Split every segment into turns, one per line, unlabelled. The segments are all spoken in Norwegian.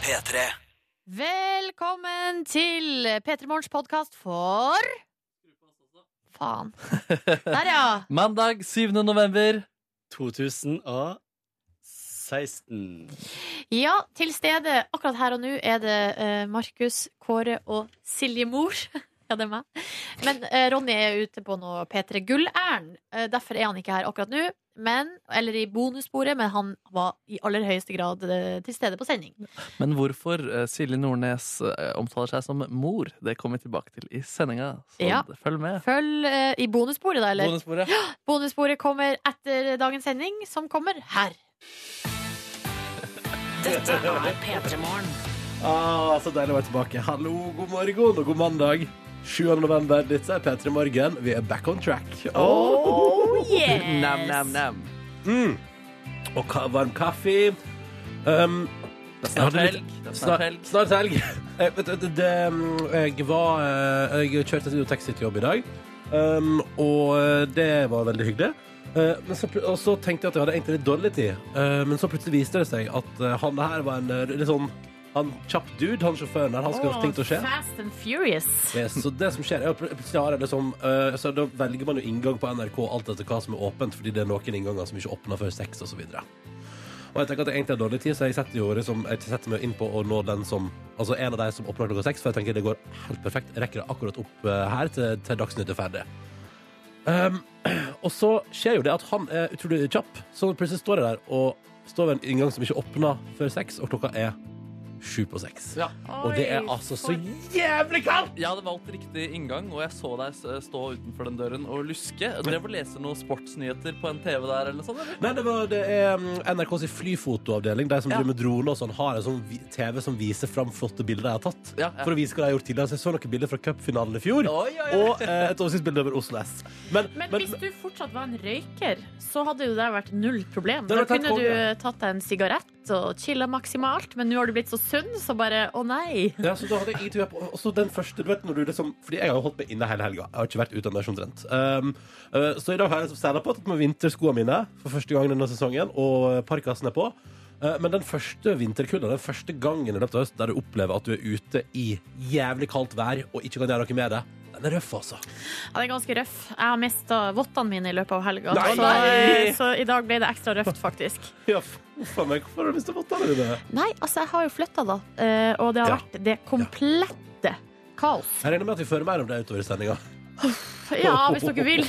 P3.
Velkommen til P3 Morgens podkast for Faen. Der, ja.
Mandag 7. november.
2016.
Ja, til stede akkurat her og nå er det eh, Markus, Kåre og Silje Mor. Ja, det er meg. Men eh, Ronny er ute på noe P3 Gull-ærend. Eh, derfor er han ikke her akkurat nå. Men, eller i bonussporet, men han var i aller høyeste grad eh, til stede på sending.
Men hvorfor eh, Silje Nordnes eh, omtaler seg som mor, det kommer vi tilbake til i sendinga. Så
Ja.
følg med.
Følg eh, i bonussporet, da, eller?
Bonusbordet.
Bonussporet kommer etter dagens sending, som kommer her.
Dette er P3 Morgen.
Ah, så deilig å være tilbake. Hallo, god morgen og god mandag. 7. november, dette er P3 Morgen. Vi er back on track.
Oh yes!
Nam, nam, nam.
Mm. Og ka varm kaffe. Um,
Det er snart
Ja, det er
helg. Det er snart
snart,
helg.
snart helg. Eh, vet du, det, det, mm, jeg var eh, Jeg kjørte til taxi til jobb i dag, um, og eh, det var veldig hyggelig. Eh, men så, pl- og så tenkte jeg at jeg hadde egentlig litt dårlig tid, eh, men så plutselig viste det seg at eh, han her var en eh, litt sånn han kjapp dude, han sjåføren der. Han skulle ha ting til å skje.
Fast and Furious.
Yes, så det som skjer er jo pl- plutselig har jeg liksom, eh, så Da velger man jo inngang på NRK alt etter hva som er åpent, fordi det er noen innganger som ikke åpner før seks osv. Og jeg tenker at jeg egentlig har dårlig tid, så jeg setter, jo liksom, jeg setter meg inn på å nå den som Altså en av de som åpner klokka seks, for jeg tenker det går helt perfekt. Jeg rekker det akkurat opp eh, her til, til Dagsnytt er ferdig. Um, og så skjer jo det at han er utrolig kjapp, så plutselig står jeg der og står ved en inngang som ikke åpner før seks, og klokka er sju på seks.
Ja.
Og det er
Oi,
altså så
for-
jævlig kaldt!
Jeg hadde valgt riktig inngang, og jeg så deg s- stå utenfor den døren og luske. Jeg drev og lese noen sportsnyheter på en TV der eller noe sånt. Eller?
Nei, det, var, det er mm, NRKs flyfotoavdeling. De som
Ja.
driver med droner og sånn, har en sånn vi- TV som viser fram flotte bilder de har tatt.
Ja, ja.
For å vise hva de har gjort tidligere. Så jeg så noen bilder fra cupfinalen i fjor.
Oi, oi, oi.
Og eh, et oversiktsbilde over Oslo S. Men,
Men
men-
hvis du fortsatt var en røyker, så hadde jo det vært null problem.
Det
Da
hadde vært
kunne
helt
du
konge.
tatt deg en sigarett og chilla maksimalt, men nå har du blitt så sunn, så bare å nei.
ja, så da hadde jeg ingenting å gjøre på. Og så den første, du vet når du liksom Fordi jeg har jo holdt meg inne hele helga. Jeg har ikke vært utendørs omtrent. Um, eh, så i dag har jeg liksom seilt på tatt med vinterskoene mine for første gang denne sesongen, og eh, parkasen er på. Eh, Men den første vinterkulda, den første gangen i løpet av høsten der du opplever at du er ute i jævlig kaldt vær og ikke kan gjøre noe med det, den er røff, altså.
Ja, det er ganske røff. Jeg har mista vottene mine i løpet av helga,
Nei,
så, eh,
nei.
så i dag ble det ekstra røft, faktisk.
Ja, faen meg, hvorfor har du mistet vottene dine?
Nei, altså, jeg har jo flytta, da, eh, og det har
Ja.
vært det komplette kaos.
Jeg regner med at vi fører mer om det utover i sendinga.
Ja, hvis dere vil.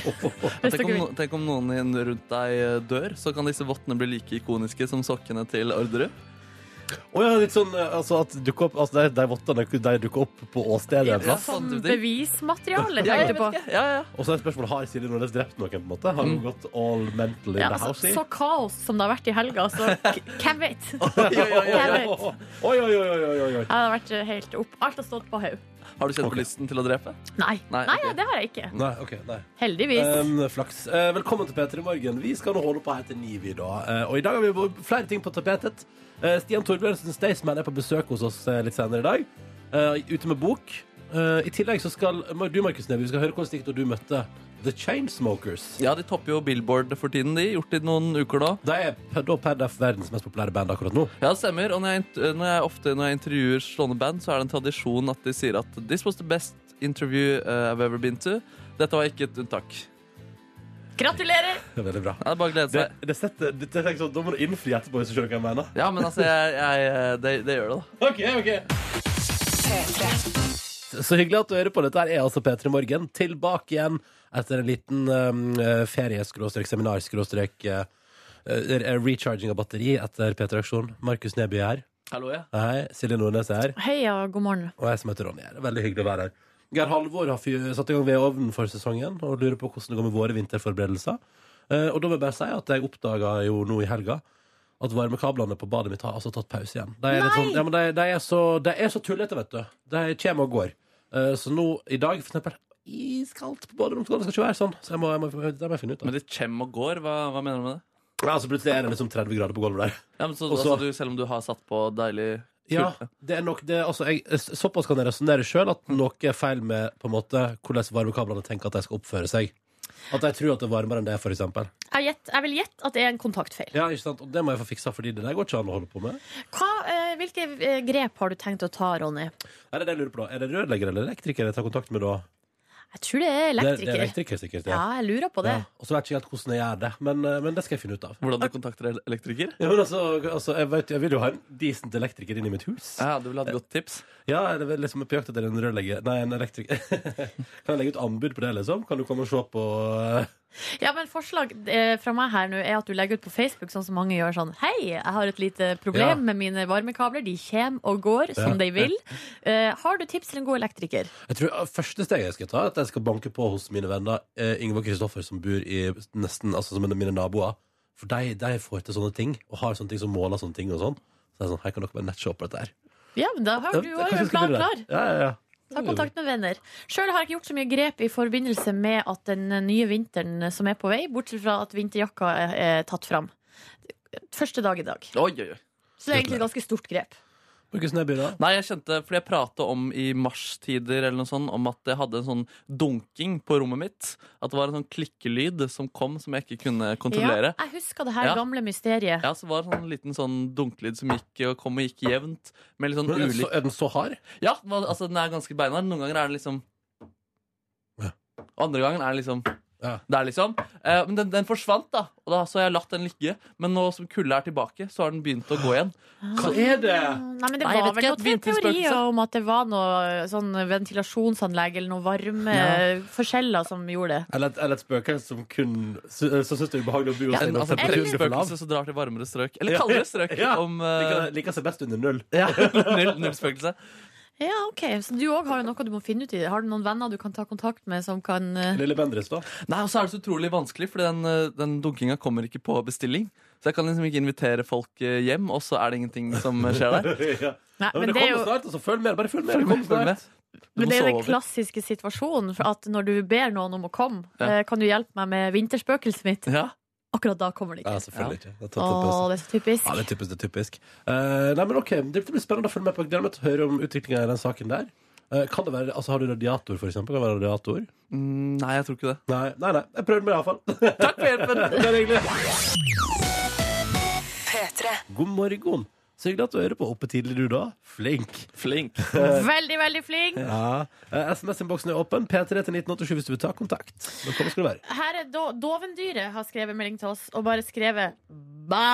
Tenk
Hvis dere
om,
vil.
no- tenk om noen igjen rundt deg eh, dør, så kan disse vottene bli like ikoniske som sokkene til Orderud.
Og ja, litt sånn eh, altså, at dukker opp, altså, de, de vottene de dukker opp på åstedet en
Ja.
plass.
Som
sant, det-
sånn bevismateriale,
Ja, jeg
tenkte du
vet
på.
ikke. Ja, ja, ja.
Og så er spørsmålet har Silje Nordnes drept noen. på en måte Har hun gått all
Mm.
mental in
Ja,
the
altså,
house? i?
så kaos som det har vært i helga, så k- hvem vet?
Oi, oi, oi, oi.
jeg vet.
Oi, oi, oi, oi, oi,
Jeg
oi.
har vært helt opp. Alt har stått på haug.
Har du kjent
Ok.
på lysten til å drepe?
Nei,
Nei,
nei,
ok.
ja, det har jeg ikke.
Nei, ok, nei.
Heldigvis.
Em, flaks. Eh, velkommen til P3 Morgen. Vi skal nå holde på her til ni, vi, da. Eh, og i dag har vi vært flere ting på tapetet. Eh, Stian Torbjørnsen Staysman er på besøk hos oss eh, litt senere i dag. Eh, ute med bok. Eh, I tillegg så skal du, Markus Neby, vi skal høre hvordan det gikk da du møtte The Chainsmokers.
Ja, de topper jo Billboard for tiden, de. Gjort det i noen uker nå.
De er per- da per def verdens mest populære band akkurat nå.
Ja, det stemmer. Og når jeg, int- når jeg ofte når jeg intervjuer sånne band, så er det en tradisjon at de sier at This was the best interview uh, I've ever been to. Dette var ikke et unntak.
Gratulerer!
Det er veldig bra. Altså-
Ja, det er bare å glede
Det,
seg.
det setter, det, det er sånn, da må du innfri etterpå, hvis du skjønner hva jeg mener.
Ja, men altså, jeg, jeg, eh, det, det gjør det, da.
Ok, ok Så hyggelig at du hører på. Dette her er altså P3 Morgen tilbake igjen etter en liten um, ferie-seminar-recharging eh, av batteri etter P3 Aksjon. Markus Neby er her.
Hallo, ja.
Hei, Silje Nordnes er her.
Heia, god morgen.
Og jeg som heter Ronny er her. Veldig hyggelig å være her. Geir Halvor har fyr- satt i gang vedovnen for sesongen og lurer på hvordan det går med våre vinterforberedelser. Eh, og da vil jeg bare si at jeg oppdaga jo nå i helga at varmekablene på badet mitt har altså tatt pause igjen. De er, litt sånn, ja, men de, de er så, de er så tullete, vet du. De kommer og går. Eh, så nå i dag, for eksempel, iskaldt på baderommet. Det skal ikke være sånn. Så jeg må, jeg må, det må jeg finne ut av.
Men det kjem og går, hva, hva mener du med det?
Ja, så plutselig er det liksom 30 grader på gulvet der.
Ja, men så,
Og så-
altså, du, selv om du har satt på deilig
Ja,
Kult.
det er nok det, altså, jeg, Såpass kan jeg resonnere sjøl at noe er feil med på en måte, hvordan varmekablene tenker at de skal oppføre seg. At de tror at det er varmere enn det, f.eks.
Jeg, gjett, jeg vil gjette at det er en kontaktfeil.
Ja, ikke sant? Og det må jeg få fiksa, fordi det der går ikke an å holde på med.
Hva eh,
hvilke eh, grep har du tenkt å ta, Ronny?
Er det det jeg lurer på da? Er det rørlegger eller elektriker jeg tar kontakt med da?
Jeg tror det er
Det, det er
elektriker.
elektriker sikkert,
ja,
ja.
jeg lurer på det.
Ja. Og så vet jeg ikke helt hvordan jeg gjør det, men, eh, men det skal jeg finne ut av.
Hvordan du kontakter el- elektriker?
Ja, men altså, altså jeg, vet, jeg vil jo ha en decent elektriker inn i mitt hus.
Ja, du ville hatt godt tips.
Ja, er det vel liksom på jakt etter en rørlegger Nei, en elektriker. kan jeg legge ut anbud på det, liksom? Kan du komme og se på eh,
Ja, men Forslag eh, fra meg her nå er at du legger ut på Facebook, sånn som mange gjør sånn Hei, jeg har et lite problem
Ja.
med mine varmekabler. De kommer og går
Ja.
som de vil. Eh, har du tips til en god elektriker?
Jeg tror eh, Første steget jeg skal ta, er at jeg skal banke på hos mine venner eh, Ingeborg Kristoffer, som bor i nesten Altså som en av mine naboer. For de, de får til sånne ting, og har sånne ting som måler sånne ting og sånn. Så det er sånn, her kan dere bare nettshoppe dette her.
Ja, men da har du
Ja,
jo
kanskje
en
jeg skal
plan
gjøre
klar.
det. Ja, ja, ja.
Ta kontakt med venner. Sjøl har jeg ikke gjort så mye grep i forbindelse med at den nye vinteren eh, som er på vei, bortsett fra at vinterjakka er, er tatt fram. Første dag i dag.
Oi, oi, oi.
Så det er egentlig et ganske stort grep.
Bruker snøby, da?
Nei, jeg kjente, fordi jeg pratet om i marstider eller noe sånt, om at jeg hadde en sånn dunking på rommet mitt. At det var en sånn klikkelyd som kom som jeg ikke kunne kontrollere.
jeg husker det her
Ja.
gamle mysteriet.
Ja, så var det sånn liten sånn dunklyd som gikk og kom og gikk jevnt. Med litt sånn
Men er, den så,
ulik
er den så hard?
Ja, det var- altså den er ganske beinhard. Noen ganger er den liksom
Ja.
Andre gangen er den liksom
Ja.
Der liksom eh, Men den, den forsvant, da. Og da så har jeg latt den ligge. Men nå som kulda er tilbake, så har den begynt å gå igjen.
Ah.
Hva er det?
Nei, men Det
Nei, jeg
var
vet
vel
ikke,
noen
et vinterspøkelse.
teorier om at det var noe sånn ventilasjonsanlegg eller noen varme
Ja.
forskjeller som gjorde det.
Eller et, eller et spøkelse som kun Som syns det er ubehagelig å bo hos
En,
deg når
altså, et
temperaturen går for lav?
spøkelse som drar til varmere strøk. Eller kaldere strøk.
Ja.
Om eh,
Liker, liker seg best under null.
ja, null, null spøkelse.
Ja, ok, Så du òg har jo noe du må finne ut i. Har du noen venner du kan ta kontakt med som kan eh,
Lille Bendriss, da.
Nei, og så er det så utrolig vanskelig, for den, eh, den dunkinga kommer ikke på bestilling. Så jeg kan liksom ikke invitere folk eh, hjem, og så er det ingenting som eh, skjer der.
ja.
Nei,
Ja, men, det,
er
kommer
jo-
snart, altså. Følg med. Bare følg med.
Følg
det
med,
kommer
følg med.
snart.
Du
Men
må
det er jo
sove
den
over.
klassiske situasjonen. For at når du ber noen om å komme,
Ja.
eh, kan du hjelpe meg med vinterspøkelset mitt?
Ja.
Akkurat da kommer det
Ja,
ikke.
selvfølgelig ikke. Det er tatt opp,
Åh,
altså.
det er så typisk.
Ja, det er typisk. det er typisk Eh, Nei, men ok, Det blir spennende å følge med på. Jeg Gleder meg til å høre om utviklingen i den saken der. Eh, kan det være, altså Har du radiator, for eksempel? Kan det være radiator?
Mm, nei, jeg tror ikke det.
Nei, nei. nei. Jeg prøvde meg iallfall.
Takk for hjelpen!
det er hyggelig. God morgen. Så hyggelig at du hører på. Oppe tidlig, du, da. Flink.
Flink.
Veldig, veldig flink.
Ja. Eh, SMS-innboksen er åpen. P3 til 1987 hvis du vil ta kontakt. Velkommen skal du være.
Her er do Dovendyret har skrevet melding til oss og bare skrevet Bæ,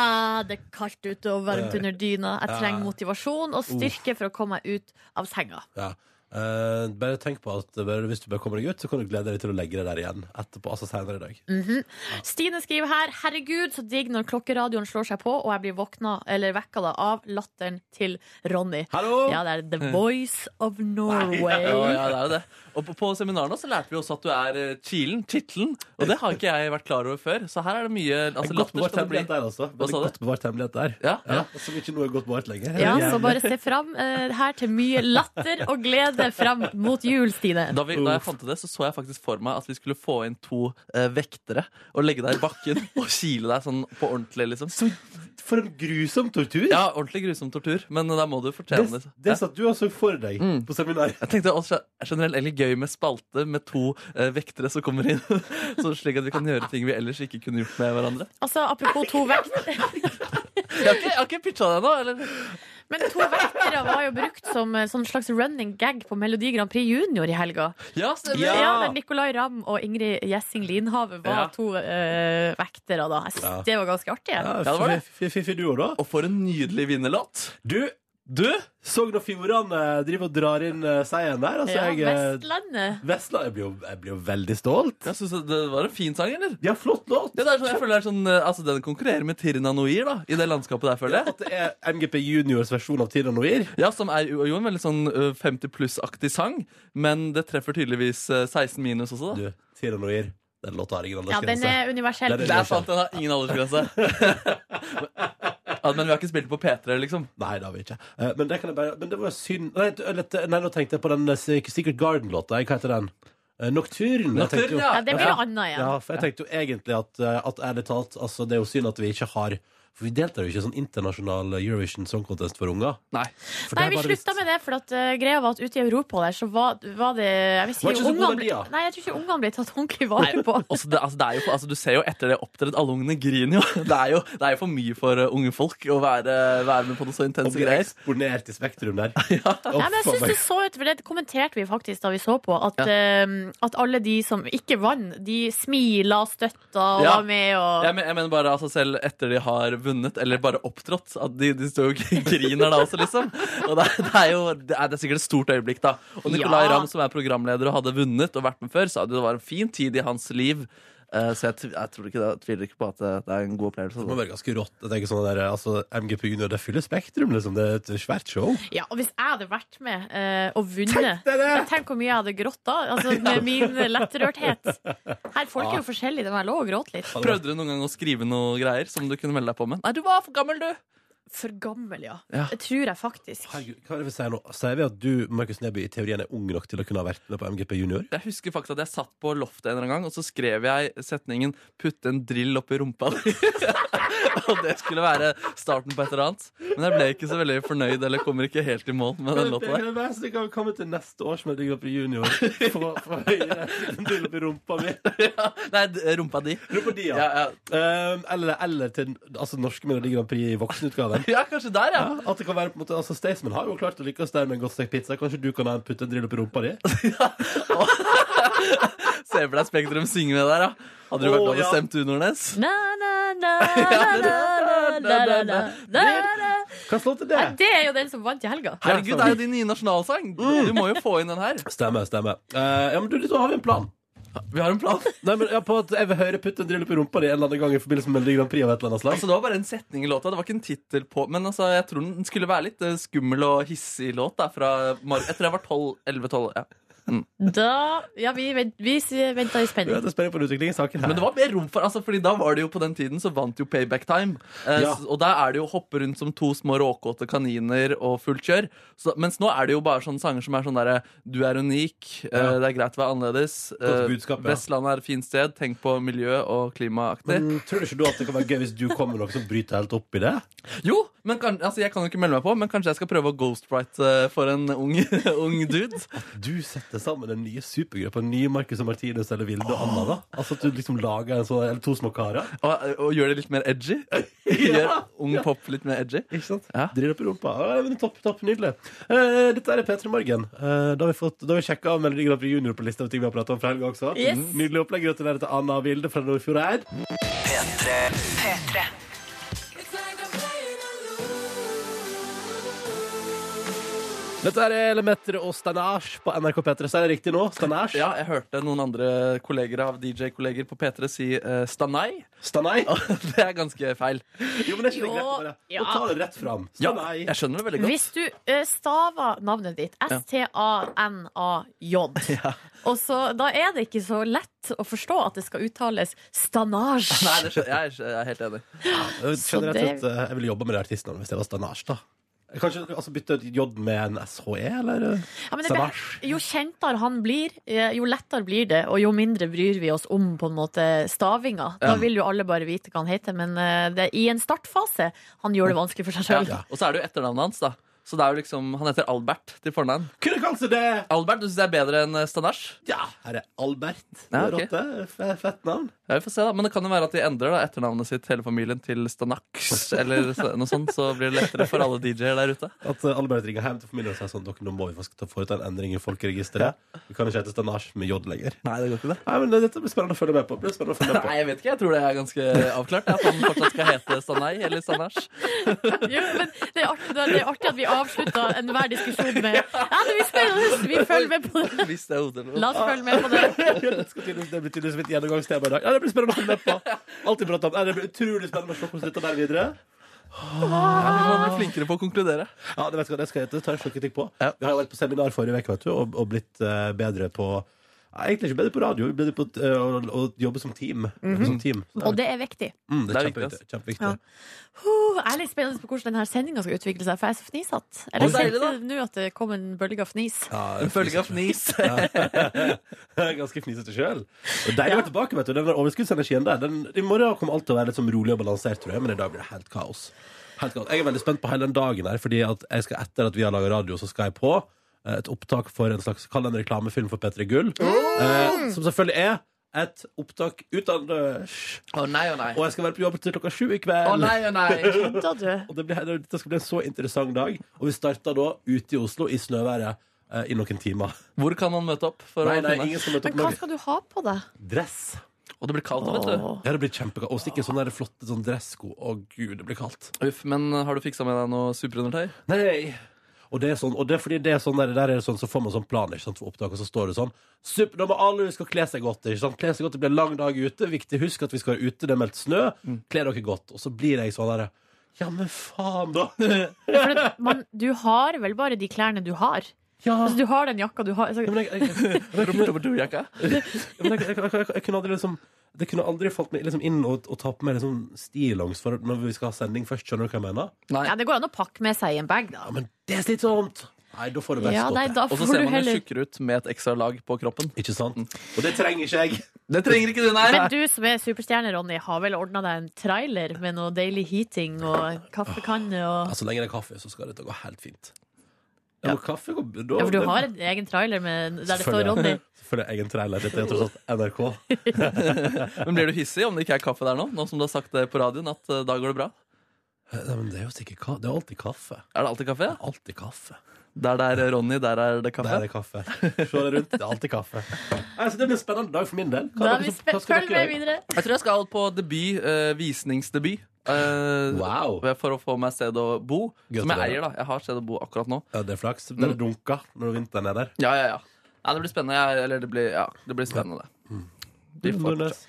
det er kaldt ute og varmt under dyna. Jeg trenger motivasjon og styrke for å komme meg ut av senga.
Ja. Eh, bare tenk på at eh, bare, hvis du bare kommer deg ut, så kan du glede deg til å legge deg der igjen etterpå. Altså senere i dag.
Stine skriver her Herregud, så digg når klokkeradioen slår seg på, og jeg blir våkna, eller vekka da, av latteren til Ronny.
Hallo!
Ja, det er The Voice of
Ja,
Norway.
ja, det er jo det. Og på, på seminarene så lærte vi også at du er eh, chilen, tittelen. Og det har ikke jeg vært klar over før. Så her er det mye altså, latter
godt bevart
skal det bli.
hemmelighet der, altså.
Hva sa
Veldig
du?
godt bevart hemmelighet der.
Ja, ja.
Som ikke noe er godt bevart lenger.
Ja, så bare se fram eh, her til mye latter og glede fram mot jul, Stine.
Da, vi, da jeg fant ut det, så så jeg faktisk for meg at vi skulle få inn to eh, vektere og legge deg i bakken og kile deg sånn på ordentlig, liksom.
Så for en grusom tortur!
Ja, ordentlig grusom tortur, men eh, da må du fortjene
det,
det.
det satt du og så for deg
Mm.
på seminar.
Jeg tenkte også generelt egentlig gøy med spalte med to eh, vektere som kommer inn. Så slik at vi kan gjøre ting vi ellers ikke kunne gjort med hverandre.
Altså, apropos to vekter
Jeg har ikke, jeg har ikke pitcha deg nå, eller?
Men to vektere var jo brukt som eh, sånn slags running gag på Melodi Grand Prix Junior i helga.
Ja, stemmer.
Ja, der Nicolay Ramm og Ingrid Gjessing Linhave var
Ja.
to eh, vektere da. Jeg
Ja.
synes det var ganske artig. jeg.
Ja,
det var det.
Fiffig duo, da.
Og for en nydelig vinnerlåt.
Du, du Sogn og Fjordane driver og drar inn eh, seieren der. Altså,
Ja,
jeg, eh,
Vestlandet.
Vestland Jeg blir jo, jeg blir jo veldig stolt.
Jeg synes Det var en fin sang, eller?
De har flott låt!
Ja, det er sånn, jeg føler det er sånn, eh, altså Den konkurrerer med Tirna Noir da, i det landskapet der, føler jeg.
At det er MGP Juniors versjon av Tira Noir.
Ja, Som er jo jo en veldig sånn eh, 50 pluss-aktig sang, men det treffer tydeligvis eh, 16 minus også. da
Du, Tira Noir. Den låta har ingen
Ja, den
aldersgrense.
er universell.
Det
Det er sant, den har ingen aldersgrense. ja, men vi har ikke spilt på P3, liksom.
Nei, det har vi ikke. Eh, Men det, kan jeg bare, men det var synd nei, t- eller t- nei, nå tenkte jeg på den eh, Secret Garden-låta. Hva heter den? Eh, Nocturne. Jeg tenkte jo-
Nocturne,
Ja, det blir noe annet igjen.
Ja, for jeg tenkte jo egentlig at, eh, at ærlig talt, altså, det er jo synd at vi ikke har For vi deltar jo ikke i sånn internasjonal Eurovision Song Contest for unger.
Nei.
For
Nei,
der
vi
var det visst-
slutta med det, for at eh, greia var at ute i Europa der, så var, var det Jeg vil si
Var ikke så gode
ungene ble,
verdier.
Nei, jeg tror ikke ungene ble tatt ordentlig vare på.
Også det, altså, det er jo, altså, du ser jo etter det opptredd Alle ungene griner jo. Det er jo, det er jo for mye for eh, unge folk å være, være med på noe så
Og
intense
blir
greier.
eksponert i Spektrum der.
Nei,
Å,
men jeg
faen
synes
meg.
det så ut, for det kommenterte vi faktisk da vi så på, at, eh, at alle de som ikke vant, de smila, støtta og
Ja.
var med og
Jeg, men, jeg mener bare altså, Selv etter de har vunnet, eller bare opptrådt at De, de står jo og griner da også, liksom. Og det, er- det er jo det er, det er sikkert et stort øyeblikk, da. Og Nicolay
Ja.
Ramm, som er programleder og hadde vunnet og vært med før, sa at det var en fin tid i hans liv. Eh, så jeg, tv- jeg, tror ikke, det- jeg tviler ikke på at det, det er en god opplevelse.
Det må
Altså.
være ganske rått. Jeg tenker sånn der, altså, MGP Junior, det fyller Spektrum, liksom. Det er et svært show.
Ja, og hvis jeg hadde vært med eh, og vunnet
deg det!
ja, Tenk hvor mye jeg hadde grått da, altså, med min lettrørthet. Her, folk er jo forskjellige, det var lov å gråte litt.
Prøvde du noen gang å skrive noe greier som du kunne melde deg på med? Nei, du var for gammel, du!
For gammel, ja.
Ja.
Det tror jeg faktisk.
Herregud, hva er det vi sier nå? Sier vi at du, Markus Neby, i teorien er ung nok til å kunne ha vært med på MGP Junior?
Jeg husker faktisk at jeg satt på loftet en eller annen gang, og så skrev jeg setningen 'putte en drill opp i rumpa di'. og det skulle være starten på et eller annet. Men jeg ble ikke så veldig fornøyd, eller kommer ikke helt i mål med den låta der.
Det kan komme til neste års med MGP Junior. Få høyere del oppi rumpa mi.
Nei, d- rumpa di.
Rumpa di,
Ja, ja.
Um, eller, eller til altså, norske Melodi Grand Prix i voksenutgaven.
ja, kanskje der, ja.
At det kan være på en måte, altså Staysman har jo klart å lykkes der med en godt stekt pizza. Kanskje du kan ha en putte en drill opp i rumpa di?
Se for deg Spektrum synge med der, ja. Hadde du vært
Å,
dårlig
ja.
stemt, du, Nordnes?
Na, na, na, na, na, na, na, na, na, na.
Hva slår til det?
Nei, Det er jo den som vant i helga.
Herregud, det er jo din nye nasjonalsang! Du må jo få inn den her.
Stemmer, stemmer. Eh, ja, men du, da har vi en plan.
Vi har en plan.
Nei, men ja, på at Jeg vil høre 'putte en drill opp i rumpa di' en eller annen gang i forbindelse med Melodi Grand Prix av et eller annet slag.
Altså, det var bare en setning i låta. Det var ikke en tittel på Men altså, jeg tror den skulle være litt eh, skummel og hissig låt. Da, fra Mar jeg tror jeg var 11-12. Ja.
Da Ja, vi, vent, vi venta i
Ja,
spenning.
det spør jeg på en utvikling i saken her.
Men det var mer rom for altså, Fordi da var det jo på den tiden så vant jo Payback Time. Eh,
Ja.
s- Og der er det jo å hoppe rundt som to små råkåte kaniner og fullt kjør. Så, mens nå er det jo bare sånne sanger som er sånn derre Du er unik, eh,
Ja.
det er greit å være annerledes. eh,
Godt budskap, ja.
Vestlandet er et fint sted, tenk på miljø og klimaaktig.
Men tror du ikke du at det kan være gøy hvis du kommer med noe som bryter helt opp i det?
Jo, men kan, altså, jeg kan jo ikke melde meg på, men kanskje jeg skal prøve å ghostwrite eh, for en ung, ung dude.
Du setter sammen den nye supergruppa, den nye Marcus og Martinus eller Vilde og Anna, da? Altså at du liksom lager en sånn, eller to små karer?
Og, og gjøre det litt mer edgy. Gjør ung pop litt mer edgy.
Ikke sant?
Ja.
Drill opp i rumpa. Ja, men topp, topp, nydelig. Eh, dette er P3 Morgen. Eh, da har vi, fått- da har vi sjekka av Melodi Grand Prix Junior på lista over ting vi har pratet om fra helga også. Mm.
Yes.
Nydelig opplegg. Gratulerer til Anna og Vilde fra Nordfjordeid. Dette er Lemetre og Stanage på NRK P3. Så er det riktig nå? Stanage?
Ja, jeg hørte noen andre kolleger av DJ-kolleger på P3 si eh, stanai.
Stanai?
Det er ganske feil.
Jo, men det er ikke det
Jo,
greit å bare
ja.
å ta det rett fram.
Ja,
Stanai.
jeg skjønner det veldig godt.
Hvis du eh, staver navnet ditt S-T-A-N-A-J, og så, da er det ikke så lett å forstå at det skal uttales stanage.
Nei, det skjønner, jeg, er- jeg er helt enig.
Jeg
Så
kjenner rett
det-
og slett, eh, jeg ville jobba med de artistene hvis jeg var Stanage, da. Kanskje altså, bytte ut J med en SHE, eller? eh,
Ja, men det er
Stanage.
bare- jo kjentere han blir, eh, jo lettere blir det, og jo mindre bryr vi oss om på en måte stavinga. Da vil jo alle bare vite hva han heter, men eh, det, i en startfase han gjør det vanskelig for seg sjøl.
Ja. Og så er det jo etternavnet hans, da. Så det er jo liksom, Han heter Albert til fornavn.
Kunne kalt seg det!
Albert, du syns det er bedre enn eh, Stanasj?
Ja, her er Albert.
Ja,
Det er
ok.
Rotte. F- Fett navn.
Ja, vi får se da, Men det kan jo være at de endrer da etternavnet sitt hele familien til Stanaks eller så- noe sånt. Så blir det lettere for alle DJ-er der ute.
At eh, Albert ringer hjem til familien og sier sånn Dere, nå må vi faktisk ta- foreta en endring i folkeregisteret. Vi kan ikke hete Stanage med J lenger.
Nei, det går ikke det.
Nei, men eh, Dette blir spennende å følge med på. Det Blir spennende å følge med på.
Nei, jeg vet ikke. Jeg tror det er ganske avklart. At han fortsatt skal hete Stanai eller Stanasj.
Jo, men det er, artig, det er artig at vi avslutta enhver diskusjon med Ja, det, vi, skal, vi følger med på det.
Hvis det er hodet eller noe.
La oss følge med på det.
Ja, det, skal tydeligvis- det blir tydeligvis mitt gjennomgangstema i dag. Ja, det blir spennende å følge med på. Alt vi prater om. Ja, det blir utrolig spennende å se hvordan dette bærer videre.
Ja, vi må bli flinkere på å konkludere.
Ja, det vet jeg hva det skal hete. Det tar jeg sjølkritikk på.
Ja.
Vi har jo vært på seminar forrige uke vet du, og, og blitt eh, bedre på Egentlig ikke bedre på radio, bedre på eh, å, å jobbe som team. som team. Så
Mhm. Og det er viktig.
Mm, det er
Det er viktig,
kjempeviktig. kjempeviktig.
Ja. Huh, jeg er litt spennende på hvordan denne sendinga skal utvikle seg, for jeg er så fnisete. Eller
Og deilig,
kjente nå at det kom en bølge av fnis.
Ja,
En følge av fnis.
Jeg er Ganske fnisete sjøl. Deilig å være tilbake. vet du Den der overskuddsenergien der den, I morgen kommer alt til å være litt sånn rolig og balansert, tror jeg, men i dag blir det helt kaos. Helt kaos. Jeg er veldig spent på hele den dagen her, Fordi at jeg skal etter at vi har laga radio, så skal jeg på eh, et opptak for en slags kall det en reklamefilm for P3 Gull. Eh, som selvfølgelig er et opptak utendørs.
Å nei, å nei.
Og jeg skal være på jobb til klokka sju i
Å
kveld.
nei, å nei.
Da, du.
Og det blir, dette skal bli en så interessant dag. Og vi starter da ute i Oslo i snøværet eh, i noen timer.
Hvor kan man møte opp? For
Nei,
å
nei,
finne?
ingen skal møte
Men
opp
hva
med
skal du ha på deg?
dress.
Og det blir kaldt, vet du.
Ja, det blir kjempekaldt. Og stikke sånne der flotte sånn dressko. Å gud, det blir kaldt.
Uff, men har du fiksa med deg noe superundertøy?
Nei! Og det er sånn, og det er fordi det er sånn der, der er det sånn, så får man sånn plan ikke sant, for opptak, og så står det sånn Sup, Nå må alle huske å kle seg godt. ikke sant? Kle seg godt, Det blir en lang dag ute. Viktig, husk at vi skal være ute, det er meldt snø. Kle dere godt. Og så blir jeg sånn derre Ja, men faen, da!
For det, man, du har vel bare de klærne du har?
Ja,
Altså, du har den jakka du har.
Ja,
Altså,
men jeg, jeg, jeg, jeg, jeg, kunne-
Rumpedoppdurjakka?
Ja, men jeg, jeg, jeg, jeg, jeg kunne aldri liksom Det kunne aldri falt meg liksom inn å å ta på meg liksom stillongs for når vi skal ha sending først. Skjønner du hva jeg mener?
Nei.
ja, det går an å pakke med seg i en bag, da.
Ja, men det er slitsomt! Nei, da får du best
Ja, nei, da
Og så
får
ser
du
man jo
heller
tjukkere ut med et ekstra lag på kroppen.
Ikke sant? Mm. Og det trenger ikke jeg.
Det trenger ikke du, nei.
Men du som er superstjerne, Ronny, har vel ordna deg en trailer med noe deilig heating og kaffekanne og
Ja, så lenge det er kaffe, så skal dette gå helt fint. Ja, men kaffe går da,
Ja, for du har en egen trailer med, der det står
Selvfølgelig.
Ronny.
Selvfølgelig egen trailer. Dette er tross alt NRK. Eh,
Men blir du hissig om det ikke er kaffe der nå? Nå som du har sagt det på radioen, at eh, da går det bra?
Nei, men det er jo sikkert ka Det er alltid kaffe.
Er det alltid kaffe?
Alltid kaffe.
Der det er Ronny, der er det kaffe.
Der er kaffe. Se deg rundt. Det er alltid kaffe. Nei, så det blir en spennende dag for min del. Hva
Da
er
vi
det som-
spe-
hva skal
Følg
dere
med
gjøre?
videre.
Jeg tror jeg skal på debut, eh, visningsdebut. eh,
Wow.
For å få meg sted å bo.
Gøy
som jeg
til deg,
eier, da. Jeg har sted å bo akkurat nå.
Ja, det er flaks. Den er dunka når vinteren er der.
Ja, ja, ja. Nei, det blir spennende. Jeg, eller det blir, ja, det blir spennende. Vi får
Nordnes.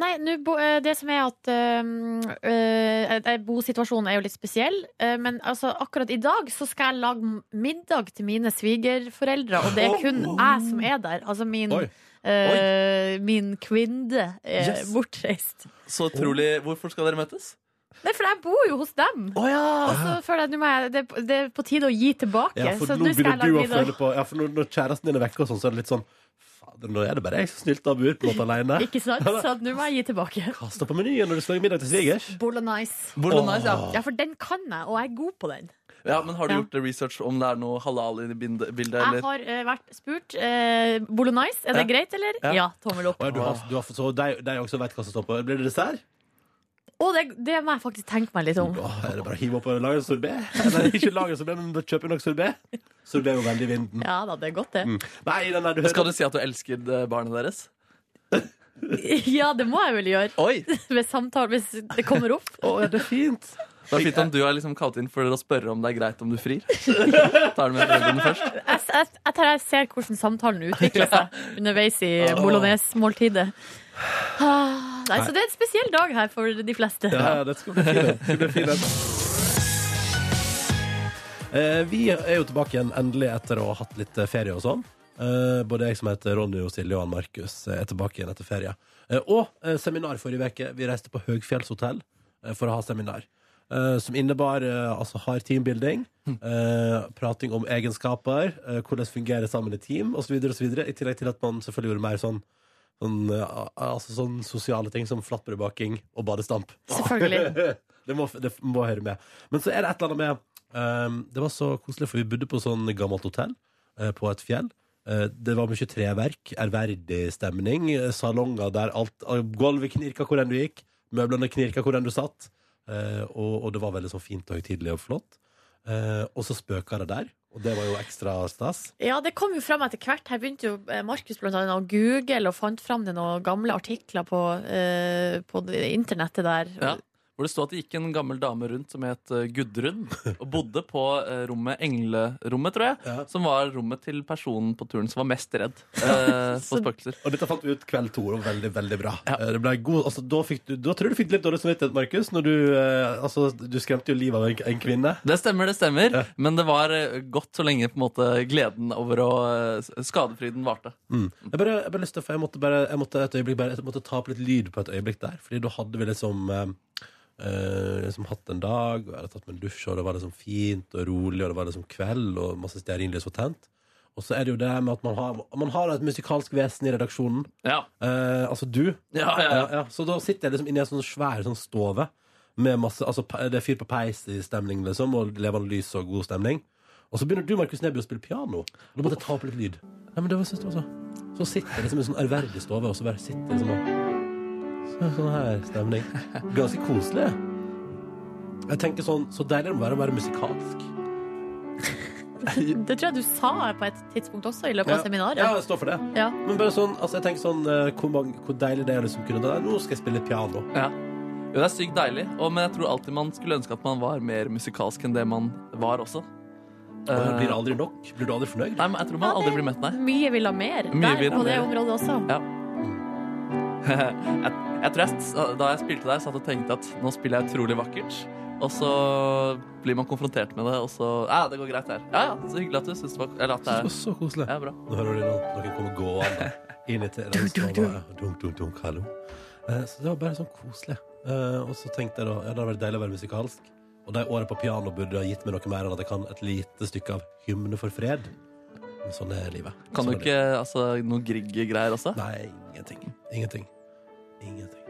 Nei, nå bo, eh, det som er at um, eh, eh, Bosituasjonen er jo litt spesiell. eh, men altså, akkurat i dag så skal jeg lage m- middag til mine svigerforeldre, og det er kun jeg som er der. Altså min,
Oi.
eh, min kvinne er
Yes.
bortreist.
Så utrolig Hvorfor skal dere møtes?
Nei, for jeg bor jo hos dem.
Å ja!
Og så føler jeg at nå må jeg- det, er på- det er på tide å gi tilbake.
Ja, for
så
nå
nå skal jeg
begynner
lage
du å
middag.
føle på Ja, for når, når kjæresten din er vekke og sånn, så er det litt sånn Fader, nå er det bare jeg som snylter og bor på en måte alene.
Ikke sant? Så nå må jeg gi tilbake.
Kasta på menyen når du skal lage middag til svigers.
Bolognese.
Bolognese, ja.
Ja, for den kan jeg, og jeg er god på den.
ja. Men har du
Ja.
gjort research om det er noe halal i bildet? bildet,
Jeg
Eller?
har eh, vært spurt eh, Bolognese, er det
Ja.
greit, eller?
Ja.
Ja, tommel opp.
Og du har, du har, så de, de også vet hva som står på. Blir det dessert?
Og det, det må jeg faktisk tenke meg litt om.
Da er det bare å hive opp og lage en sorbé. Eller ikke lage en sorbé, men bare kjøpe nok sorbé. Sorbé er jo veldig i vinden. Mm.
Ja da, det er godt, det.
Nei, den der du hører
Skal du si at du elsker eh, barnet deres?
Ja, det må jeg vel gjøre.
Oi!
Hvis, samtale, hvis det kommer opp.
Å, ja, det er fint.
Det er fint om du er liksom kalt inn for å spørre om det er greit om du frir. Tar du med foreldrene først?
Jeg, jeg, jeg tror jeg ser hvordan samtalen utvikler seg underveis i bolognese-måltidet. Ah, Nei, så det er en spesiell dag her for de fleste.
Ja, ja, det skal bli fint. Det skal bli fint. Eh, vi er jo tilbake igjen endelig etter å ha hatt litt eh, ferie og sånn. Eh, både jeg som heter Ronny og Silje og han Markus eh, er tilbake igjen etter ferie. Eh, og eh, seminar forrige uke. Vi reiste på Høgfjellshotell eh, for å ha seminar. Eh, som innebar eh, altså hard teambuilding, eh, prating om egenskaper, eh, hvordan fungere sammen i team osv. osv. I tillegg til at man selvfølgelig gjorde mer sånn, sånn, eh, altså sånn sosiale ting som flatbrødbaking og badestamp
Selvfølgelig.
det, må, det må høre med. Men så er det et eller annet med ehm, Det var så koselig, for vi bodde på sånn gammelt hotell eh, på et fjell. Eh, det var mye treverk, ærverdig stemning, eh, salonger der alt eh, Gulvet knirka hvor enn du gikk, møblene knirka hvor enn du satt. eh, og, og det var veldig sånn fint og høytidelig og flott. Eh, og så spøka det der, og det var jo ekstra stas.
Ja, det kom jo fram etter hvert. Her begynte jo eh, Markus blant annet å google og fant fram det noen gamle artikler på, eh, på det internettet der.
Ja. Hvor det sto at det gikk en gammel dame rundt som het eh, Gudrun, og bodde på eh, rommet Englerommet, tror jeg.
Ja.
Som var rommet til personen på turen som var mest redd eh, for spøkelser.
Og dette fant vi ut kveld to, og veldig, veldig bra. Eh, Det ble god, altså, da, fikk du, da tror jeg du fikk litt dårlig samvittighet, Markus, når du, eh, altså, du skremte jo livet av en, en kvinne.
Det stemmer, det stemmer.
Ja.
Men det var eh, godt så lenge på en måte gleden over å eh, Skadefryden varte.
Jeg bare, jeg bare lyst til, for jeg måtte, bare, jeg måtte et øyeblikk bare, jeg måtte ta opp litt lyd på et øyeblikk der, fordi da hadde vi liksom, eh, eh, liksom hatt en dag, og jeg hadde tatt meg en dusj, og det var liksom fint og rolig, og det var liksom kveld, og masse stearinlys var tent. Og så er det jo det med at man har, man har et musikalsk vesen i redaksjonen.
Ja,
Eh, altså du.
ja, ja,
Ja,
ja.
ja. Så da sitter jeg liksom inne i en sånn svær sånn stove med masse altså, pe- Det er fyr på peis i stemning, liksom, og levende lys og god stemning. Og så begynner du, Markus Neby, å spille piano. Og da måtte jeg ta opp litt lyd. Nei, men det var, synes jeg var så. altså. så sitter jeg liksom i en sånn ærverdig stove, og så bare sitter jeg liksom og så, Sånn her stemning. Ganske koselig. Jeg tenker sånn Så deilig det må være å være musikalsk.
Det tror jeg du sa på et tidspunkt også i løpet av seminaret.
Ja, jeg står for det.
Ja.
Men bare sånn, altså, jeg tenker sånn eh, hvor, mange, hvor deilig det er å liksom kunne da, Nå skal jeg spille piano.
ja. Jo, det er sykt deilig, og, men jeg tror alltid man skulle ønske at man var mer musikalsk enn det man var også.
Og det blir
Eh,
aldri nok? Blir du aldri fornøyd?
Nei, men Jeg tror man
Ja,
aldri
det-
blir mett, nei.
Mye vil ha mer
Mye
der
vil ha
på det
mer.
området også.
jeg, jeg tror jeg, s- Da jeg spilte der, satt og tenkte at nå spiller jeg utrolig vakkert. Og så blir man konfrontert med det, og så Ja, det går greit her. Ja, ja, Så hyggelig at du syns det var Eller at det
Det
er
var så koselig.
ja, bra.
Nå hører du noen, noen komme gående inn i terrassen. Dunk, dunk, dunk, hallo. Eh, Så det var bare sånn koselig. Eh, Og så tenkte jeg da, ja, det hadde vært deilig å være musikalsk. Og de årene på piano burde ha gitt meg noe mer enn at jeg kan et lite stykke av Hymne for fred. Men sånn er livet.
Kan
Sånn
du
er
ikke altså, noe Grieg-greier også?
livet. Nei, ingenting. Ingenting. Ingenting.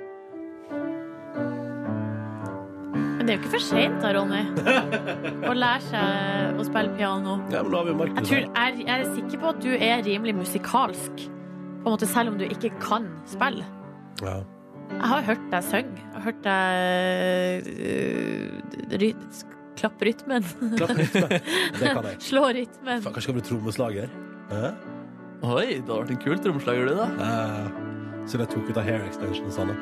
Men det er jo ikke for seint da, Ronny, å lære seg å spille piano.
Ja, men nå har vi jo
Jeg,
Markus
tror,
her.
jeg, jeg er sikker på at du er rimelig musikalsk, på en måte selv om du ikke kan spille.
Ja.
Jeg har hørt deg synge. Jeg har hørt deg øh, ry klappe rytmen.
Klapp litt med. Det kan jeg.
Slå rytmen.
Faen, Kanskje jeg kan bli trommeslager? Eh?
Oi, det hadde vært en kul trommeslager, du, da.
Eh, Så jeg tok ut av hair extension Sanne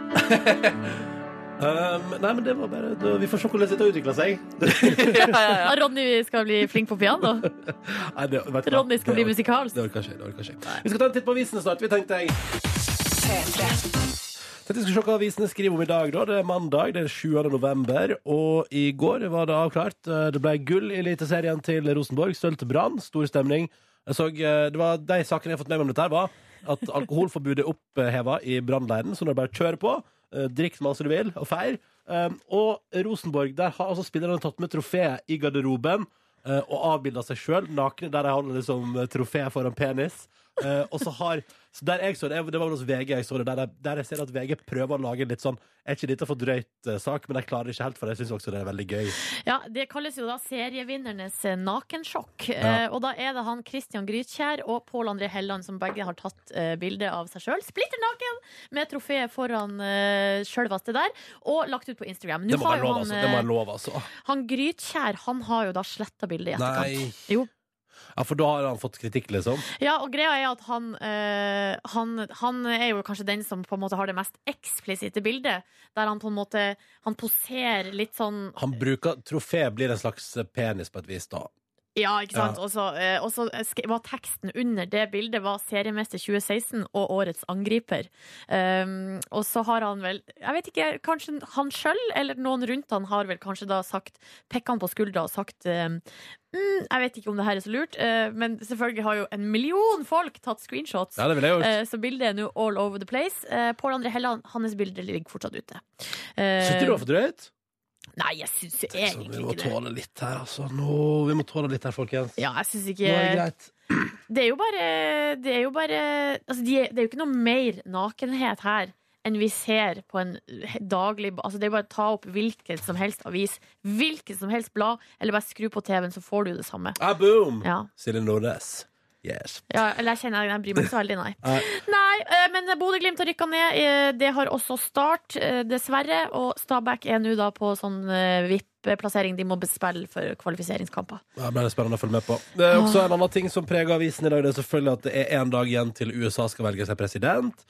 um, Nei, men det var bare det, Vi får se hvordan dette utvikler seg
Ja, Ronny skal bli flink på piano.
nei, det, vet du hva?
Ronny skal
Det
bli
ork-
musikalsk.
Det orker ikke, det orker ikke Vi skal ta en titt på avisene snart, vi tenkte jeg Tenkte vi skulle se hva avisene skriver om i dag da. Det er mandag, det er 7. november Og i går var det avklart Eh, Det ble gull i eliteserien til Rosenborg Sølv til Brann, stor stemning Jeg så, eh, det var de sakene jeg har fått med meg om dette her var At alkoholforbudet er opphevet i brannleiren Så når du bare kjører på eh, Drikk så masse du vil, og feir Um, og Rosenborg, der har altså spillerne tatt med trofeet i garderoben eh, og avbilda seg sjøl nakne, der de holder liksom eh, trofeet foran penis. Eh, og så har så der jeg så det, det var vel hos VG jeg så det, der, jeg- der jeg ser at VG prøver å lage en litt sånn Er ikke dette for drøyt eh, sak, men jeg klarer det ikke helt, for jeg syns også det er veldig gøy.
Ja, Det kalles jo da serievinnernes nakensjokk.
Ja.
Eh, og da er det han Christian Grytkjær og Pål André Helland som begge har tatt eh, bilde av seg sjøl, splitter naken, med trofeet foran eh, sjølveste der, og lagt ut på Instagram. Nå
Det må
har
være
jo
lov,
han,
altså. Det må
eh,
være lov, altså.
han Grytkjær han har jo da sletta bildet i etterkant.
Nei.
Jo.
Ja, for da har han fått kritikk, liksom.
Ja, og greia er at han, eh, han Han er jo kanskje den som på en måte har det mest eksplisitte bildet, der han på en måte Han poserer litt sånn
Han bruker Trofé blir en slags eh, penis på et vis, da.
Ja, ikke
Ja.
sant? Og så, eh, Og så sk- var teksten under det bildet var 'Seriemester 2016' og 'Årets angriper'. Um, og så har han vel Jeg vet ikke, kanskje han sjøl eller noen rundt han har vel kanskje da sagt Pekka han på skuldra og sagt um, mm, Jeg vet ikke om det her er så lurt, eh, men selvfølgelig har jo en million folk tatt screenshots.
Ja, det ville jeg gjort.
Eh, Så bildet er nå all over the place. Eh, Pål André Helland, hans bilder ligger fortsatt ute. Eh,
Syns du det var for drøyt?
Nei, jeg syns jo
Så vi
egentlig
må
ikke det.
tåle litt her, altså. Nå, vi må tåle litt her, folkens.
Ja, jeg synes
Nå
ikke
er det greit.
Det er jo bare Det er jo, bare, altså de, det er jo ikke noe mer nakenhet her enn vi ser på en daglig altså Det er bare å ta opp hvilken som helst avis, hvilket som helst blad, eller bare skru på TV-en, så får du det samme.
Ah, boom!
Ja.
Silje Nordnes. Yes.
Ja, eller jeg kjenner jeg bryr meg ikke så veldig, nei.
Nei.
Nei, eh, men Bodø-Glimt har rykka ned. eh, Det har også Start, eh, dessverre. Og Stabæk er nå da på sånn eh, VIP-plassering. De må spille for kvalifiseringskamper.
Ja, Det blir spennende å følge med på. Det er også en annen ting som preger avisen i dag, det er selvfølgelig at det er en dag igjen til USA skal velge seg president.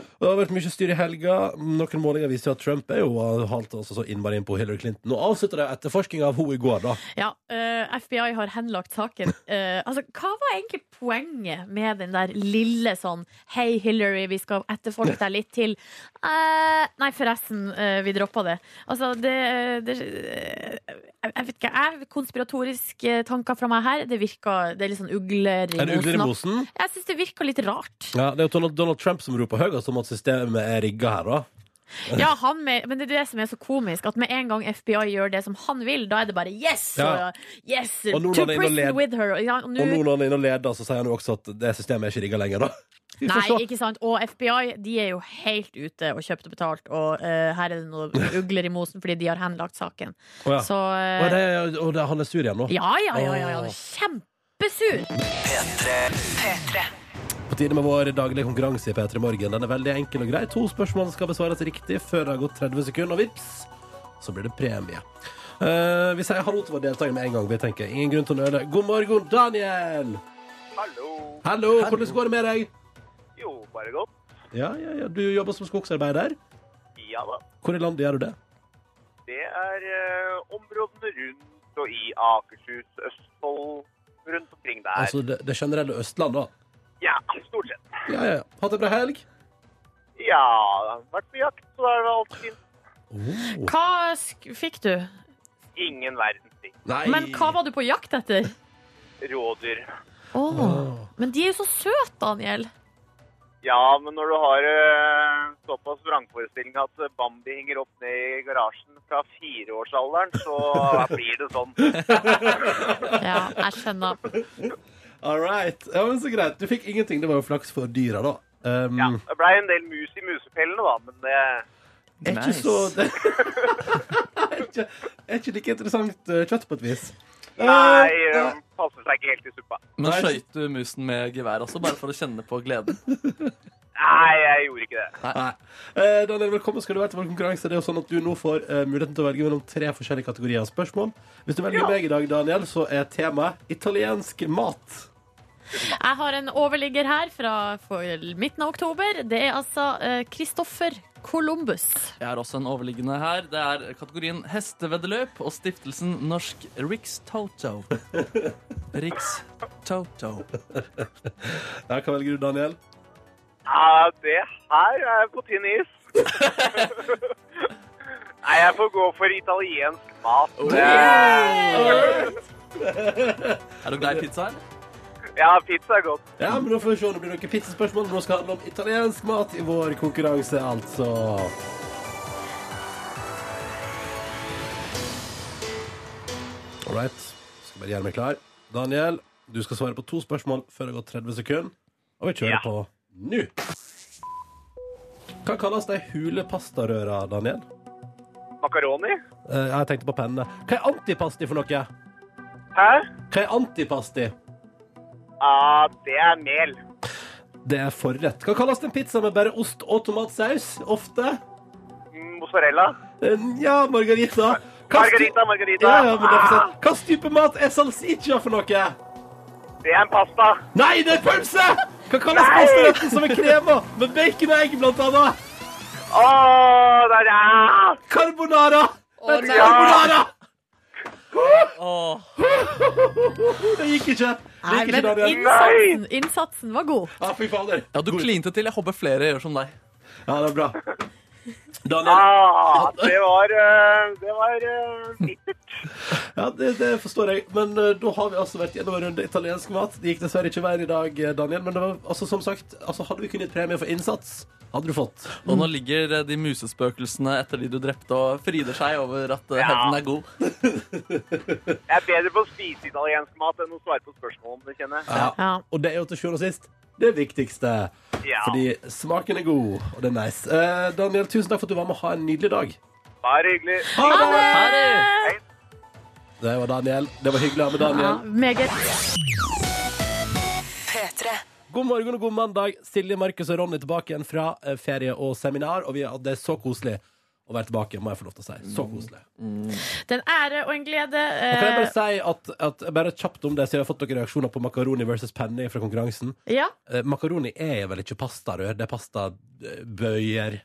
Og Det har vært mye styr i helga. Noen målinger viser jo at Trump er jo halvt altså så innmari inn på Hillary Clinton. Og avslutter de etterforskninga av henne i går, da.
Ja, eh, FBI har henlagt saken. Eh, altså, hva var egentlig poenget med den der lille sånn Hei, Hillary, vi skal etterforske deg litt til. Eh, nei, forresten, eh, vi droppa det. Altså, det, det eh, Jeg jeg vet ikke, jeg konspiratoriske tanker fra meg her. Det virker Det er litt sånn ugler i
En ugler i
mosen.
mosen.
da. Jeg syns det virker litt rart.
Ja, det er jo Donald, Donald Trump som roper høyest om at systemet er rigga her, da.
Ja, han med, men det er det som er så komisk, at med en gang FBI gjør det som han vil, da er det bare yes!
Ja.
Og, yes!
Og nå
To
når det er inne og led-
prison with her! Ja,
Og nå når han er inne og leder, så sier han jo også at det systemet er ikke rigga lenger, da. Vi får
Nei,
se.
ikke sant. Og FBI de er jo helt ute og kjøpt og betalt, og eh, her er det noen ugler i mosen fordi de har henlagt saken.
Å, ja.
Så eh,
Og, Ah. det, og det, han er sur igjen nå?
ja, ja, ja, ja, ja. Kjempesur!
På tide med vår daglige konkurranse i P3 Morgen. Den er veldig enkel og grei. To spørsmål skal besvares riktig før det har gått 30 sekunder, og vips, så blir det premie. Eh, vi sier hallo til vår deltaker med en gang. Vi tenker ingen grunn til å nøle. God morgen, Daniel!
Hallo.
Hallo, hvordan går det med deg?
Jo, bare godt.
Ja, ja, ja, Du jobber som skogsarbeider.
Ja da.
Hvor i landet gjør du det?
Det er eh, områdene rundt og i Akershus, Østfold, rundt omkring der.
Altså det, det generelle Østlandet, da.
Ja, stort sett.
Ja, ja, ja. Hatt ei bra helg?
Ja, det har vært på jakt, så da er det alt fint.
Oh.
Hva sk fikk du?
Ingen verdens ting.
Nei.
Men hva var du på jakt etter?
Rådyr.
Åh.
Åh.
Men de er jo så søte, Daniel.
Ja, men når du har eh, såpass vrangforestilling at Bambi henger opp ned i garasjen fra fireårsalderen, så blir det sånn.
Ja, jeg skjønner.
All right. Ja, men så greit. Du fikk ingenting. Det var jo flaks for dyra, da. Um,
Ja, det ble en del mus i musefellene, da, men det
Er ikke
Nice.
så det, er, ikke, er ikke like interessant eh, kjøtt på et vis.
Nei, eh, passer seg ikke helt i suppa.
Men skøyt du musen med gevær også, bare for å kjenne på gleden?
Nei, jeg gjorde ikke det.
Nei. Eh, Daniel, velkommen skal du være til vår konkurranse. Det er jo sånn at Du nå får eh, muligheten til å velge mellom tre forskjellige kategorier av spørsmål. Hvis du velger
Ja.
meg i dag, Daniel, så er temaet italiensk mat.
Jeg har en overligger her fra for midten av oktober. Det er altså Kristoffer Columbus.
Jeg har også en overliggende her. Det er kategorien hesteveddeløp og stiftelsen Norsk Rikstoto. Rikstoto.
Ja, Hva velger du, Daniel?
Ja, Ah, det her er på tynn is. Nei, jeg får gå for italiensk mat.
Oh.
Er du glad i pizza, eller?
Ja, pizza er godt.
Ja, men Da får vi se om det blir noen pizzaspørsmål. men Nå skal det handle om italiensk mat i vår konkurranse, altså. All right. Skal bare gjøre meg klar. Daniel, du skal svare på to spørsmål før det har gått 30 sekunder. Og vi kjører
Ja.
på nå. Hva kalles de hule pastarøra, Daniel?
Makaroni?
Eh, jeg tenkte på penne. Hva er antipasti for noe?
Hæ?
Hva er antipasti?
Ja, det er mel.
Det er forrett. Hva kalles en pizza med bare ost og tomatsaus? Ofte?
Mm, Mozzarella.
Eh, Ja, margarita. Hva
Margarita,
sty-
margarita.
Ja,
Ah.
ja, men det er for sent. Hva slags type mat er salsiccia for noe?
Ah, Det er en pasta.
Nei, det er pølse! Hva kalles
Nei!
pastaretten som er krema med bacon og egg, blant annet?
Å, det er ah, det.
Carbonara! Et
nei.
carbonara!
Åh,
Det gikk ikke. Det
Nei,
gikk ikke,
men
Daniel.
innsatsen, innsatsen var god.
Ja, fy fader.
Ja, du klinte til. Jeg håper flere gjør som deg.
Ja, det er bra. Daniel,
Ah, det var, eh, det var eh, bittert.
ja, det, det forstår jeg. Men eh, da har vi altså vært gjennom en runde italiensk mat. Det gikk dessverre ikke veien i dag, eh, Daniel. Men det var, altså, som sagt, altså, hadde vi kunnet gitt premie for innsats, hadde du fått.
Og nå ligger eh, de musespøkelsene etter de du drepte, og fryder seg over at eh,
Ja.
hevnen er god.
Jeg er bedre på å spise italiensk mat enn å svare på spørsmål om det, kjenner jeg.
Ja.
Ja.
Og det er jo til sjuende og sist det viktigste.
Ja.
Fordi smaken er god, og det er nice. Eh, Daniel, tusen takk for at du var med. Ha en nydelig dag.
Bare hyggelig.
Ha det!
Harry!
Det var Daniel. Det var hyggelig å ha med
Ja,
Daniel.
meget.
God morgen og god mandag. Silje, Markus og Ronny tilbake igjen fra eh, ferie og seminar, og vi, det er så koselig. å være tilbake, må jeg få lov til å si. Så koselig.
Det er en ære og en glede.
Og kan jeg
eh,
bare si at, at bare kjapt om det, siden vi har fått noen reaksjoner på makaroni versus penne fra konkurransen.
ja.
Eh, makaroni er vel ikke pastarør, det er pastabøyer.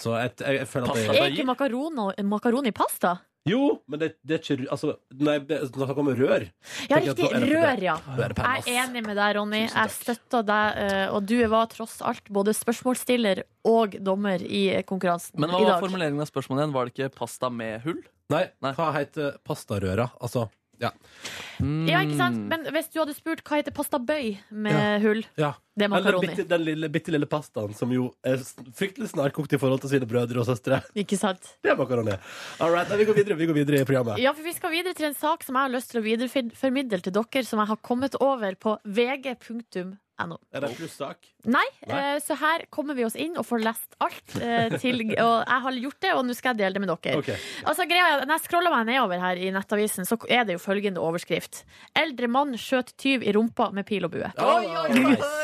Så jeg, jeg, jeg føler at det
Er ikke makaron og- makaroni pasta?
Jo, men det, det er ikke rø- Altså, nei, det- når det kommer rør
Ja,
tenker jeg at nå
riktig.
er det på det.
Rør, ja.
Nå er det penne, ass.
Jeg er enig med deg, Ronny.
Tusen takk.
Jeg støtter deg. eh, Og du var tross alt både spørsmålsstiller og dommer i konkurransen
Men hva
i
var
dag.
formuleringen av spørsmålet igjen? Var det ikke pasta med hull?
Nei,
Nei.
hva heter pastarøra? Altså, ja.
Ja, ikke sant? Men hvis du hadde spurt hva heter pastabøy med hull,
ja.
det er
Eller
makaroni.
bitte, den lille, bitte lille pastaen som jo er s- fryktelig snarkokt i forhold til sine brødre og søstre.
Ikke sant?
Det er makaroni. All right, nei, vi går videre vi går videre i programmet.
Ja, for vi skal videre til en sak som jeg har lyst til å videreformidle til dere, som jeg har kommet over på vg.no.
Er det en plussak?
Nei,
Nei.
eh, så her kommer vi oss inn og får lest alt. eh, Til, og jeg har gjort det, og nå skal jeg dele det med dere.
Ok.
Altså, greia, er at når jeg scroller meg nedover her i nettavisen, så er det jo følgende overskrift. Eldre mann skjøt tyv i rumpa med pil og bue.
Mm.
Oi, oi, oi!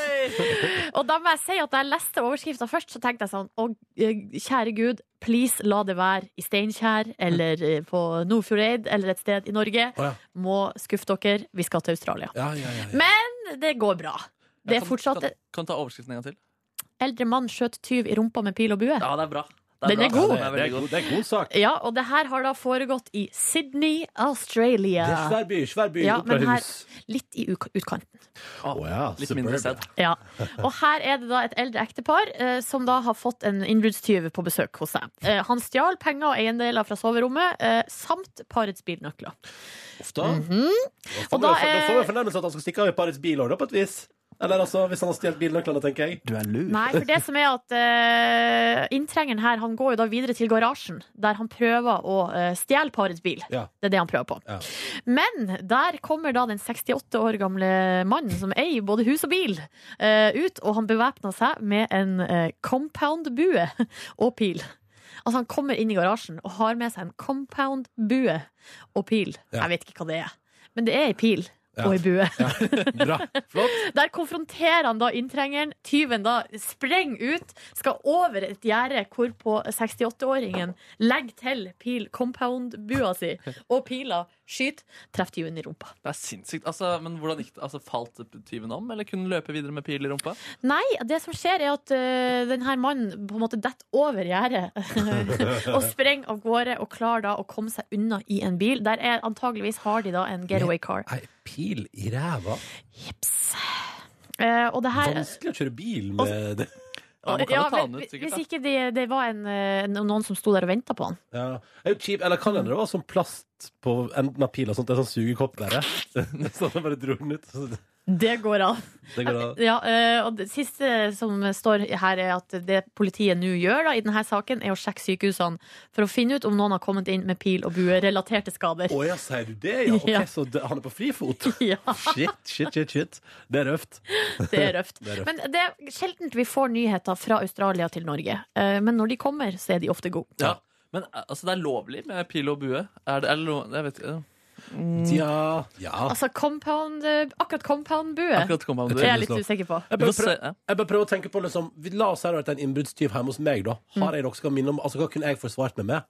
Og da må jeg si at da jeg leste overskrifta først, så tenkte jeg sånn Å, eh, kjære Gud, please la det være i Steinkjer eller eh, på Nordfjordeid eller et sted i Norge.
Å, ja.
Må skuffe dere, vi skal til Australia.
Ja, ja, ja, ja.
Men det går bra. Det er fortsatt
Kan, kan ta overskriften en gang til?
Eldre mann skjøt tyv i rumpa med pil og bue.
Ja, det er bra.
Den er
bra.
god.
Den er
det, er
veldig
god, det er god sak.
Ja, og det her har da foregått i Sydney,
Det er
Australia.
svær by, svær by,
Ja,
opp fra
men her-
hus.
Litt i uk- utkanten.
Ah,
Å ja,
Litt mindre
suburbia.
sett.
Ja, og her er det da et eldre ektepar eh, som da har fått en innbruddstyv på besøk hos seg. Eh, han stjal penger og eiendeler fra soverommet, eh, samt parets bilnøkler.
Uff da. Da får
Mhm. Og da
vi- da
er-
får vi fornærmelse at han skal stikke av i parets bil også, da, på et vis. Eller altså, hvis han har stjålet bilnøklene, tenker jeg. Du er lur.
Nei, for det som er at eh, inntrengeren her, han går jo da videre til garasjen, der han prøver å eh, stjele parets bil.
Ja.
Det er det han prøver på.
Ja.
Men der kommer da den 68 år gamle mannen som eier både hus og bil, eh, ut, og han bevæpner seg med en eh, compound-bue og pil. Altså Han kommer inn i garasjen og har med seg en compound-bue og pil.
Ja.
Jeg vet ikke hva det er, men det er ei pil.
Ja.
Og ei bue.
Bra. Flott.
Der konfronterer han da inntrengeren. Tyven da sprenger ut, skal over et gjerde hvorpå 68-åringen legger til pil compound-bua si, og pila skyter, treffer tyven i rumpa.
Det er sinnssykt. Altså, men hvordan gikk det? Altså, falt tyven om, eller kunne den løpe videre med pil i rumpa?
Nei, det som skjer, er at uh, denne mannen på en måte detter over gjerdet og sprenger av gårde og klarer da å komme seg unna i en bil. Der er, antageligvis har de da en getaway car.
Ei pil i ræva.
Jips. Eh, og det her
Vanskelig å kjøre bil med det.
Ja, man kan
Ja,
jo ta den
men
ut, sikkert.
Hvis
Da.
ikke det, det var en, eh, noen som sto der og venta på han.
Ja. Det er jo cheap. Eller kan hende det var sånn plast på enden av pila, sånn at det er sånn sugekopp der. eh. Sånn at jeg bare dro den ut. Så Det
Det går an.
det går da.
Ja, eh, og det siste som står her, er at det politiet nå gjør da, i denne saken, er å sjekke sykehusene for å finne ut om noen har kommet inn med pil og bue relaterte skader.
Å ja, sier du det, ja? Ok,
Ja.
så det- han er på frifot?
Ja,
Shit, shit, shit. shit Det er røft.
det er røft.
Det er røft.
Men det er sjeldent vi får nyheter fra Australia til Norge. Eh, Men når de kommer, så er de ofte gode.
Ja. Men altså, det er lovlig med pil og bue? Er det, er det lov... Jeg vet ikke.
Mm.
Ja. ja.
Altså compound, eh, akkurat compound-bue
Akkurat kom han
er jeg
du.
litt usikker på.
Jeg
Vi
bare
får se.
prøver,
Ja.
jeg bare prøver å tenke på liksom, vi- La oss si det har vært en innbruddstyv hjemme hos meg. da Har jeg noe som kan minne om Altså, Hva kunne jeg forsvart meg med?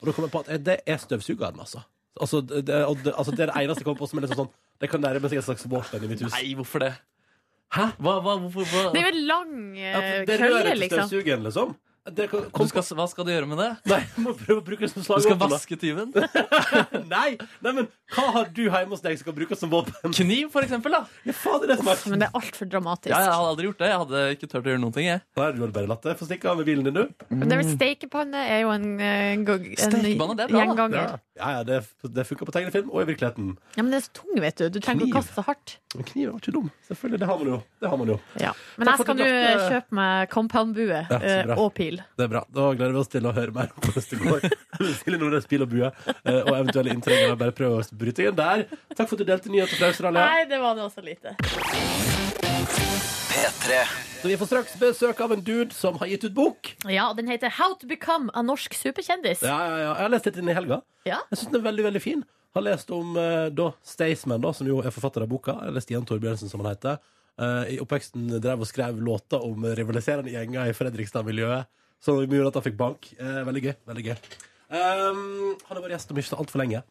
Og da kom jeg på at eh, det er støvsugeren, altså. Altså det, det- og det, altså, det er det eneste jeg kommer på som er liksom sånn Det kan nærme seg et slags våpen i mitt hus.
Nei, hvorfor det? Hæ? Hva, hva, hvorfor, hva?
Det er jo en lang eh,
Ja, for det
kølle,
rører til
liksom.
støvsugeren, liksom. Det kan,
Du
kom,
skal, hva skal du gjøre med det?
Nei, jeg må prøve å bruke det som
Du skal
slagvåpen. da.
vaske tyven?
Nei, nei, men hva har du hjemme hos deg som kan brukes som våpen?
Kniv, for eksempel, da.
Ja, faen, det er det som er
Men det er altfor dramatisk.
Ja, jeg hadde aldri gjort det. Jeg hadde ikke turt å gjøre noen ting. jeg
Nei, du hadde bare latt det få stikke av med bilen din, du.
Men det er vel stekepanne er jo en, eh, en, go-
Stekepanne,
en
det er bra, da.
gjenganger.
Ja, ja, ja det, det funker på tegnefilm og i virkeligheten.
Ja, men det er så tung, vet du. Du trenger
Kniv.
ikke å kaste så hardt.
Men kniv var ikke dum. Selvfølgelig, det har man jo. Det har man jo.
Ja. Men
Takk
jeg
for
skal
at
nå
du
eh,
brakte-
kjøpe meg compound-bue
Ja, så
eh,
bra.
og pil.
Det er bra. Da gleder vi oss til å høre mer om hvordan det går. Silje Nordnes, Pil og bue, eh, og eventuelle inntrengere. Bare prøv å bryte igjen der. Takk for at du delte nyheter fra Australia.
Nei, det var det også lite.
Så vi får straks besøk av en dude som har gitt ut bok.
Ja, og den heter How to become a norsk superkjendis.
Ja, ja, ja. Jeg har lest litt inn i helga.
Ja.
Jeg syns den er veldig veldig fin. Har lest om eh, da Staysman, da, som jo er forfatter av boka, eller Stian Torbjørnsen, som han heter. Eh, I oppveksten drev og skrev låter om rivaliserende gjenger i Fredrikstad-miljøet. Som gjorde at han fikk bank. Eh, veldig gøy. veldig gøy um, Han har vært gjest om ikke så altfor lenge.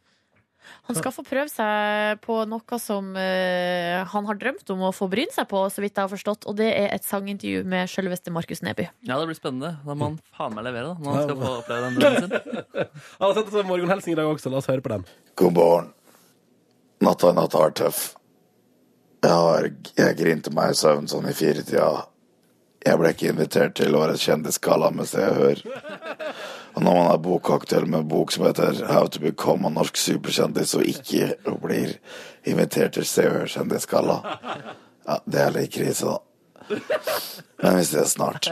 Han skal få prøve seg på noe som eh, han har drømt om å få bryne seg på, så vidt jeg har forstått, og det er et sangintervju med selveste Markus Neby.
Ja, det blir spennende. Da må han faen meg levere, da. Når han skal få oppleve den drømmen sin.
Han har sendt oss en morgenhelsing i dag også. La oss høre på den.
God morgen. Natta i natt har vært tøff. Jeg, har, jeg grinte meg i søvn sånn i firetida. Jeg ble ikke invitert til årets kjendisgalla med Se og Hør. Og når man er bokkaktuell med en bok som heter How to become a norsk superkjendis, og ikke blir invitert til Se og Hør-kjendisgalla, ja, det er litt krise, da. Men vi ses snart.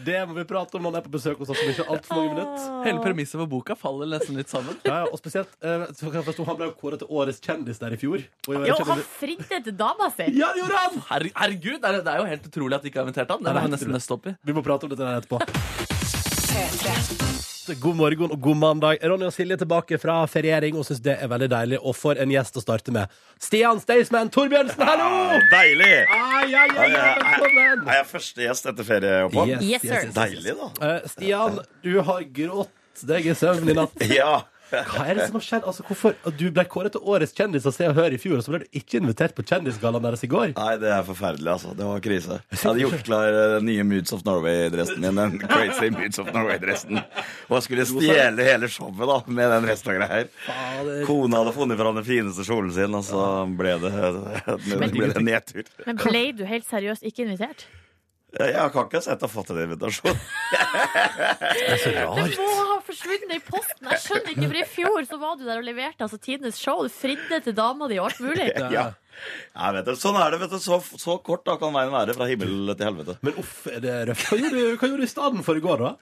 Det må vi prate om når han er på besøk hos oss om ikke altfor mange minutter.
Hele premisset for boka faller nesten litt sammen.
Ja, ja, og spesielt, eh, så kan jeg forstå, Han ble jo kåret til årets kjendis der i fjor. Og i år er
Jo, han
kjendis-
fridde til dama si!
Ja, det gjorde han!
Her, herregud, det er, det er jo helt utrolig at de ikke har invitert han. Det må vi nesten nøste opp i.
Vi må prate om dette der etterpå. God morgen og god mandag. Ronny og Silje er tilbake fra feriering og syns det er veldig deilig. Og for en gjest å starte med. Stian Staysman Torbjørnsen, hallo!
Deilig!
Ai, ai, ai,
Ja, ja,
velkommen!
Er jeg første gjest etter ferieopphold?
Yes, sir.
Deilig, da.
Eh, Stian, du har grått deg i søvn i natt.
Ja.
Hva er det som har skjedd? Altså, hvorfor? og Du ble kåret til årets kjendis av Se og Hør i fjor, og så ble du ikke invitert på Kjendisgallaen deres i går.
Nei, det er forferdelig, altså. Det var krise. Jeg hadde gjort klar eh, den nye Moods of Norway-dressen min. Den crazy Moods of Norway-dressen. Og jeg skulle stjele hele showet da, med den restauranten her. Kona hadde funnet fram den fineste kjolen sin, og så ble det, det ble det nedtur.
Men ble du helt seriøst ikke invitert?
Jeg har ikke sett og fått en invitasjon.
Det må ha forsvunnet i posten! Jeg skjønner ikke, for i fjor så var du der og leverte altså tidenes show. Du fridde til dama di og alt mulig.
Ja. Nei, vet du, sånn er det, vet du. Så, så kort da kan veien være fra himmel til helvete.
Men uff, er det røft. Hva gjorde, du- hva gjorde du i stedet for i går, da?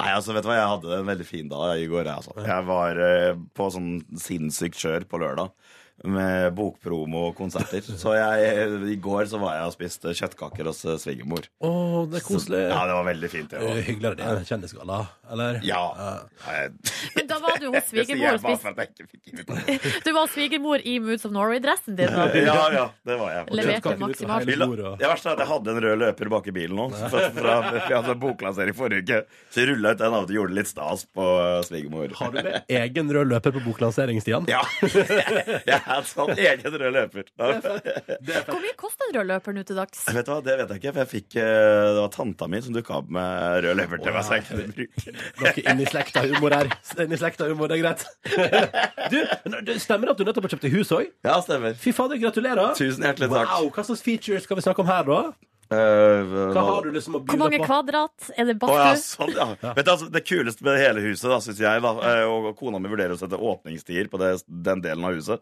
Nei, altså, vet du hva, jeg hadde en veldig fin dag i går. jeg, Altså. Jeg var eh, på sånn sinnssykt kjør på lørdag med bokpromo og konserter. Så jeg, i går så var jeg og spiste kjøttkaker hos eh, svigermor.
Å, det er koselig. Eh,
Ja, det var veldig fint. Det
Det er
var.
jo Hyggeligere det enn en Kjendisgalla, eller?
Ja. Jeg-
Men da var du hos svigermor
Jeg er så
og
jævla
spiste
for at jeg ikke fikk invitasjon.
Du var svigermor i Moods of Norway-dressen din. Da.
Ja, ja, det var jeg.
Leverte
Kjøttkaker ut av
maksimalt.
hele
Vi la-
bordet, og-
Det verste er at jeg hadde en rød løper bak i bilen nå. Fra, fra, vi hadde en boklansering forrige uke. Så jeg rulla ut den av og til gjorde litt stas på eh, svigermor.
Har du med egen rød løper på boklansering, Stian?
Ja. Jeg er en sånn egen rød løper.
Hvor mye koster en rød løper nå til dags?
Vet du hva, Det vet jeg ikke, for jeg fikk eh, Det var tanta mi som dukka opp med rød løper til meg. Så jeg kunne bruke
Noe inn i slekta humor her. Inn i slekta humor, det er greit. Du, men det stemmer at du nettopp har kjøpt deg hus òg?
Ja, stemmer.
Fy fader, gratulerer.
Tusen hjertelig takk. Eh,
Wow, Hva slags features skal vi snakke om her, da? Hva har du liksom å
Hvor mange
by på?
kvadrat? Er det
Å, ja,
badstue?
sånn, ja. Vet du, altså, det kuleste med hele huset, da, synes jeg, da, eh, og og kona mi vurderer å sette åpningstider på det, den delen av huset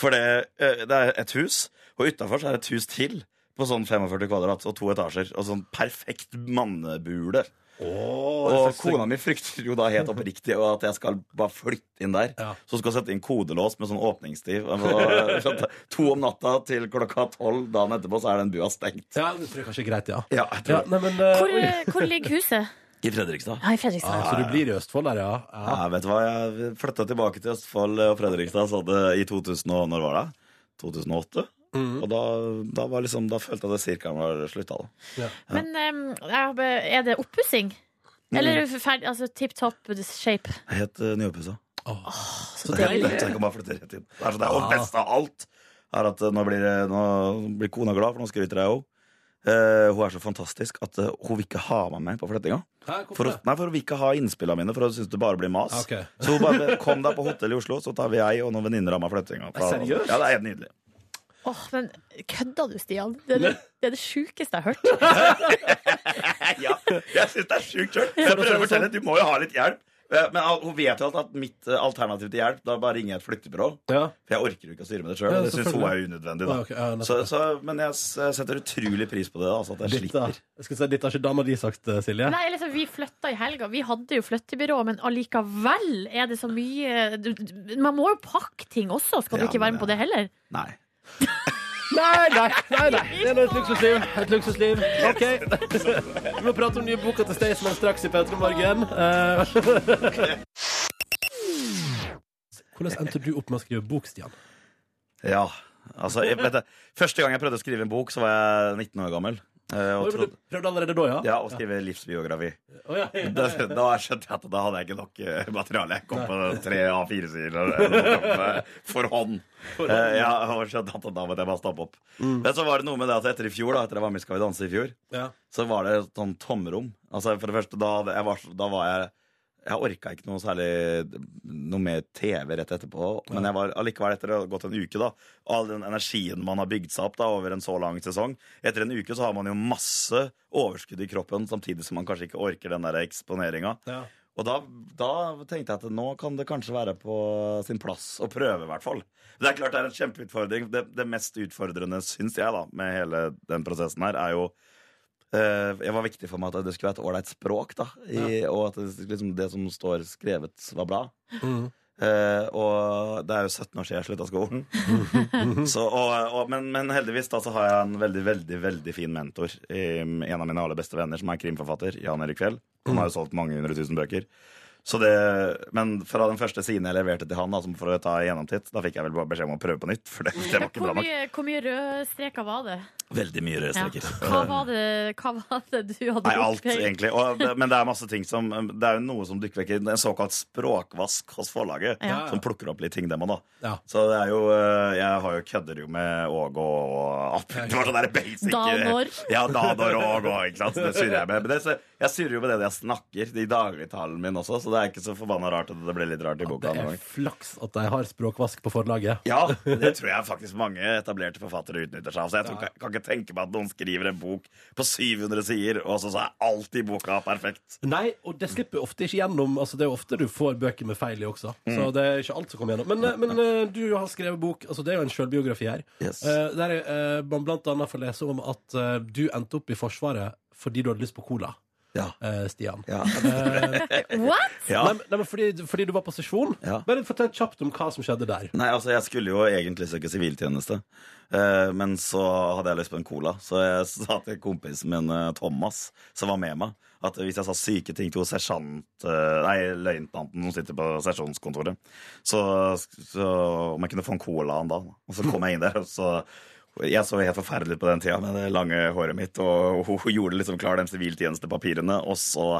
For det, eh, det er et hus, og utafor er det et hus til på sånn 45 kvadrat og to etasjer. Og sånn perfekt mannebule. og kona mi frykter jo da helt oppriktig og at jeg skal bare flytte inn der.
Ja.
Så skal jeg sette inn kodelås med sånn åpningstid. Og- skjønte, To om natta til klokka tolv dagen etterpå, så er den bua stengt.
Ja, det tror jeg kanskje er greit, ja.
Ja,
ja
jeg tror det.
nei, men, eh,
Hvor,
oi.
hvor ligger huset?
I Fredrikstad.
Ja, I Fredrikstad.
Ah, så du blir i Østfold der, ja? ja.
Ja, vet du hva, jeg flytta tilbake til Østfold og Fredrikstad så det i 2000 og når var det? 2008?
Mm.
Og da, da, var liksom, da følte jeg det cirka var slutta, da.
Men em, jeg har- er det oppussing?
Mm.
Eller ferdig, altså tipp topp shape?
Helt uh, nyoppussa. Så det
deilig.
jeg kan bare flytte rett inn. Det er så det er jo best av alt er at eh, nå blir, det- nå blir kona glad, for nå skryter jeg òg. Eh, hun er så fantastisk at eh, hun vil ikke ha meg med på flyttinga.
Hæ, hvorfor
For, å-
det?
nei, for hun vil ikke ha innspillene mine, for hun syns det bare blir mas.
Ah, ok.
Så hun bare kom deg på hotell i Oslo, så tar vi jeg og noen venninner av meg flyttinga.
Seriøst?
Ja, det er helt nydelig.
Åh, men kødda du, Stian? Det er det, det, er det sjukeste jeg har hørt.
ja, jeg syns det er sjukt sjøl. Jeg prøver å fortelle, du må jo ha litt hjelp. Eh, Men al- hun vet jo alt at mitt eh, alternativ til hjelp, da bare ringer jeg et flyktebyrå.
ja.
For jeg orker jo ikke å styre med det sjøl.
Ja,
det syns hun
selvfølgelig.
er unødvendig, da.
Ja, ok, ja, nettopp.
så, så, men jeg s- jeg setter utrolig pris på det, da, altså at jeg
Ditt, da.
slipper.
Jeg skulle si, ditt har ikke dama di sagt, eh, Silje?
Nei, liksom, Vi flytta i helga. Vi hadde jo flyttebyrå, men allikevel er det så mye du- du- Man må jo pakke ting også. Skal du
Ja,
ikke være med
men
på det heller?
Nei.
Nei, nei, nei, nei. Det er nå et luksusliv. Et luksusliv. OK. Vi må prate om nye boka til Staysman straks i P3 Morgen. Eh, Hvordan endte du opp med å skrive bok, Stian?
Ja. Altså, jeg, vet du, første gang jeg prøvde å skrive en bok, så var jeg 19 år gammel. Eh,
Oi,
og
men
trodde,
du prøvde allerede da, ja?
ja, å skrive livsbiografi.
Å, ja, ja,
Da,
ja, ja.
da skjønte jeg at da hadde jeg ikke nok eh, materiale. Jeg kom på tre A4-sider eller noe sånt, eh, for hånd. Eh, Ja, og skjønte at da måtte jeg bare stappe opp.
Mm.
Men så var det noe med det at etter i fjor, da, etter jeg var med i Skal vi danse i fjor,
Ja.
så var det et sånn tomrom. Altså For det første, da, hadde jeg var, da var jeg Jeg orka ikke noe særlig Noe mer TV rett etterpå. Men jeg var allikevel, etter å ha gått en uke, da all den energien man har bygd seg opp da over en så lang sesong Etter en uke så har man jo masse overskudd i kroppen, samtidig som man kanskje ikke orker den der eksponeringa.
Ja.
Og da, da tenkte jeg at nå kan det kanskje være på sin plass å prøve, i hvert fall. Men Det er klart det er en kjempeutfordring. Det, det mest utfordrende, syns jeg, da, med hele den prosessen her, er jo eh, Det var viktig for meg at det skulle være et ålreit språk, da. I, Og at det, liksom, det som står skrevet, var bra.
Mhm.
Eh, og det er jo 17 år siden jeg slutta skolen. så, og, og, men, men heldigvis da så har jeg en veldig veldig, veldig fin mentor. eh, en av mine aller beste venner, som er krimforfatter. Jan Erik Fjell. Han har jo solgt mange hundre tusen bøker. Så det, men fra den første siden jeg leverte til han, da, som for å ta gjennomtitt, da fikk jeg vel bare beskjed om å prøve på nytt. For det, det var ikke
Hvor
bra nok.
mye, hvor mye røde streker var det?
Veldig mye røde
Ja.
streker.
Hva, var det? Hva var det du hadde
Nei, alt,
opphengt?
egentlig. Og, det- men det er masse ting som Det er jo noe som dukker vekk. En såkalt språkvask hos forlaget.
Ja.
Som plukker opp litt ting, dem òg, da.
Ja.
Så det er jo eh, Jeg har jo kødder jo med Åge og App. Det var sånn der basic
Dalmor.
Ja, Dalmor og Åge òg, ikke sant. Så det surrer jeg med. Men det, så, jeg surrer jo med det når jeg snakker i dagligtalen min også, så det er ikke så forbanna rart at det blir litt rart i boka.
Det er
noen ganger.
flaks at de har språkvask på forlaget.
Ja, det tror jeg faktisk mange etablerte forfattere utnytter seg av. Så jeg tror, kan, kan ikke tenke meg at noen skriver en bok på 700 sider, og så så er alt i boka perfekt.
Nei, og det slipper jo ofte ikke gjennom. Altså, det er jo ofte du får bøker med feil i også. Så
Mm.
det er ikke alt som kommer gjennom. Men, eh, men eh, du har skrevet bok. Altså, det er jo en sjølbiografi her.
Yes.
Eh, der eh, man blant annet får lese om at eh, du endte opp i Forsvaret fordi du hadde lyst på cola,
Ja.
eh, Stian.
Ja.
What?
ja.
Nei, men- nei, men fordi, fordi du var på sesjon?
Ja.
Bare fortell kjapt om hva som skjedde der.
Nei, altså Jeg skulle jo egentlig søke siviltjeneste, Eh, men så hadde jeg lyst på en cola. Så jeg sa til kompisen min eh, Thomas, som var med meg, at hvis jeg sa syke ting til sersjant, eh, nei, løytnanten som sitter på sesjonskontoret, så, så om jeg kunne få en cola en dag. Og så kom jeg inn der, og så jeg så helt forferdelig ut på den tida med det lange håret mitt, og hun gjorde liksom klar de siviltjenestepapirene, og så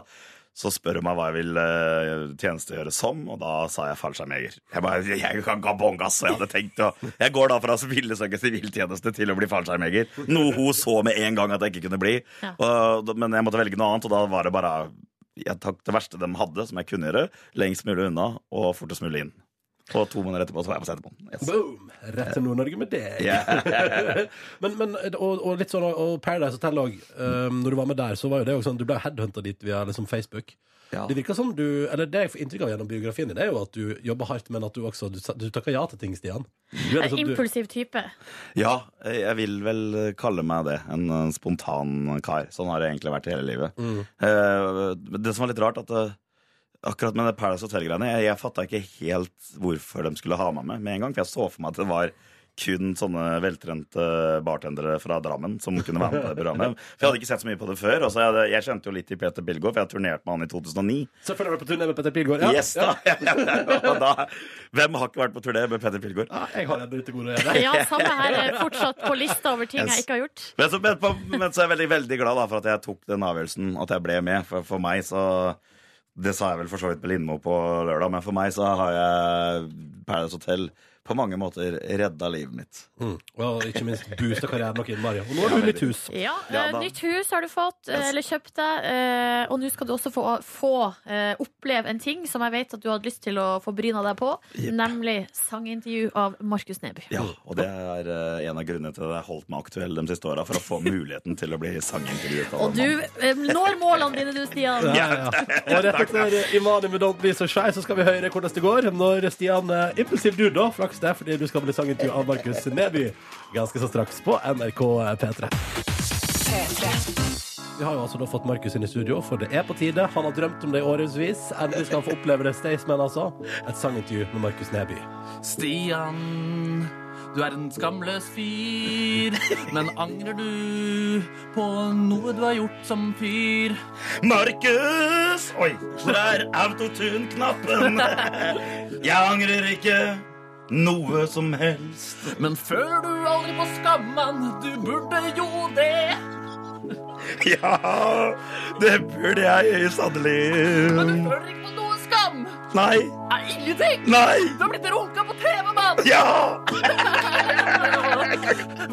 så spør hun meg hva jeg vil eh, tjenestegjøre som, og da sa jeg fallskjermjeger. Jeg bare, jeg kan gabong, ass, jeg hadde tenkt å Jeg går da fra å ville søke siviltjeneste til å bli fallskjermjeger. Noe hun så med en gang at jeg ikke kunne bli.
Ja.
Og da- men jeg måtte velge noe annet, og da var det bare jeg tok det verste de hadde, som jeg kunne gjøre, lengst mulig unna og fortest mulig inn. Og to måneder etterpå så var jeg på Setermoen. Yes.
Boom! Rett til Nord-Norge med deg.
Yeah.
Men, men, og, og litt sånn, og Paradise Hotel òg. Um, når du var med der, så var jo det jo sånn, du ble headhunta dit via liksom, Facebook.
Ja.
Det virker som du, eller det jeg får inntrykk av gjennom biografien din, det er jo at du jobber hardt, men at du også du, sa- du takker ja til ting, Stian. Du er
En
liksom, du,
impulsiv type.
ja, jeg vil vel kalle meg det. En eh, spontan kar. Sånn har det egentlig vært hele livet. Eh, det som var litt rart, at eh, akkurat med det Paradise Hotel-greiene Jeg, jeg fatta ikke helt hvorfor de skulle ha meg med med en gang. For jeg så for meg at det var kun sånne veltrente bartendere fra Drammen som kunne være med på det programmet. For jeg hadde ikke sett så mye på det før. Og så jeg, jeg kjente jo litt til Peter Bilgaard, for jeg turnerte med han i 2009.
selvfølgelig var du på turné med Petter Pilgaard. Ja.
Yes, da. og da Hvem har ikke vært på turné med Peter Pilgaard?
Ja, jeg har ennå ikke gode å gjøre.
Ja, samme her. er Fortsatt på lista over ting jeg ikke har gjort.
Men så, men, på, men så er jeg veldig, veldig glad da, for at jeg tok den avgjørelsen, at jeg ble med. For, for meg så Det sa jeg vel for så vidt på Lindmo på lørdag, men for meg så har jeg Paradise Hotel på mange måter redda livet mitt.
Mm. Og ikke minst boosta karrieren nok innmari. Og nå har du nytt hus.
Ja,
Ja,
eh,
da-
Nytt hus har du fått, eh, eller kjøpt deg. eh, Og nå skal du også få, få eh, oppleve en ting som jeg vet at du hadde lyst til å få bryna deg på.
Jepp.
Nemlig sangintervju av Markus Neby.
Ja, Og det er eh, en av grunnene til at jeg har holdt meg aktuell de siste åra, for å få muligheten til å bli sangintervjuet. av
Og
en
du
mann.
eh, når målene dine, du, Stian.
Ja, ja. Og rett etter Imani med Don't Be So Shy, så skal vi høre hvordan det går når Stian eh, Impulsiv du, da. Flaks det, fordi du skal bli sangintervju av Markus Neby ganske så straks på NRK P3. Vi har jo altså da fått Markus inn i studio, for det er på tide. Han har drømt om det i årevis. Endelig skal han få oppleve det. Staysman, altså. Et sangintervju med Markus Neby.
Stian, du er en skamløs fyr. Men angrer du på noe du har gjort som fyr?
Markus! Oi, der er autotune-knappen. Jeg angrer ikke noe som helst.
Men føler du aldri på skammen? Du burde jo det.
Ja, det burde jeg
Men du
sannelig.
føler ikke på noe skam?
Nei.
Er ingenting?
Nei.
Du har blitt runka på TV, mann!
Ja!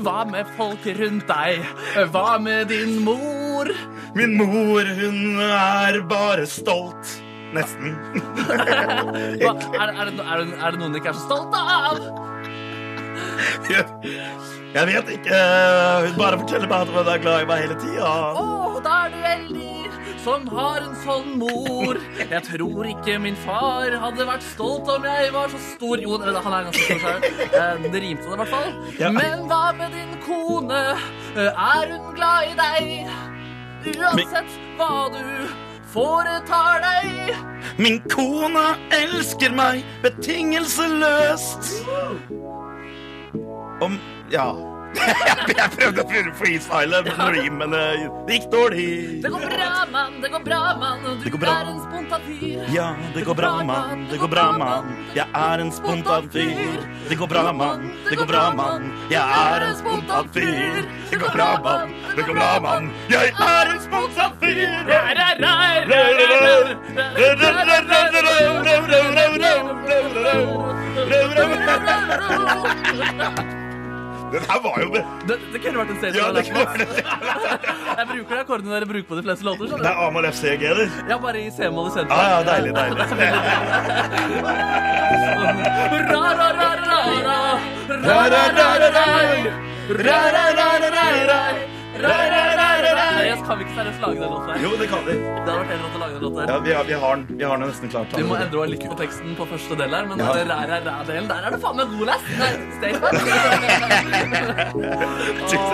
Hva med folk rundt deg? Hva med din mor?
Min mor, hun er bare stolt. Nesten.
Hva, er, er, det, er, det, er det noen du ikke er så stolt av?
Jeg jeg vet ikke. Hun bare forteller meg at hun er glad i meg hele tida.
Åh, da er du heldig som har en sånn mor. Jeg tror ikke min far hadde vært stolt om jeg var så stor. Jo, det- han er ganske stor sjøl. Eh, Det rimte det i hvert fall.
Ja.
Men hva med din kone? Eh, Er hun glad i deg? Uansett hva du foretar deg.
Min kone elsker meg betingelseløst. Om Ja. Jeg prøvde å freestyle med rim, men eh, det gikk
Det
dårlig.
går bra, mann. Det går bra, mann. Du
Det går bra.
er en spontan fyr.
Ja, det går bra, mann. Det går bra, mann. Jeg er en spontan fyr. Det går bra, mann. Det går bra, mann. Jeg er en spontan fyr. Det går bra, mann. Det går bra, mann. Jeg er en spontan fyr. Den her var jo
Det, det kunne vært en stage
Ja, det
jeg
kunne
har lagt på. Jeg bruker de akkordene dere bruker på de fleste låter.
Det
skjønner
er Amor FC-g-er.
du. Ja, bare i C-mål i sentrum.
Ja, ja, deilig, deilig.
Jeg kan vi ikke seriøst lage den låten her.
Jo, det kan vi.
Det hadde vært helt rått å lage den låten
Ja,
her.
vi har, vi har, den, vi har den nesten klart.
Vi må endre litt på teksten på første del her, men
Ja.
den ræ-ræ-ræ-delen, der er du faen meg god, lest. Nei, statement.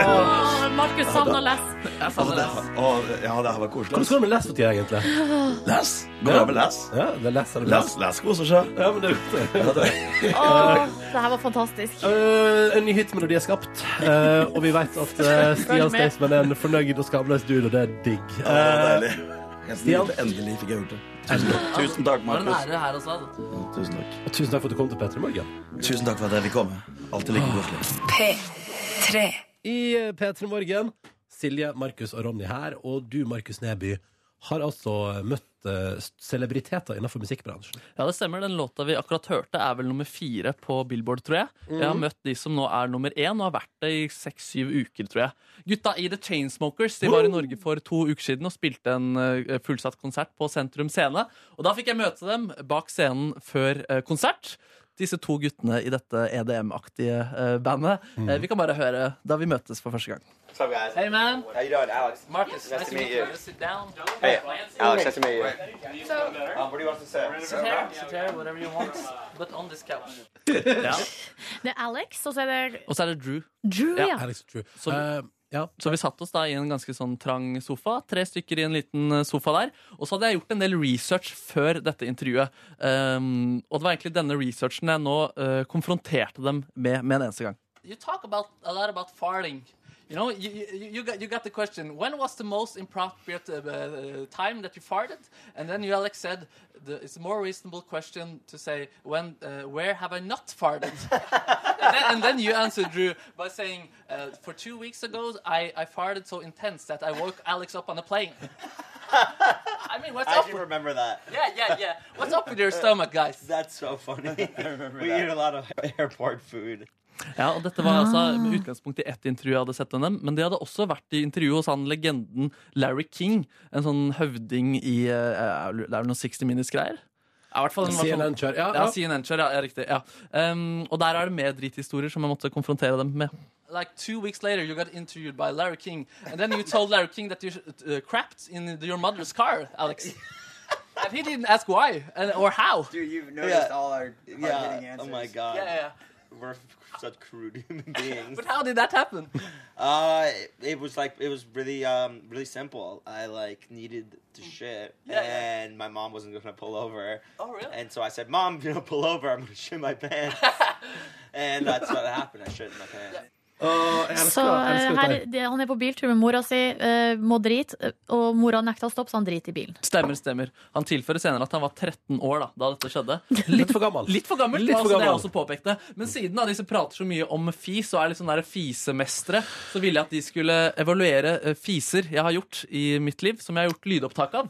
Åh, Markus savner å lese.
Jeg
Å,
savner
det,
det.
å, ja, det her var koselig.
Hvordan
ass.
går det med les for tida, egentlig?
Les. Går det med les?
Ja, det er les, er det
Les, les koser seg.
Ja, men det er godt.
Åh, det her var fantastisk.
Eh, en ny hitmelodi er skapt, eh, og vi vet at eh, Stian
Følg med.
Staysman er en fornøyd og skamløs dude, og det er digg.
Å,
Eh,
deilig. Jeg
Stian.
snilte endelig fikk jeg gjort det. Tusen takk, Tusen takk
Det var en
Markus.
ære her også. altså.
Tusen takk.
og tusen takk for at du kom til Petter i morgen.
Tusen takk for at jeg fikk komme. Alltid like
Ah.
koselig.
P3.
I eh, P3 Morgen, Silje, Markus og Ronny her, og du, Markus Neby, har altså møtt eh, celebriteter innenfor musikkbransjen.
Ja, det stemmer. Den låta vi akkurat hørte, er vel nummer fire på Billboard, tror jeg. Jeg har møtt de som nå er nummer én, og har vært det i seks-syv uker, tror jeg. Gutta i The Chainsmokers de var i Norge for to uker siden og spilte en eh, fullsatt konsert på Sentrum Scene. Og da fikk jeg møte dem bak scenen før eh, konsert. Disse to guttene i dette EDM-aktige eh, bandet. Eh, Vi kan bare høre da vi møtes for første gang.
Hey,
man.
How you doing, Alex?
Marcus,
Nice to meet you.
Sit down.
Hey, Alex, nice to meet you. Um, what do you want to say?
Sit here, sit here, whatever you want, but on this couch.
Det er Alex, og så er det
Og så er det Drew.
Drew,
Ja,
ja.
Alex True.
Så-
Eh, ja.
Så vi satt oss da i en ganske sånn trang sofa, tre stykker i en liten eh, sofa der. Og så hadde jeg gjort en del research før dette intervjuet. Um, og det var egentlig denne researchen jeg nå eh, konfronterte dem med med en eneste gang. You talk about, a lot about farting. You know, you, you, you, got, you got the question. When was the most appropriate uh, uh, time that you farted? And then you, Alex, said the, it's a more reasonable question to say when, uh, where have I not farted? and, then, and then you answered Drew by saying, uh, for two weeks ago, I, I farted so intense that I woke Alex up on a plane. I mean, what's up? With,
remember that.
yeah, yeah, yeah. What's up with your stomach, guys?
That's so funny. we eat a lot of airport food.
Ja, og Dette var altså med utgangspunkt i ett intervju jeg hadde sett med dem. Men de hadde også vært i intervju hos han legenden Larry King. En sånn høvding i eh, er Det er vel noe 60 Minutes-greier? Ja, i hvert fall en-
CNN kjør. Ja,
Ja,
ja.
CNN kjør, ja, ja riktig. Ja. Um, og der er det mer dritthistorier som jeg måtte konfrontere dem med. Like two weeks later, you got interviewed by Larry King, and then you told Larry King that you uh, crapped in your mother's car, Alex. And he didn't ask why or how.
Dude, you've noticed all our
Yeah.
hard-hitting
Oh
answers.
my god.
yeah.
We're f- such crude human beings.
But how did that happen?
Uh, it- it was like it was really um really simple. I like needed to shit,
Yeah, yeah.
and my mom wasn't gonna pull over,
Oh, really?
and so I said, "Mom, you know, pull over. I'm gonna shit my pants." and that's what happened. I shit in my pants.
Og elsker-
Så eh,
elsker dette
her, det, han er på biltur med mora si, eh, må drite, eh, og mora nekter å stoppe, så han driter i bilen.
Stemmer, stemmer. Han tilfører senere at han var 13 år da, da dette skjedde.
Litt for gammel.
Litt for gammel,
Litt for
altså, det
gammel.
jeg også påpekte. Men siden da, de som prater så mye om fis og er litt sånn der fisemestere, så ville jeg at de skulle evaluere eh, fiser jeg har gjort i mitt liv, som jeg har gjort lydopptak av.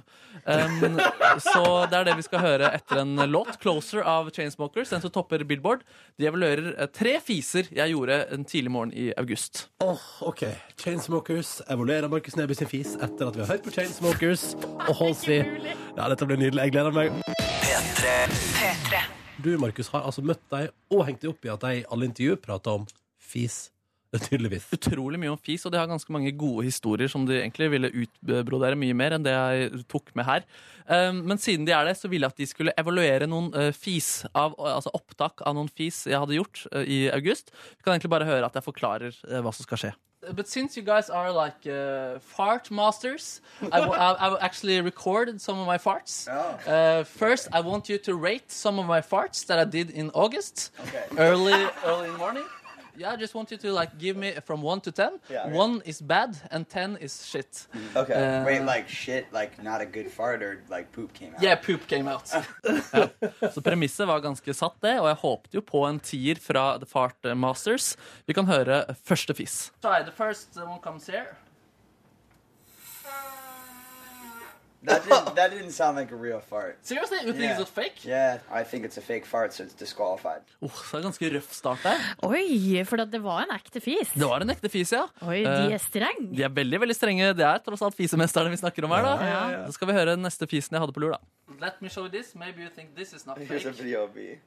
Um, så det er det vi skal høre etter en låt, 'Closer' av Chainsmokers, den som topper Billboard. De evaluerer eh, tre fiser jeg gjorde en tidlig morgen i august.
Åh, ok. Chainsmokers evaluerer Markus Neby sin fis etter at vi har hørt på Chainsmokers og Halsey. Ja, dette blir nydelig. Jeg gleder meg. Du, Markus, har altså møtt deg og hengt deg opp i at de i alle intervju prater om fis. Tydeligvis.
utrolig mye om fis, og de har ganske mange gode historier som de egentlig ville utbrodere mye mer enn det jeg tok med her. Um, men siden de er det, så ville jeg at de skulle evaluere noen eh, fis, av, altså opptak av noen fis jeg hadde gjort eh, i august. Vi kan egentlig bare høre at jeg forklarer eh, hva som skal skje. But since you guys are like uh, fart masters, I actually recorded some of my farts.
Oh.
Uh, first, I want you to rate some of my farts that I did in August, early early in morning. Yeah, I just want you to like give me from one to ten.
Yeah, okay.
One is bad and ten is shit.
Okay.
Uh,
Wait, like shit, like not a good fart or like poop came out.
Yeah, poop came out. Så premisset var ganske satt, det, og jeg håpte jo på en tier fra The Fart Masters. Vi kan høre første fis. Try the first one comes here.
That didn't, that didn't sound like a real fart.
Seriously? You think
Yeah.
it was fake?
Yeah, I think it's a fake fart, so it's disqualified.
Oh, så er det ganske røff start der.
Oi, for det var en ekte fis.
Det var en ekte fis, ja.
Oi,
Eh,
de er strenge.
De er veldig veldig strenge. Det er tross alt fisemesterne vi snakker om her. da
Ja,
Så skal vi høre neste fisen jeg hadde på lur. da Let me show this. Maybe you think this is not
Here's a video of me.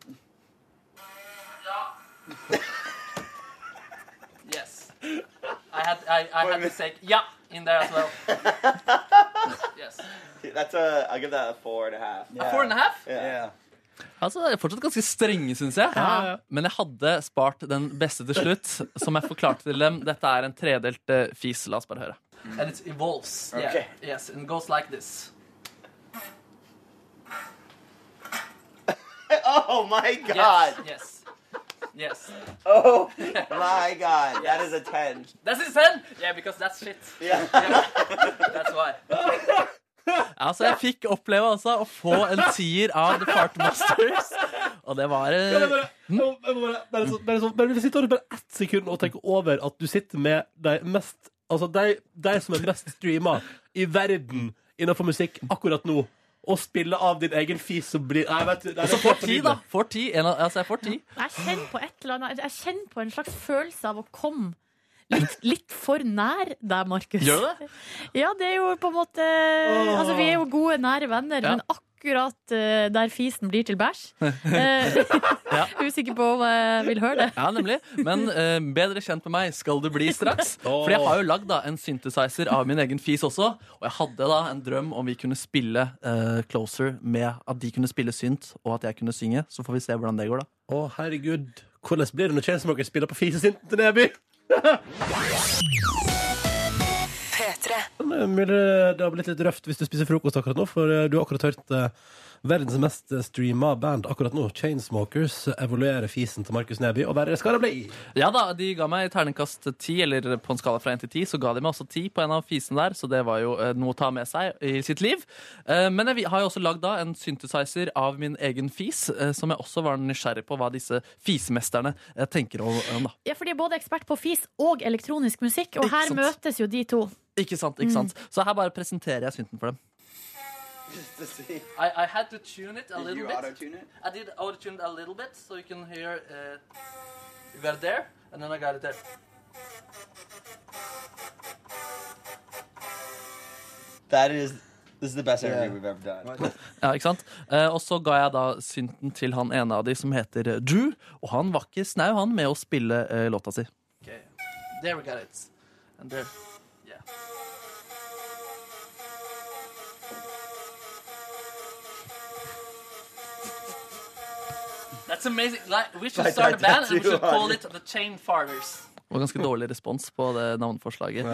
Yes. I had, I, I had to say ja in there as well. Yes.
That's a. I'll give that a four and a half.
Yeah.
half?
Yeah.
Altså, det er fortsatt ganske strenge, syns jeg. Men jeg hadde spart den beste til slutt, som jeg forklarte til dem. Dette er en tredelt eh, fis. La oss bare høre. And it evolves.
yeah. Okay.
Yes, and goes like this.
Oh my god!
Yes. Yes.
Oh my god! That is a ten.
That's his hand! Yeah, because that's shit. That's why. Altså, jeg fikk oppleve altså, å få en tier av The Fart Masters. Og det var eh,
Jeg må bare- jeg må bare- bare sånn- bare sånn- bare Sitt over bare ett sekund og tenk over at du sitter med de mest Altså de, de som er mest streama i verden innenfor musikk akkurat nå, og spiller av din egen fis som blir Nei, vet du det er
Så får ti, da. Får ti. En, av- altså, jeg får ti.
Jeg kjenner på et eller annet Jeg kjenner på en slags følelse av å komme litt, litt for nær deg, Markus.
Gjør du det?
Ja, det er jo på en måte Altså, vi er jo gode, nære venner,
Ja.
men akkurat eh, der fisen blir til bæsj eh, Usikker på om jeg vil høre det.
Ja, nemlig. Men eh, bedre kjent med meg skal du bli straks. For jeg har jo lagd da, en synthesizer av min egen fis også. Og jeg hadde da en drøm om vi kunne spille eh, Closer med at de kunne spille synt, og at jeg kunne synge. Så får vi se hvordan det går, da.
Å, herregud. Hvordan blir det når Chainsmokers spiller på fisesinten til Neby? Men, Mulig det har blitt litt røft hvis du spiser frokost akkurat nå, for eh, du har akkurat hørt eh, verdens mest eh, streama band akkurat nå, Chainsmokers, evaluerer fisen til Markus Neby, og verre skal det bli.
Ja da, de ga meg terningkast ti, eller på en skala fra én til ti, så ga de meg også ti på en av fisene der, så det var jo eh, noe å ta med seg i sitt liv. Eh, men jeg vi- har jo også lagd da en synthesizer av min egen fis, eh, som jeg også var nysgjerrig på hva disse fismesterne eh, tenker om, om da.
Ja, for de er både ekspert på fis og elektronisk musikk, og
Ikke
her
sant.
møtes jo de to.
Ikke sant, ikke sant. Så her bare presenterer jeg synten for dem.
Just to see.
I, I had to tune it a
Did you
little
auto
bit.
tune it?
I did auto-tune it a little bit, so you can hear uh, you got it there, and then I got it there.
That is. This is the best interview we've ever done.
Ja, ikke sant? Eh, og så ga jeg da synten til han ene av de som heter eh, Drew, og han var ikke snau han med å spille eh, låta si. There we got it. And there. Yeah. That's amazing. Like, we should start a band and we should call it The Chain Farmers. Det var ganske dårlig respons på det navneforslaget.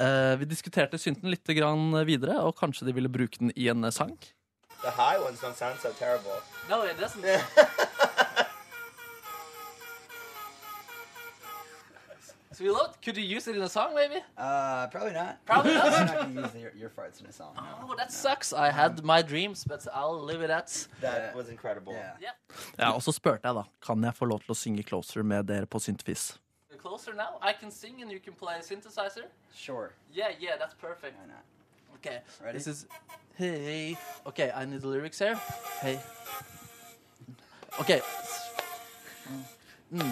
Eh, vi diskuterte synten litt grann videre, og kanskje de ville bruke den i en eh, sang.
The high ones don't sound so terrible.
No, it doesn't.
So you loved? Could you use it in a song, maybe?
Uh, probably not.
Probably not.
I'm not gonna use your, your farts in a song. no.
Oh, that sucks. I had my dreams, but I'll live it at.
That was incredible.
Yeah.
Ja, og så spurte jeg, da. Kan jeg få lov til å synge Closer med dere på syntfis?
Closer now. I can sing and you can play a synthesizer.
Sure.
Yeah, yeah, that's perfect. Why
not?
Okay.
Ready?
This is hey. Okay, I need the lyrics here. Hey. Okay. Mm.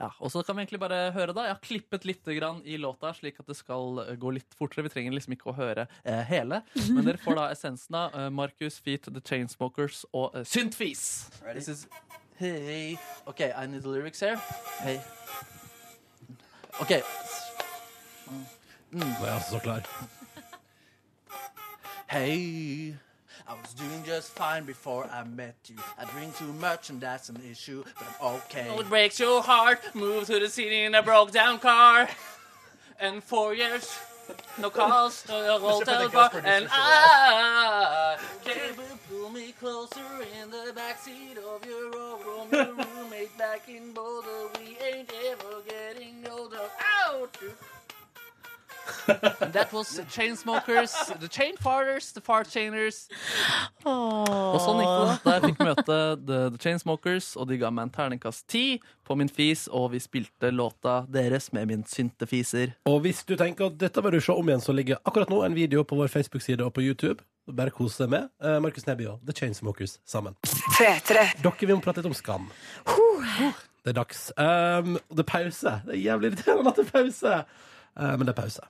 Ja, og så kan vi egentlig bare høre da Jeg har klippet litt grann i låta Slik at det skal eh, gå litt fortere Vi trenger liksom ikke å høre eh, hele Men dere får da essensen av eh, Marcus, Feet, The Chainsmokers og eh, Syntfis
This is hey. Okay, I need the lyrics here. Hey. Okay. Mm.
Nå er jeg altså så klar.
Hey, I was doing just fine before I met you. I drink too much and that's an issue, but I'm okay.
Oh, it breaks your heart. Moved to the city in a broke down car. And four years, no calls, no hotel bar. And I
Can you pull me closer in the backseat of your old Romeo roommate back in Boulder? We ain't ever getting older. Out. and that was the chain smokers, the chain farters, the fart chainers.
Og sånn gikk det da Da jeg fikk møte The, The Chainsmokers Og de ga meg en terningkast 10 på min fis Og vi spilte låta deres med min syntefiser
Og hvis du tenker at dette bør du se om igjen, så ligger akkurat nå en video på vår Facebook-side og på YouTube. Bare kos deg med. Eh, Markus Neby og The Chainsmokers sammen. Dere, vi må prate litt om skam. Det er dags. Um, og det er pause. Det er jævlig irriterende at det er pause. Eh, men det er pause.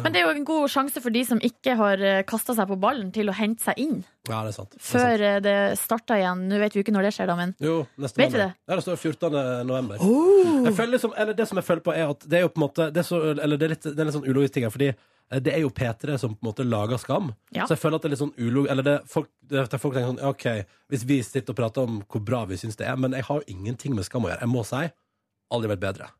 Men det er jo en god sjanse for de som ikke har kasta seg på ballen, til å hente seg inn
Ja, det er sant. Det er sant.
før eh, det starter igjen. Nå vet vi jo ikke når det skjer, da, men
Jo, neste
Vet vi
mandag.
det?
Ja, det står 14. november.
Oh.
Jeg føler liksom, eller det som jeg føler på, er at det er jo på en måte Det er, så, eller det er, litt, det er litt sånn ulogisk ting her, fordi eh, det er jo P3 som på en måte lager skam.
Ja.
Så jeg føler at det er litt sånn ulog... Eller det, folk, det, at folk tenker sånn ja, OK, hvis vi sitter og prater om hvor bra vi syns det er, men jeg har jo ingenting med skam å gjøre. Jeg må si aldri vært bedre.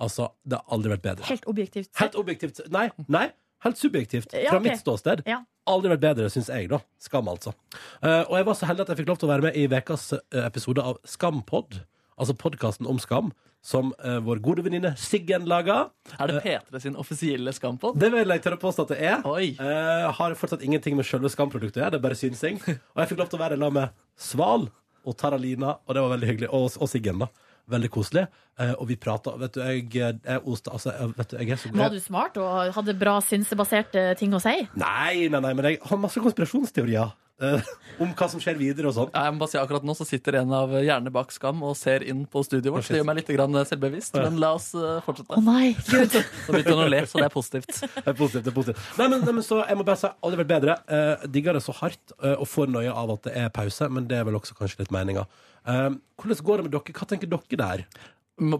Altså, det har aldri vært bedre.
helt objektivt.
Helt objektivt. Nei, nei. Helt subjektivt.
Ja,
Fra
ok.
mitt ståsted.
Ja.
Aldri vært bedre, syns jeg, da. Skam, altså. Eh, og jeg var så heldig at jeg fikk lov til å være med i ukas eh, episode av Skampod. Altså podkasten om skam, som eh, vår gode venninne Siggen laga.
Er det Petre sin offisielle skampod?
Det vil jeg tørre å påstå at det er. Eh, har fortsatt ingenting med selve skamproduktet å gjøre, det er bare synsing. Og jeg fikk lov til å være sammen med Sval og Taralina, og det var veldig hyggelig. Og, og Siggen, da. Veldig koselig. Eh, og vi prata Vet du, jeg, jeg oste Altså, jeg, vet du, jeg er så god.
Var du smart og hadde bra synsebaserte ting å si?
Nei, nei, nei, men jeg har masse konspirasjonsteorier eh, om hva som skjer videre og sånn.
Ja, Jeg må bare si akkurat nå så sitter en av hjernene bak Skam og ser inn på studioet vårt.
Å, shit.
Det gjør meg litt grann selvbevisst,
Å, ja.
men la oss eh, fortsette.
Å nei, Gud.
Så begynte hun å le, så det er positivt.
Det er positivt, det er positivt. Nei, men, nei, men så jeg må bare si aldri vært bedre. Eh, digger det så hardt eh, og får nøye av at det er pause, men det er vel også kanskje litt meninga. Eh, hvordan går det med dere? Hva tenker dere der?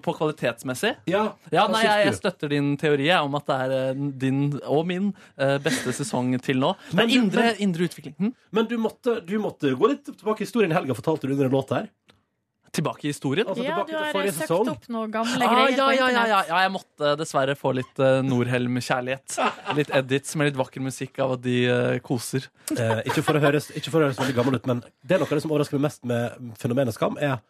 På kvalitetsmessig?
Ja,
Ja,
hva
nei,
syns
jeg, jeg
du?
støtter din teori jeg, om at det er eh, din og min eh, beste sesong til nå. Det
Men
er
du-
indre,
men-
indre utvikling. Hm?
Men du måtte, du måtte gå litt tilbake i historien. Helga fortalte du under en låt her.
Tilbake i historien?
Altså,
Ja,
tilbake
du
til
har
forrige
søkt
sesong.
opp noen gamle
Ah,
greier
ja,
på
ja, ja, ja,
internett.
ja, jeg måtte dessverre få litt eh, Norhelm-kjærlighet. Litt Edits med litt vakker musikk av at de eh, koser.
Eh, ikke, for å høres, ikke for å høres veldig gammel ut, men det er noe av det som overrasker meg mest med fenomenet Skam, er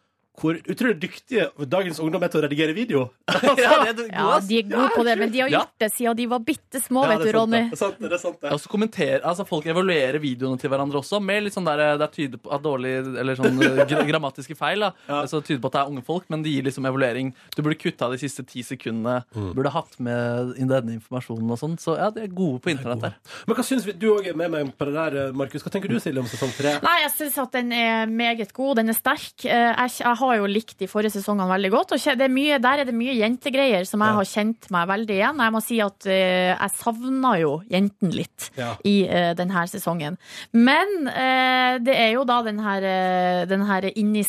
hvor utrolig dyktige dagens ungdom er til å redigere video.
Ja, de er gode på det, men de har
Ja.
gjort det siden de var bitte små,
Ja,
vet du,
det er sant,
Ronny.
det. Det er sant, det er sant, det.
Og så kommenterer, altså Folk evaluerer videoene til hverandre også, med litt sånn der, det er tyder på at dårlig, eller sånn eh, gra grammatiske feil. da, altså det tyder på at det er unge folk, men de gir liksom evaluering. Du burde kutta de siste ti sekundene.
Mm.
Burde hatt med inn denne informasjonen og sånn. Så ja, de er gode på internett der.
Men hva syns vi? Du òg er med meg på det der, eh, Markus. Hva tenker du, Silje, om sesong tre?
Nei, jeg syns at den er meget god. Den er sterk. Eh, Jeg, jeg har jo likt de forrige sesongene veldig godt. Og kje- det er mye, der er det mye jentegreier som jeg har kjent meg veldig igjen. Jeg må si at eh, jeg savna jo jentene litt
Ja.
i eh, denne sesongen. Men eh, det er jo da den her, eh, den her inni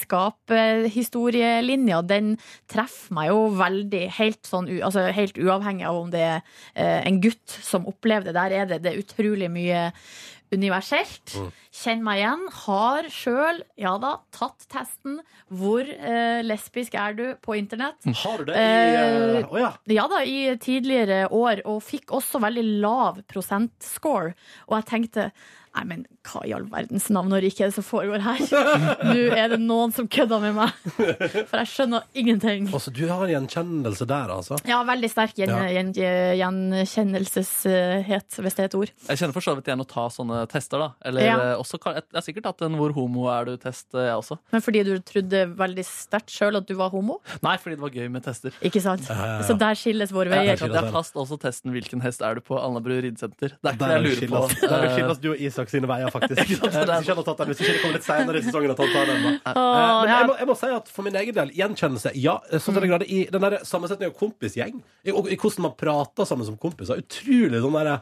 skapet-historielinja, den treffer meg jo veldig. Helt, sånn, u- altså, helt uavhengig av om det er eh, en gutt som opplever det. Der er det, det er utrolig mye universelt. Kjenn meg igjen. Har sjøl, ja da, tatt testen. Hvor eh, lesbisk er du på internett?
Har du det?
Eh,
I, eh, å ja.
Ja da, i tidligere år, og fikk også veldig lav prosentscore. Og jeg tenkte
Nei, men hva i all verdens navn og rike er det som foregår her? Nå er det noen som kødder med meg, for jeg skjønner ingenting.
Altså, du har en gjenkjennelse der, altså?
Ja, veldig sterk gjen
Ja.
gjen gjenkjennelseshet, hvis det er et ord.
Jeg kjenner for så vidt igjen å ta sånne tester, da. Eller
Ja.
eh, også, kan- jeg jeg har sikkert tatt en 'hvor homo er du'-test, eh, jeg også.
Men fordi du trodde veldig sterkt sjøl at du var homo?
Nei, fordi det var gøy med tester.
Ikke sant?
Ja, ja, ja.
Så der skilles våre
Jeg,
veier.
jeg, jeg fast også testen 'Hvilken hest er du på?' Alnabru ridesenter. Det er ikke
Der
det jeg
er
lurer på.
skilles- der er
Eh,
skilles du og Isak sine veier, faktisk. Hvis ikke han har tatt den, hvis ikke det kommer litt senere i sesongen at han tar den. da.
Åh,
Eh, Men
ja.
jeg må, jeg må si at for min egen del, gjenkjennelse Ja, sånn til en grad i den der sammensetningen av kompisgjeng, i, og i hvordan man prater sammen som kompiser, utrolig sånn derre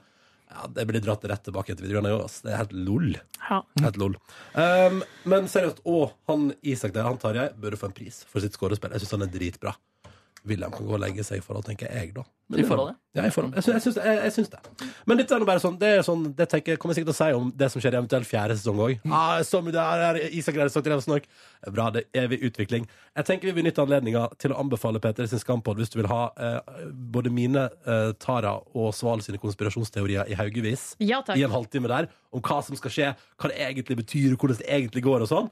ja, Det blir dratt rett tilbake til videregående. jo, ass. Det er helt lol.
Ja.
Helt lol. Um, men seriøst, å, han Isak der, han Tarjei, burde få en pris for sitt skårespill. Jeg syns han er dritbra. William kan gå og legge seg i forhold, tenker jeg, da.
I forhold,
ja? i forhold. Jeg syns, jeg syns, jeg, jeg syns det. Men dette er nå bare sånn, det er sånn det tenker, jeg- kommer jeg sikkert til å si om det som skjer i eventuell fjerde sesong òg. Ah, så mye der, der, Isak Greide sagt til Even Snork. Bra, det er evig utvikling. Jeg tenker vi benytter anledninga til å anbefale Peter sin Skampod hvis du vil ha eh, både mine, eh, Tara og Sval sine konspirasjonsteorier i haugevis
Ja, takk.
i en halvtime der, om hva som skal skje, hva det egentlig betyr, hvordan det egentlig går og sånn.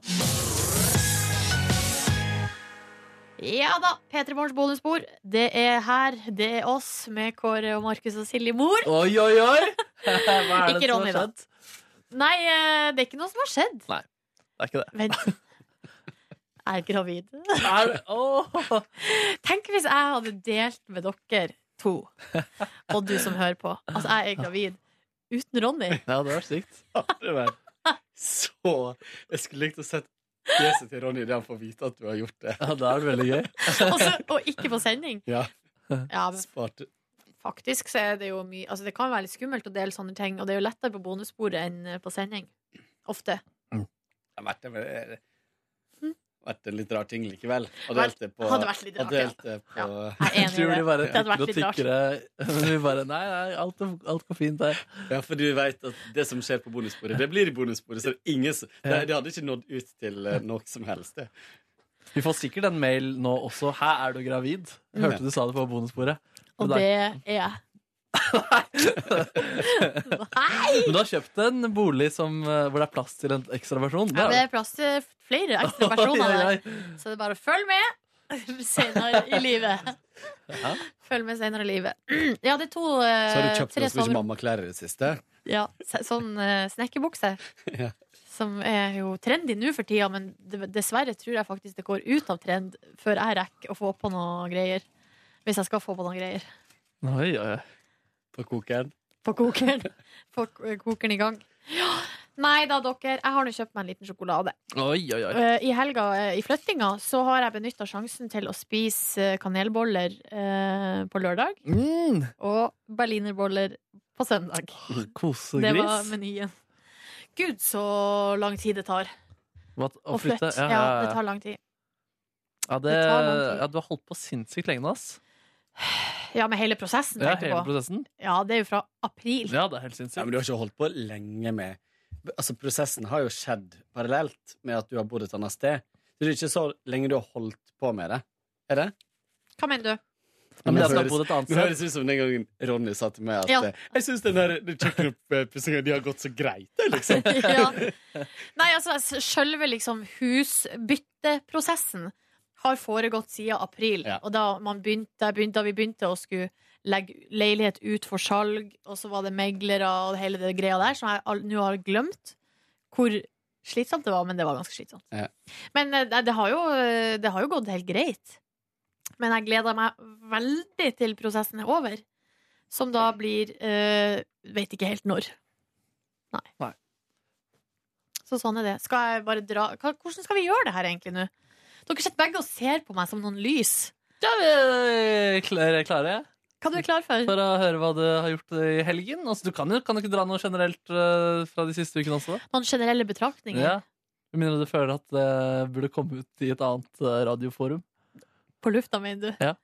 Ja da, P3 Morgens bonusbord. Det er her, det er oss, med Kåre og Markus og Silje Mor.
Oi, oi, oi! Hva er det
Ikke
som har
Ronny, da.
skjedd?
Nei, eh, det er ikke noe som har skjedd.
Nei, det er ikke det.
Vent. Jeg er gravid.
Er- åh.
Tenk hvis jeg hadde delt med dere to, og du som hører på. Altså, jeg er gravid uten Ronny.
Ja, det var sykt.
Aldri vært så Jeg skulle likt å sett fjeset til Ronny da han får vite at du har gjort det.
Ja, det er veldig gøy.
Og, så, og ikke på sending.
Ja.
Ja, men
Sparte.
faktisk så er det jo mye Altså, det kan være litt skummelt å dele sånne ting, og det er jo lettere på bonussporet enn eh, på sending. Ofte. Hm?
Mm. Det har vært en, eh, vært en litt rar ting likevel. Og delte på,
Hadde vært litt
og
rart, ja.
delte på
Jeg tror de bare
Det hadde vært
tykkere og
litt rart.
tykkere. Men vi bare Nei, nei, alt, alt går fint der.
Ja, for du vet at det som skjer på bonussporet, det blir i bonussporet. Så det, er ingen, som- det, det hadde ikke nådd ut til eh, noe som helst. Det.
Vi får sikkert en mail nå også. 'Hæ, er du gravid?' Hørte du sa det på bonussporet.
Og
Men
det
det
er jeg.
Men du har kjøpt en bolig som, eh, hvor det er plass til en ekstra versjon.
Ja, det er plass til flere ekstra personer
Oi, oi,
der. Så det er bare å følge med senere i livet.
Ja.
Følg med senere i livet. Ja, det er to
Så har du
eh,
kjøpt
tre
noe som ikke
sover...
mamma klær i det siste.
Ja, se- sånn eh, snekkerbukse.
Ja.
Som er jo trendy nå for tida, men d- dessverre tror jeg faktisk det går ut av trend før jeg rekker å få på noe greier. Hvis jeg skal få på noe greier.
Oi, oi, oi.
På kokeren.
På kokeren. Få k- kokeren i gang. Ja. Nei da, dere. Jeg har nå kjøpt meg en liten sjokolade.
Oi, oi, oi.
Eh, I helga, eh, i flyttinga, så har jeg benytta sjansen til å spise eh, kanelboller eh, på lørdag.
Mm.
Og berlinerboller på søndag. Det var
Kosegris.
menyen. Gud, så lang tid det tar
Hva-
å flytte. Ja, det tar lang tid.
Ja, det,
det tar lang tid.
ja, du har holdt på sinnssykt lenge nå, ass.
Ja, med hele prosessen,
Ja,
tenker jeg
hele
på.
prosessen.
Ja, det er jo fra april.
Ja, det er helt sinnssykt.
Ja, men du har ikke holdt på lenge med Altså, prosessen har jo skjedd parallelt med at du har bodd et annet sted. Så det er ikke så lenge du har holdt på med det. Er det?
Hva mener du?
Ja, men jeg skal bo et annet
Nå
sted.
høres det ut som den gangen Ronny sa til meg at
Ja.
eh, Jeg syns den der den kjøkkenoppussingen de har gått så greit, det, liksom.
Nei, altså, s- sjølve liksom husbytteprosessen har foregått siden april. Og da, man begynte, da begynte, da vi begynte å skulle legge leilighet ut for salg, og så var det meglere og hele det greia der, som jeg all- nå har glemt hvor slitsomt det var, men det var ganske slitsomt.
Ja.
Men eh, det, det, har jo, eh, det har jo gått helt greit. Men jeg gleder meg veldig til prosessen er over. Som da blir eh, Vet ikke helt når. Nei. Så sånn er det. Skal jeg bare dra Hva- Hvordan skal vi gjøre det her egentlig nå? Dere sitter begge og ser på meg som noen lys.
Ja, eh, vi er klare. klare.
Hva du er klar for?
For å høre hva du har gjort i helgen. Altså, du kan jo kan du ikke dra noe generelt eh, fra de siste ukene også.
Noen generelle betraktninger?
Ja. Med mindre du føler at det burde komme ut i et annet eh, radioforum.
På lufta, mener du?
Ja.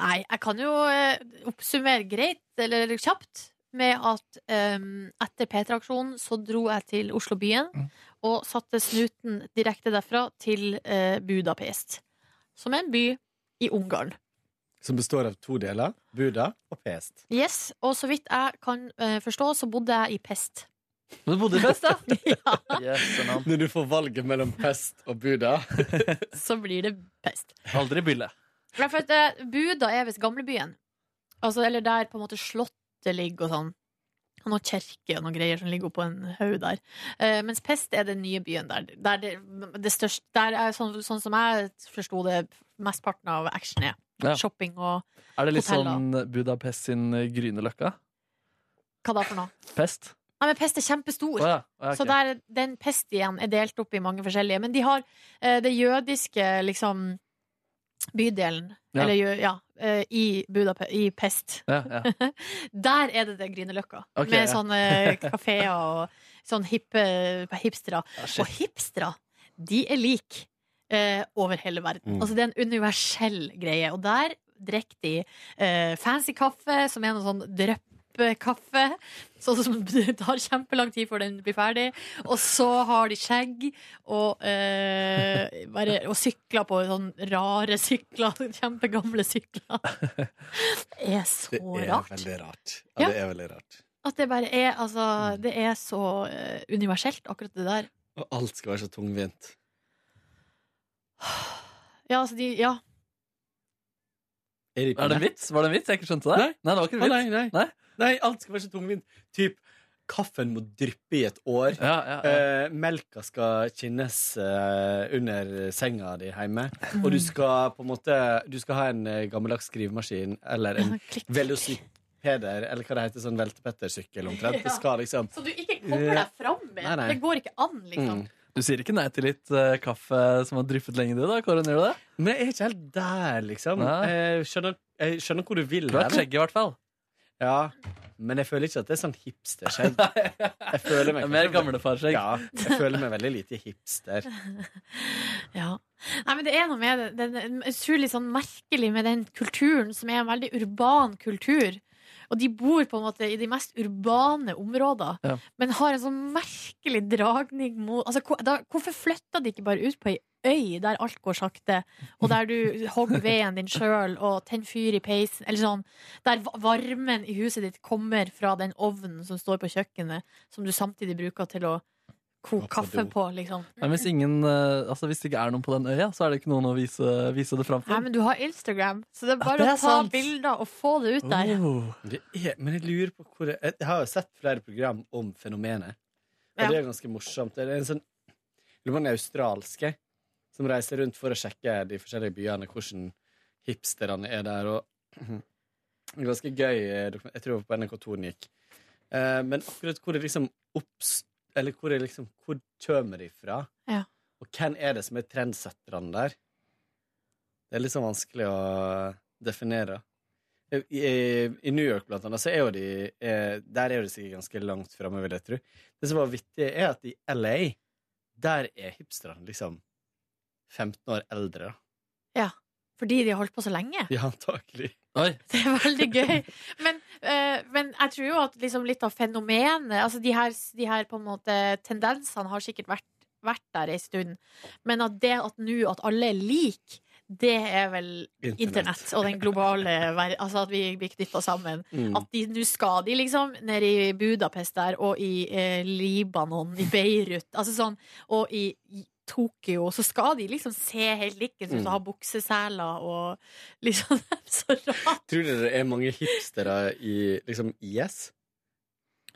Nei, jeg kan jo eh, oppsummere greit, eller kjapt, med at em, etter P3-aksjonen så dro jeg til Oslo-byen
Mm.
og satte snuten direkte derfra til eh, Budapest, som er en by i Ungarn.
Som består av to deler. Buda og Pest.
Yes, Og så vidt jeg kan eh, forstå, så bodde jeg i Pest.
Men du bodde i Best, da?
Når du får valget mellom pest og Buda
Så blir det pest.
Aldri bylle.
Nei, for at eh, Buda er visst gamlebyen. Altså, eller der på en måte slottet ligger og sånn. Og noe kjerke og noen greier som ligger oppå en haug der. Eh, mens Pest er den nye byen der. Der, det, det største, der er sånn, sånn som jeg forsto det, mesteparten av action er.
Ja.
Shopping og
Er det litt
hoteller.
sånn Budapest sin eh, Grünerløkka?
Hva da for noe?
Pest?
Nei, men Pest er kjempestor.
Å ja, å ja, ok.
Så der, den Pest igjen er delt opp i mange forskjellige. Men de har eh, det jødiske liksom, bydelen
Ja.
eller, jø- ja, eh, i, Budape i Pest.
Ja, ja.
der er det det Grünerløkka.
Ok,
med
ja.
sånne kafeer og sånn hippe hipstere.
shit.
og hipstere, de er like eh, over hele verden.
Mm.
Altså Det er en universell greie. Og der drikker de eh, fancy kaffe, som er noe sånn dryppkaffe. Sånn som det tar kjempelang tid før den blir ferdig. Og så har de skjegg og, eh, bare, og sykler på sånne rare sykler. Kjempegamle sykler. Det er så
Det er
rart.
veldig rart.
Ja.
Ja, det er veldig rart.
At det bare er Altså,
Mm.
det er så eh, universelt, akkurat det der.
Og alt skal være så tungvint.
Ja, altså de Ja.
Er
Er det en vits? Var det en vits? Jeg ikke skjønte det.
Nei.
det var ikke en vits.
Nei, nei. Nei, alt skal være så tungvint. Typ kaffen må dryppe i et år. Eh, melka skal kinnes eh, under senga di hjemme.
Mm.
Og du skal på en måte Du skal ha en eh, gammeldags skrivemaskin eller en velocipeder, eller hva det heter, sånn veltepettersykkel omtrent. Det skal liksom
Så du ikke kommer deg fram med.
Nei, nei.
Det går ikke an, liksom.
Du sier ikke nei til litt eh, kaffe som har dryppet lenge, du da, Kåren? Gjør du det?
Men jeg er ikke helt der, liksom.
Nei.
Jeg skjønner, jeg skjønner hvor du vil.
Du har et
hen.
skjegg, i hvert fall.
Ja, men jeg føler ikke at det er sånn hipsterskjegg. Jeg føler meg
Mer gamlefarskjegg.
Ja, jeg føler meg veldig lite hipster.
Ja. Nei, men det er noe med det. Det er en utrolig sånn merkelig med den kulturen, som er en veldig urban kultur. Og de bor på en måte i de mest urbane områder,
Ja.
men har en sånn merkelig dragning mot altså, hvor- da, Hvorfor flytter de ikke bare ut på ei øy der alt går sakte, og der du hogger veden din sjøl og tenner fyr i peisen, eller sånn, der va- varmen i huset ditt kommer fra den ovnen som står på kjøkkenet, som du samtidig bruker til å koke kaffe på, liksom.
Nei, men hvis, ingen, eh, altså, hvis det ikke er noen på den øya, så er det ikke noen å vise, vise det fram
Nei,
til.
men du har Instagram, så det er bare
det er
å ta
sant.
bilder og få det ut der.
Oh.
Det er, men jeg lurer på hvor jeg, jeg har jo sett flere program om fenomenet. Og
Ja.
det er ganske morsomt. Det er en sånn jeg lurer på om den australske som reiser rundt for å sjekke de forskjellige byene, hvordan hipsterne er der. Og en ganske gøy eh, dokument. Jeg tror det var på NRK2 den gikk. Eh, men akkurat hvor det liksom opps... Eller hvor det liksom Hvor kommer de fra?
Ja.
Og hvem er det som er trendsetterne der? Det er litt sånn vanskelig å definere. Eh, I, i New York, blant annet, så er jo de eh, Der er jo de sikkert ganske langt framme, vil jeg tro. Det som var vittig, er at i LA, der er hipsterne liksom 15 år eldre. da.
Ja, fordi de har holdt på så lenge.
Ja, antakelig.
Det er veldig gøy. Men, eh, men jeg tror jo at liksom litt av fenomenet Altså de her, de her på en måte tendensene har sikkert vært, vært der ei stund. Men at det at nå at alle er like, det er vel
Internett.
internett og den globale verden. Altså at vi blir knytta sammen.
Mm.
At de nå skal de liksom ned i Budapest der, og i eh, Libanon, i Beirut, altså sånn, og i i Tokyo, så skal de liksom se helt like ut
Mm.
og ha bukseseler og liksom Så rart.
Tror dere det er mange hipstere i liksom IS?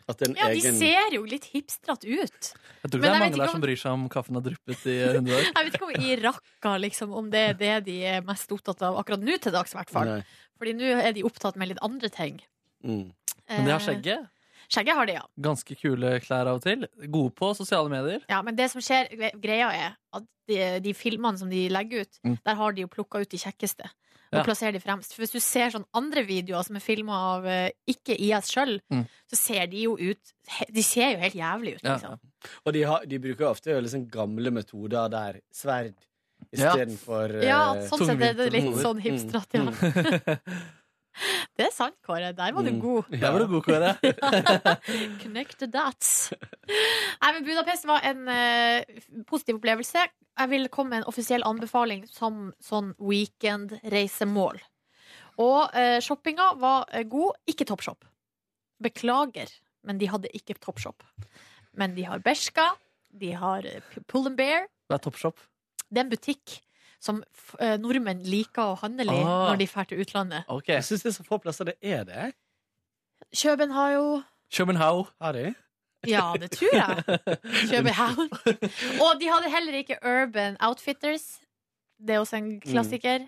At det er en
Ja, de
egen
ser jo litt hipstrete ut.
Jeg tror ikke det
Men jeg
er
vet
mange
ikke
der
om-
som bryr seg om kaffen har dryppet i 100 år.
Jeg vet ikke om irakker, liksom, om det er det de er mest opptatt av akkurat nå til dags, i hvert fall.
Nei.
Fordi nå er de opptatt med litt andre ting.
Mm.
Men de har
Eh,
skjegget.
Skjegget har de, ja.
Ganske kule klær av og til. Gode på sosiale medier.
ja. Men det som skjer, gre- greia er at de, de filmene som de legger ut,
Mm.
der har de jo plukka ut de kjekkeste. Og
Ja.
plasserer de fremst. For hvis du ser sånn andre videoer som er filma av eh, ikke IS sjøl,
Mm.
så ser de jo ut he- De ser jo helt jævlig ut, liksom.
Og de, har, de bruker jo ofte jo liksom gamle metoder der sverd
Ja.
istedenfor
Ja, sånn sett er det
Mm.
litt sånn hipstrat, ja. Det er sant, Kåre. Der var du
Mm.
god.
Der var du god, Kåre.
Connect the dots. Nei, men Budapest var en eh, positiv opplevelse. Jeg vil komme med en offisiell anbefaling som sånn weekend-reisemål. Og eh, shoppinga var eh, god. Ikke Toppshop. Beklager, men de hadde ikke Toppshop. Men de har Bershka, de har eh, P- Pull and Bear.
Det er Toppshop.
Det er en butikk som f- eh, nordmenn liker å handle i
Ah.
når de drar til utlandet.
Jeg syns det er så få plasser det er det.
Kjøben har jo
København.
Har de?
Ja, det tror jeg. København. Og de hadde heller ikke Urban Outfitters. Det er også en klassiker.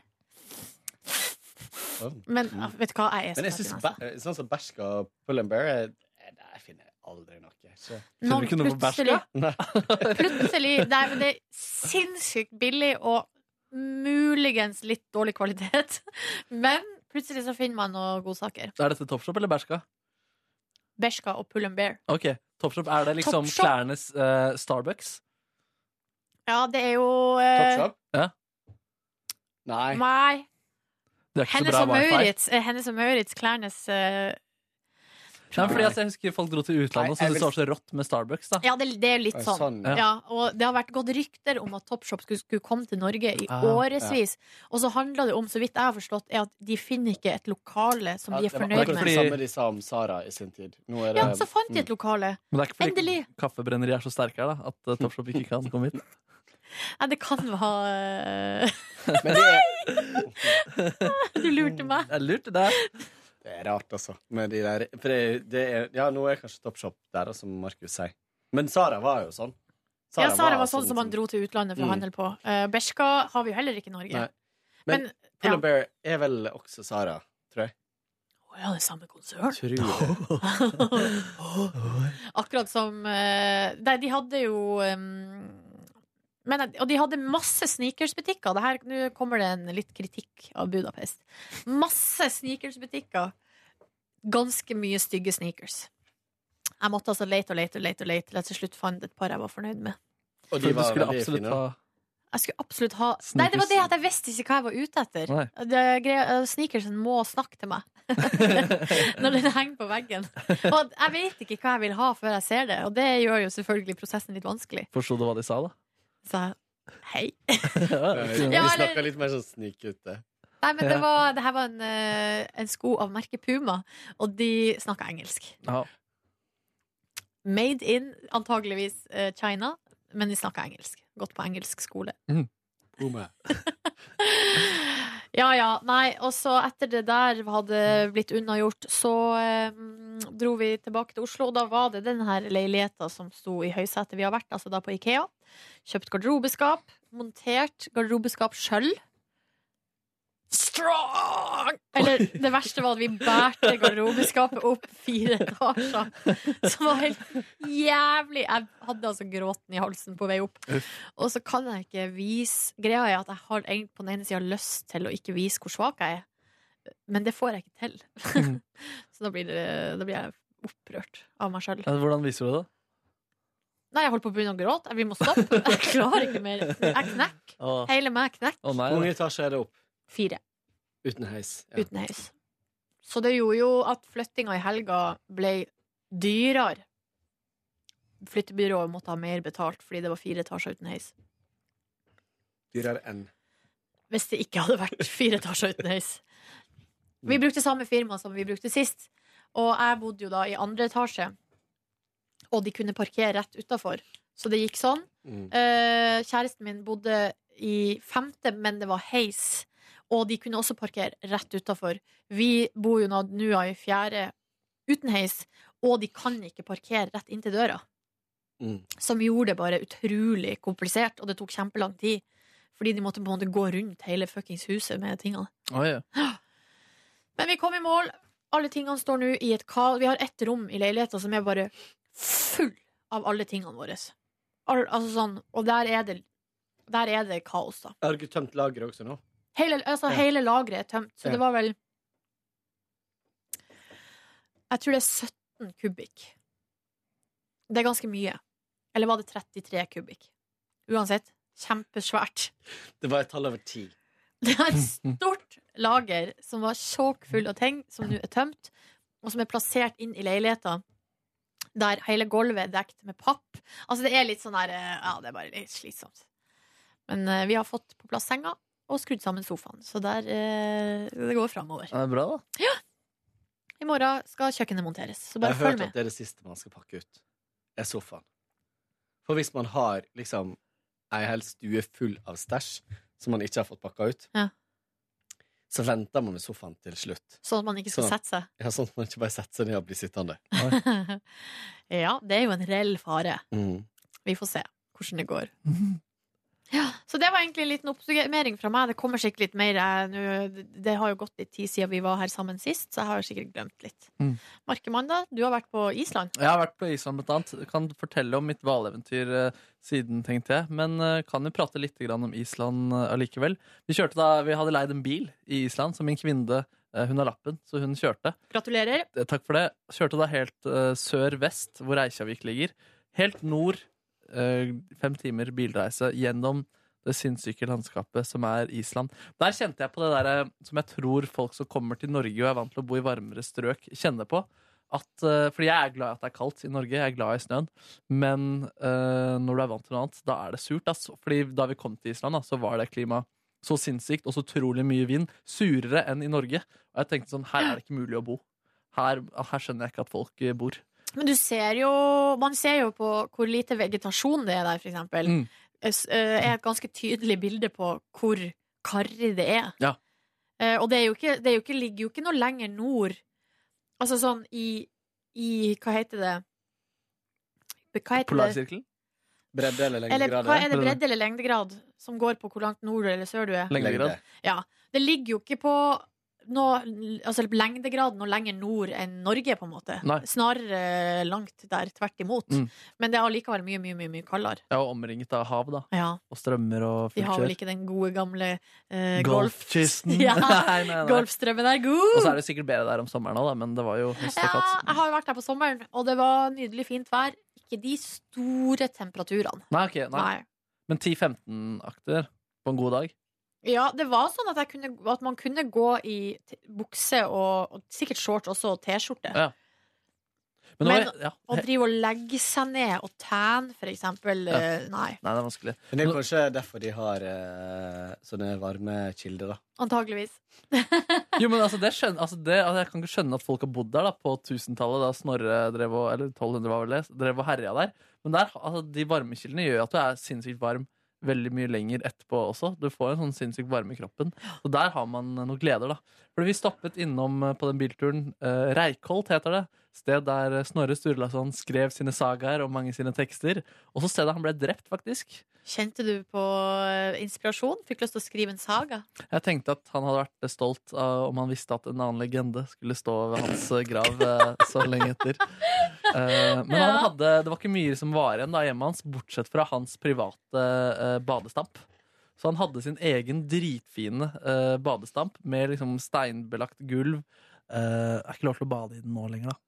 Men ah, vet du hva, jeg er
Men
så
jeg synes
fascinert.
bæ- sånn som bæsj og pull and bear eh, Der finner jeg aldri noe. Så-
Noen Finner du ikke noe på bæsj, plutselig- da?
Nei.
Plutselig. Nei, men det er sinnssykt billig og muligens litt dårlig kvalitet. Men plutselig så finner man noen godsaker.
Er dette Toppshop eller Bershka?
Bershka og Pull and Bear.
Ok, Toppshop, er det liksom
Topshop.
klærnes eh, Starbucks?
Ja, det er jo eh,
Ja.
Nei.
Nei.
Det er ikke
Hennes
så
og
bra wifi.
Maurits, eh, Hennes og Maurits Klærnes eh,
Nei, fordi altså, jeg husker folk dro til utlandet og
Nei, jeg
syntes det
vil-
var så rått med Starbucks. da
Ja, det, det er jo litt
Ja,
sånn.
sånn,
ja.
ja.
og det har vært gått rykter om at Topshop skulle, skulle komme til Norge i
Ah,
årevis. Og så handla det om, så vidt jeg har forstått, er at de finner ikke et lokale som de er
Det var
fornøyd
akkurat det
med.
samme de sa om Sara i sin tid. Nå er det,
Ja, så fant de et lokale.
Men det er ikke fordi
Endelig!
kaffebrenneriet er så sterke her, da, at eh, Topshop ikke kan komme hit.
Nei, det kan være
Men det er,
Du lurte meg.
Jeg lurte deg.
det er rart, altså. Med de der, for det, det er, ja, nå er kanskje Topshop der, da, som Markus sier. Men Sara var jo sånn.
ja, Sara var sånn som han dro til utlandet for å
Mm.
handle på. Eh, Bershka har vi jo heller ikke i Norge.
Nei. Men,
Men,
Pull
ja.
and Bear er vel også Sara, tror jeg.
Å ja, det er samme konsern.
Tror jeg.
Akkurat som eh, Nei, de hadde jo em, men, at- og de hadde masse sneakersbutikker. Det her- Nå kommer det en litt kritikk av Budapest. Masse sneakersbutikker. Ganske mye stygge sneakers. Jeg måtte altså lete og lete og lete, og lete til jeg til slutt fant et par jeg var fornøyd med.
Og
For
de
du
var
skulle
veldig
absolutt
fine.
ha-
Jeg skulle absolutt ha Nei, det var det at jeg visste ikke hva jeg var ute etter.
Nei.
Det, gre- eh, sneakersen må snakke til meg når den henger på veggen. Og jeg vet ikke hva jeg vil ha før jeg ser det, og det gjør jo selvfølgelig prosessen litt vanskelig.
Forsto du hva de sa, da?
Så jeg hei.
Vi
Ja, eller-
snakka litt mer sånn snikete.
Nei, men det,
Ja.
var, det her var en, eh, en sko av merket Puma, og de snakka engelsk. Made in antageligvis eh, China, men de snakka engelsk. Gått på engelsk skole. Ja, ja. Nei, og så etter det der hadde blitt unnagjort, så eh, dro vi tilbake til Oslo, og da var det den her leiligheta som sto i høysetet vi har vært, altså da på Ikea. Kjøpt garderobeskap, montert garderobeskap sjøl. Strong! Eller det verste var at vi bærte garderobeskapet opp fire etasjer. Som var helt jævlig. Jeg hadde altså gråten i halsen på vei opp. Og så kan jeg ikke vise Greia er at jeg har egentlig på den ene sida lyst til å ikke vise hvor svak jeg er, men det får jeg ikke til. så da blir, det, da blir jeg opprørt av meg sjøl.
Ja, Hvordan viser du det?
Nei, jeg holdt på å begynne å gråte. Vi må stoppe. Jeg klarer ikke mer. Jeg knekker.
Åh.
Hele meg knekker.
Å
Hvor mange etasjer er det opp?
Fire.
Uten heis. Ja.
Uten heis. Så det gjorde jo at flyttinga i helga ble dyrere. Flyttebyrået måtte ha mer betalt fordi det var fire etasjer uten heis.
Dyrere enn.
Hvis det ikke hadde vært fire etasjer uten heis. Vi brukte samme firma som vi brukte sist, og jeg bodde jo da i andre etasje. Og de kunne parkere rett utafor, så det gikk sånn.
Mm.
Eh, kjæresten min bodde i femte, men det var heis. Og de kunne også parkere rett utafor. Vi bor jo nå nå i fjerde uten heis, og de kan ikke parkere rett inntil døra. Som gjorde det bare utrolig komplisert, og det tok kjempelang tid. Fordi de måtte på en måte gå rundt hele fuckings huset med tingene.
Oi, ja.
Men vi kom i mål. Alle tingene står nå i et kaos. Vi har ett rom i leiligheten som er bare full av alle tingene våre. Al altså sånn, og der er, det, der er det kaos, da.
Har dere tømt lageret også nå?
Hele, altså,
Ja.
hele lageret er tømt, så
Ja.
det var vel Jeg tror det er 17 kubikk. Det er ganske mye. Eller var det 33 kubikk? Uansett, kjempesvært.
Det var et tall over ti.
Det er et stort lager som var tjåkfull av ting, som nå er tømt, og som er plassert inn i leiligheta. Der hele gulvet er dekt med papp. Altså det er litt sånn der eh, Ja, det er bare litt slitsomt. Men eh, vi har fått på plass senga og skrudd sammen sofaen, så der eh, Det går framover.
Ja, Det er bra, da.
I morgen skal kjøkkenet monteres, så
Jeg
bare
har
følg
hørt
med.
at det er det siste man skal pakke ut. Er sofaen. For hvis man har liksom ei hel stue full av stæsj som man ikke har fått pakka ut,
Ja.
så venter man i sofaen til slutt.
Sånn at man ikke skal
Sånn at-
sette seg.
Ja, sånn at man ikke bare setter seg ned og blir sittende.
ja, det er jo en reell fare.
Mm.
Vi får se hvordan det går. Ja, så det var egentlig en liten oppsummering fra meg. Det kommer sikkert litt mer. Jeg, nå, det har jo gått litt tid siden vi var her sammen sist, så jeg har sikkert glemt litt.
Mm.
Markemann, da? Du har vært på Island?
Jeg har vært på Island blant annet. Kan fortelle om mitt hvaleventyr eh, siden, tenkte jeg. Men eh, kan jo prate litt grann om Island eh, allikevel. Vi, kjørte da, vi hadde leid en bil i Island, så min kvinne eh, hun har lappen, så hun kjørte.
Gratulerer.
Eh, Takk for det. Kjørte da helt eh, sør-vest, hvor Reykjavik ligger. Helt nord. eh, fem timer bilreise gjennom det sinnssyke landskapet som er Island. Der kjente jeg på det der eh, som jeg tror folk som kommer til Norge og er vant til å bo i varmere strøk, kjenner på. At, eh, fordi jeg er glad i at det er kaldt i Norge, jeg er glad i snøen. Men eh, når du er vant til noe annet, da er det surt. Ass. Fordi da vi kom til Island, da, så var det klimaet så sinnssykt og så utrolig mye vind. Surere enn i Norge. Og jeg tenkte sånn, her er det ikke mulig å bo. Her, her skjønner jeg ikke at folk eh, bor.
Men du ser jo Man ser jo på hvor lite vegetasjon det er der, for eksempel.
Mm.
Det er et ganske tydelig bilde på hvor karrig det er.
Ja.
Eh, Og det, er jo ikke, det er jo ikke, ligger jo ikke noe lenger nord. Altså sånn i, i Hva heter det? Hva heter det?
Polarsirkelen?
Bredde eller
Eller hva er det bredde eller lengdegrad som går på hvor langt nord eller sør du er?
Lengdegrad. Lengde.
Ja. Det ligger jo ikke på noe, altså lengdegrad noe lenger nord enn Norge, på en måte.
Nei.
Snarere langt der, tvert imot.
Mm.
Men det er allikevel mye, mye, mye, mye kaldere.
Jeg var omringet av hav da.
Ja.
Og strømmer og
De
fullt
har vel
kjør.
ikke den gode gamle eh, golf...
Golfkysten.
Ja,
Nei, nei, nei.
golfstrømmen er god!
Og så er det sikkert bedre der om sommeren òg, men det var jo høst og
Ja,
kaldt.
jeg har jo vært der på sommeren, og det var nydelig fint vær. Ikke de store temperaturene.
Nei, ok, nei.
Nei.
Men 10-15-akter på en god dag?
Ja, det var sånn at, jeg kunne, at man kunne gå i t- bukse og, og sikkert shorts også, og T-skjorte.
Ja. Men det
Men
var- ja.
å drive og legge seg ned og tan, for eksempel,
Ja.
eh, nei.
Nei, det er vanskelig.
Men det er kanskje derfor de har eh, sånne varme kilder, da.
Antageligvis.
Jo, men altså, det skjønner, altså, det, altså, Jeg kan ikke skjønne at folk har bodd der da, på 1000-tallet, da Snorre drev og, eller 1200 var vel det, drev og herja der. Men der, altså, de varmekildene gjør jo at du er sinnssykt varm veldig mye lenger etterpå også. Du får en sånn sinnssykt varme i kroppen. Og der har man eh, noen gleder, da. Fordi vi stoppet innom eh, på den bilturen eh, Reikholt, heter det. Sted der eh, Snorre Sturlason skrev sine sagaer og mange sine tekster. Og så stedet han ble drept, faktisk.
Kjente du på eh, inspirasjon? Fikk lyst til å skrive en saga?
Jeg tenkte at han hadde vært stolt av om han visste at en annen legende skulle stå ved hans eh, grav eh, så lenge etter. Eh, Men han
Ja.
hadde, det var ikke mye som var igjen da hjemme hans, bortsett fra hans private eh, badestamp. Så han hadde sin egen dritfine eh, badestamp med liksom steinbelagt gulv. Eh, er ikke lov til å bade i den nå lenger, da.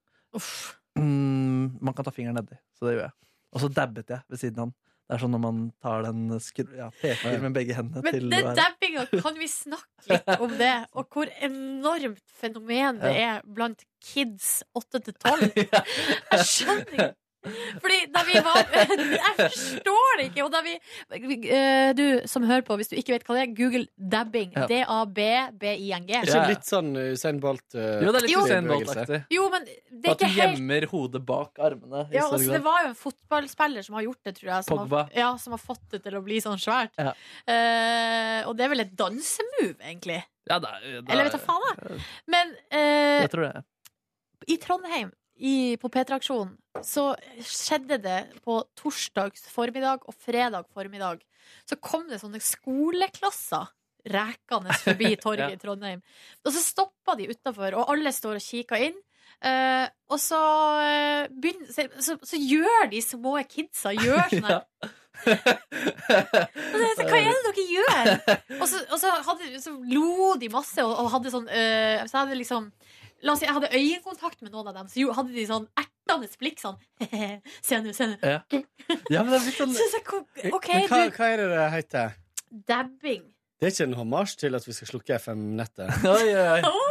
Mm, man kan ta fingeren nedi, så det gjør jeg. Og så dabbet jeg ved siden av han. Det er sånn når man tar den skru, ja, peker med begge hendene
Men
til
den
hver-
dabbinga, kan vi snakke litt om det? Og hvor enormt fenomen det er blant kids 8 til 12? Jeg skjønner ikke. Fordi da vi var Jeg forstår det ikke! Og da vi Eh, Du som hører på, hvis du ikke vet hva det er, google dabbing.
Ja.
D-a-b-b-i-n-g.
Er ikke det litt sånn Usain Bolt? eh,
Jo, det er litt
bevegelse?
Usain Bolt-aktig.
Jo, men det er
At du
ikke helt
gjemmer hodet bak armene. i
ja,
større
altså, Det
grad.
var jo en fotballspiller som har gjort det, tror jeg. Som
Pogba.
Har, ja, som har fått det til å bli sånn svært.
Ja.
Eh, og det er vel et dansemove, egentlig.
Ja, det er- det er-
Eller vet du faen, jeg. Men eh,
Jeg tror det.
i Trondheim, i, på P3-aksjonen, så skjedde det på torsdags formiddag og fredag formiddag. Så kom det sånne skoleklasser rekende forbi torget
Ja.
i Trondheim. Og så stoppa de utafor, og alle står og kikker inn. Eh, og så, eh, begynner, så, så, så gjør de små kidsa gjør sånn her. Og så, Altså, hva er det dere gjør? Og så, og så, hadde, så lo de masse og, og hadde sånn eh, Så hadde liksom La oss si jeg hadde øyekontakt med noen av dem, så jo, hadde de sånn ertende blikk sånn Se nå, se nå.
Ja. ja, men det er litt sånn
Så- så kom- OK,
Eh, Men hva,
du.
hva er det det heter?
Dabbing.
Det er ikke en hommage til at vi skal slukke FM-nettet?
Oi, oi, oi.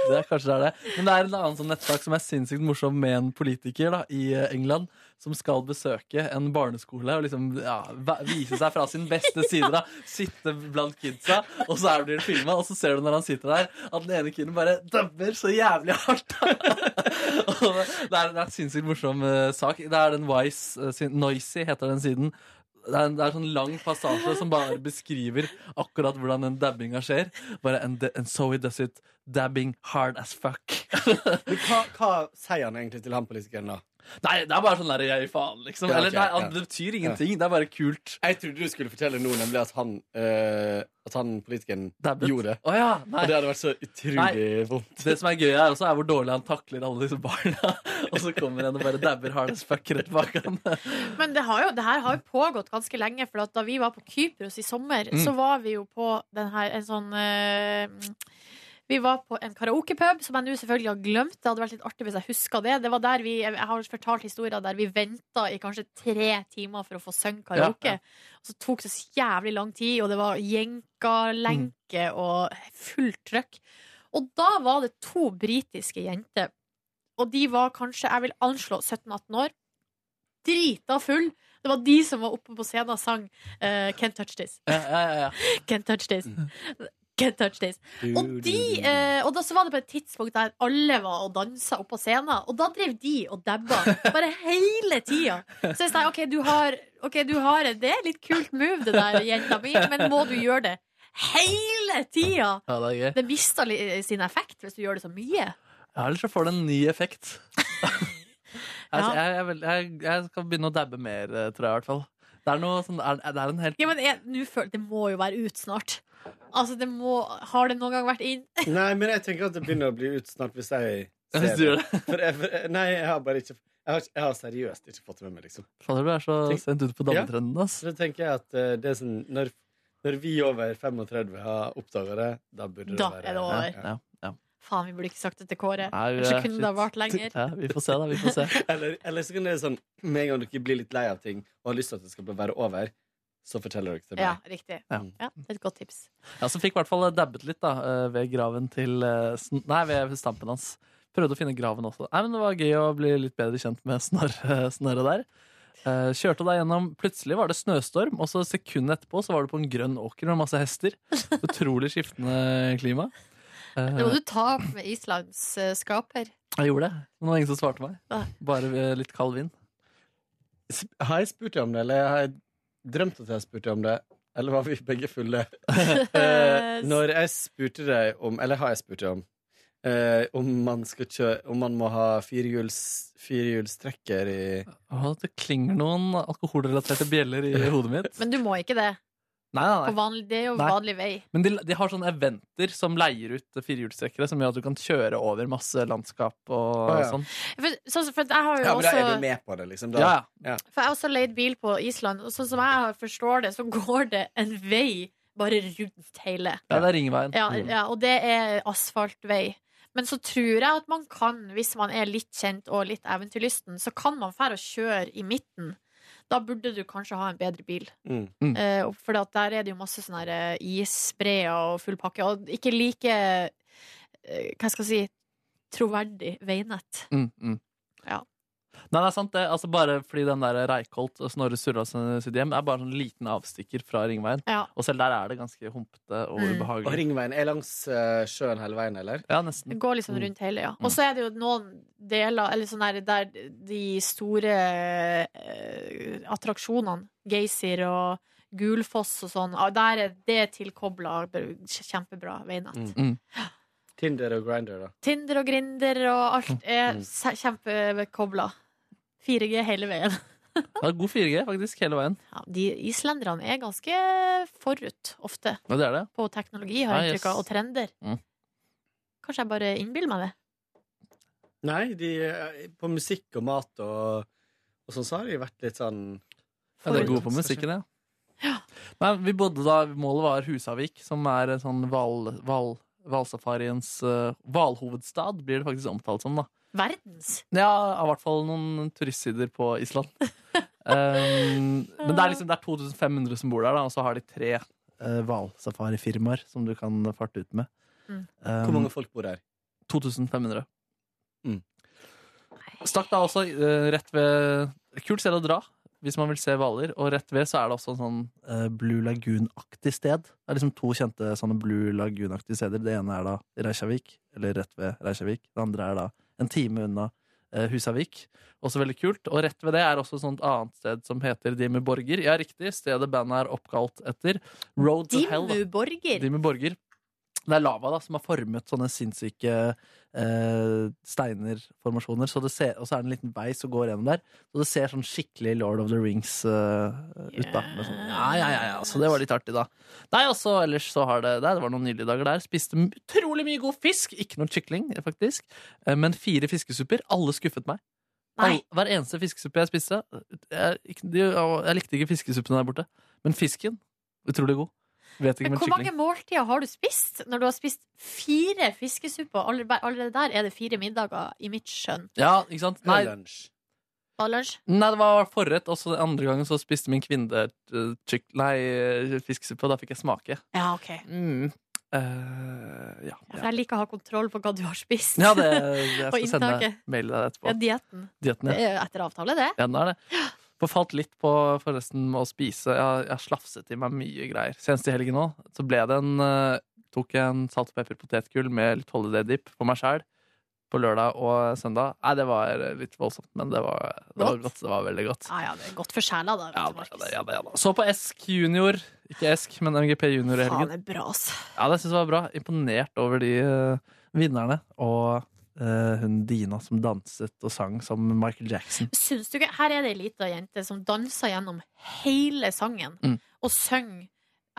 Det er kanskje det er det. Men det er en annen sånn nettsak som er sinnssykt morsom med en politiker da, i eh, England som skal besøke en barneskole og liksom ja, væ- vise seg fra sin beste side. da Sitte blant kidsa, og så er blir det filma, og så ser du når han sitter der, at den ene kiden bare dabber så jævlig hardt. da. Og det er det er en sinnssykt morsom eh, sak. Det er den Wise, eh, sin, Noisy heter den siden. Det er, en, det er en sånn lang passasje som bare beskriver akkurat hvordan den dabbinga skjer. Bare and, the- and so he does it dabbing hard as fuck.
Hva, hva sier han egentlig til han politikeren, da?
Nei, det er bare sånn der jeg faen, liksom.
Ja, ok,
Eller, nei,
ja.
Det betyr ingenting. Det er bare kult.
Jeg trodde du skulle fortelle noe, nemlig at han, eh, at han politikeren
Dabbet.
gjorde det.
Å ja, nei.
Og det hadde vært så utrolig
Nei.
vondt.
Det som er gøy her også, er hvor dårlig han takler alle disse barna. Og så kommer en og bare dabber hard as fuck rett bak han.
Men det, har jo, det her har jo pågått ganske lenge, for at da vi var på Kypros i sommer,
Mm.
så var vi jo på den her, en sånn eh, Vi var på en karaokepub, som jeg nå selvfølgelig har glemt. Det hadde vært litt artig hvis jeg huska det. Det var der vi, Jeg har fortalt historier der vi venta i kanskje tre timer for å få synge karaoke.
Ja, ja.
Og så tok det så jævlig lang tid, og det var jenkalenke
Mm.
og fullt trøkk. Og da var det to britiske jenter. Og de var kanskje, jeg vil anslå 17-18 år drita full. Det var de som var oppe på scenen og sang eh, Can't Touch This. Can't Touch This. Can't Touch This. Og, de, eh, og da så var det på et tidspunkt der alle var og dansa oppe på scenen, og da drev de og dabba bare hele tida. Så jeg sa OK, du har, ok, du har en- Det er litt kult move, det der, jenta mi, men må du gjøre det hele tida?
Ja, det er gøy.
Det mister li- sin effekt hvis du gjør det så mye.
Ja, Ellers så får det en ny effekt. altså, jeg, jeg, er veld- jeg, jeg skal begynne å dabbe mer, eh, tror jeg i hvert fall. Det er, noe, sånn, er, det er en helt
Ja, men jeg, nå føler, Det må jo være ut snart. Altså, det må, Har det noen gang vært inn?
Nei, men jeg tenker at det begynner å bli ut snart hvis jeg
Ja, hvis
ser
du gjør
For jeg, for, jeg- nei, jeg har bare ikke jeg har, ikke- jeg har seriøst ikke fått det med meg, liksom.
Fader, du er så
Tenk-
sendt ut på dabbetrenden, ass.
Ja, så da tenker jeg at eh, det er sånn når, når vi over 35 har oppdaga det, da burde
Da
det være
er det over.
Ja, ja.
Faen, vi burde ikke sagt det til Kåre.
Nei, vi-
Kanskje kunne det ha vart lenger.
Ja, vi får se, da. Vi får se.
eller, eller så kan det være sånn med en gang dere blir litt lei av ting og har lyst til at det skal være over, så forteller dere til meg.
Ja, riktig.
Ja.
Ja, det er et godt tips.
Ja, så fikk i hvert fall dabbet litt da, eh, ved graven til eh, Sn- Nei, ved stampen hans. Prøvde å finne graven også. Nei, men Det var gøy å bli litt bedre kjent med Snorre, snorre der. Eh, Kjørte deg gjennom Plutselig var det snøstorm, og så sekundet etterpå så var du på en grønn åker med masse hester. Utrolig skiftende klima. Eh,
Det må du ta opp med Islands eh, skaper.
Jeg gjorde det. Men det var ingen som svarte meg.
Nei.
Bare eh, litt kald vind.
Har jeg spurt deg om det, eller har jeg drømt at jeg spurte om det? Eller var vi begge fulle? Eh, Når jeg spurte deg om, eller har jeg spurt deg om, eh, om, man skal kjøre, om man må ha firehjuls, firehjulstrekker i
Å, det klinger noen alkoholrelaterte bjeller i hodet mitt.
Men du må ikke det.
Nei, nei, nei.
På vanlig, det er jo
Nei.
vanlig vei.
Men de, de har sånne eventer som leier ut firehjulstrekkere, som gjør at du kan kjøre over masse landskap og
Å, ja.
sånn.
For, sånn som- for jeg har jo
Ja, men da
også
er du med på det, liksom. Da.
Ja,
For jeg har også leid bil på Island, og sånn som jeg forstår det, så går det en vei bare rundt hele.
Ja, det er ringveien. Mm.
Ja, ja, og det er asfaltvei. Men så tror jeg at man kan, hvis man er litt kjent og litt eventyrlysten, så kan man fære og kjøre i midten. Da burde du kanskje ha en bedre bil.
Mm.
Eh, og for at der er det jo masse sånne her, eh, isbreer og full pakke, og ikke like eh, Hva skal jeg si troverdig veinett.
Mm, mm.
Ja.
Nei, det er sant det. Altså, bare fordi den der Reikholt og Snorre Surra sin- sitt hjem er bare en liten avstikker fra ringveien.
Ja. Mm.
Og selv der er det ganske humpete og
Og
ubehagelig.
ringveien er langs eh, sjøen hele veien, eller?
Ja, nesten.
Det går liksom
Mm.
rundt hele, ja. Og så er det jo noen deler eller sånn der, der de store eh, attraksjonene, Geysir og Gulfoss og sånn, ah, der er det tilkobla kjempebra veinett.
Mm.
Tinder og Grinder, da.
Tinder og Grinder og
Mm.
alt er se- kjempekobla. 4G hele veien.
Det er god 4G faktisk hele veien.
Ja, de islenderne er ganske forut, ofte,
Ja, det er det.
på teknologi, har
Ja,
jeg inntrykk av,
yes.
og trender.
Mm.
Kanskje jeg bare innbiller meg det.
Nei, de, eh, på musikk og mat og, og sånn, så har de vært litt sånn
Ja, de er gode på musikken, ja. Nei, vi bodde da, Målet var Husavik, som er en sånn hval... hval Hvalsafariens eh, hvalhovedstad blir det faktisk omtalt som, da.
Verdens!
Ja, i hvert fall noen turistsider på Island. um, men det er liksom det er 2500 som bor der, da, og så har de tre eh, hvalsafarifirmaer som du kan farte ut med. Um,
Hvor mange folk bor der?
2500. Stakk da også eh, rett ved Kult sted å dra hvis man vil se hvaler. Og rett ved så er det også en sånn eh, Blue Lagoon-aktig sted. Det er liksom to kjente sånne Blue Lagoon-aktige steder. Det ene er da Reykjavik, eller rett ved Reykjavik. Det andre er da en time unna eh, Husavik. Også veldig kult. Og rett ved det er også et sånt annet sted som heter Dimmu Borger. Ja, riktig. Stedet bandet er oppkalt etter. Road to Hell. da.
Dimmu Borger.
Dimmu Borger. Det er lava da, som har formet sånne sinnssyke eh, steinerformasjoner. Så det ser, og så er det en liten vei som går gjennom der. Så det ser sånn skikkelig Lord of the Rings eh, ut. da. Med Sånn, ja, ja, ja, ja. Så det var litt artig, da. Nei, og så ellers så har det Nei, det var noen nydelige dager der. Spiste m- utrolig mye god fisk. Ikke noe kykling, faktisk. Eh, Men fire fiskesupper. Alle skuffet meg. All, hver eneste fiskesuppe jeg spiste jeg, ikke- de- jeg likte ikke fiskesuppene der borte. Men fisken, utrolig god. Vet ikke
Men
med
hvor
kykling.
mange måltider har du spist når du har spist fire fiskesupper? Allerede, allerede der er det fire middager, i mitt skjønn.
Ja, ikke sant? Nei,
Og lunsj.
nei, det var forrett, og så den andre gangen så spiste min kvinne eh, kyk, nei, eh, fiskesuppe, og da fikk jeg smake.
Ja, OK.
Mm. Eh, ja.
For jeg liker å ha kontroll på hva du har spist.
ja, det jeg
Og
skal sende deg
inntaket.
mail der etterpå.
Ja, dietten.
Dietten,
Det
ja.
er jo etter avtale, det.
Ja, den er det. Forfalt litt på forresten med å spise. Jeg, har- jeg har slafset i meg mye greier. Senest i helgen òg. Så ble det en eh, Tok jeg en salt og pepper potetgull med litt holiday dip på meg sjæl på lørdag og søndag. Nei, det var litt voldsomt, men det var, det var godt. Det var veldig godt.
Ja, ja, det er godt for sjela, da. vet du, Markus.
Så på Esk junior. Ikke Esk, men MGP junior i
Faen,
helgen.
det er bra, altså. ass.
Ja, det synes jeg var bra. Imponert over de eh, vinnerne. Og eh, hun Dina som danset og sang som Michael Jackson.
Syns du ikke? Her er det ei lita jente som danser gjennom hele sangen
Mm.
og synger,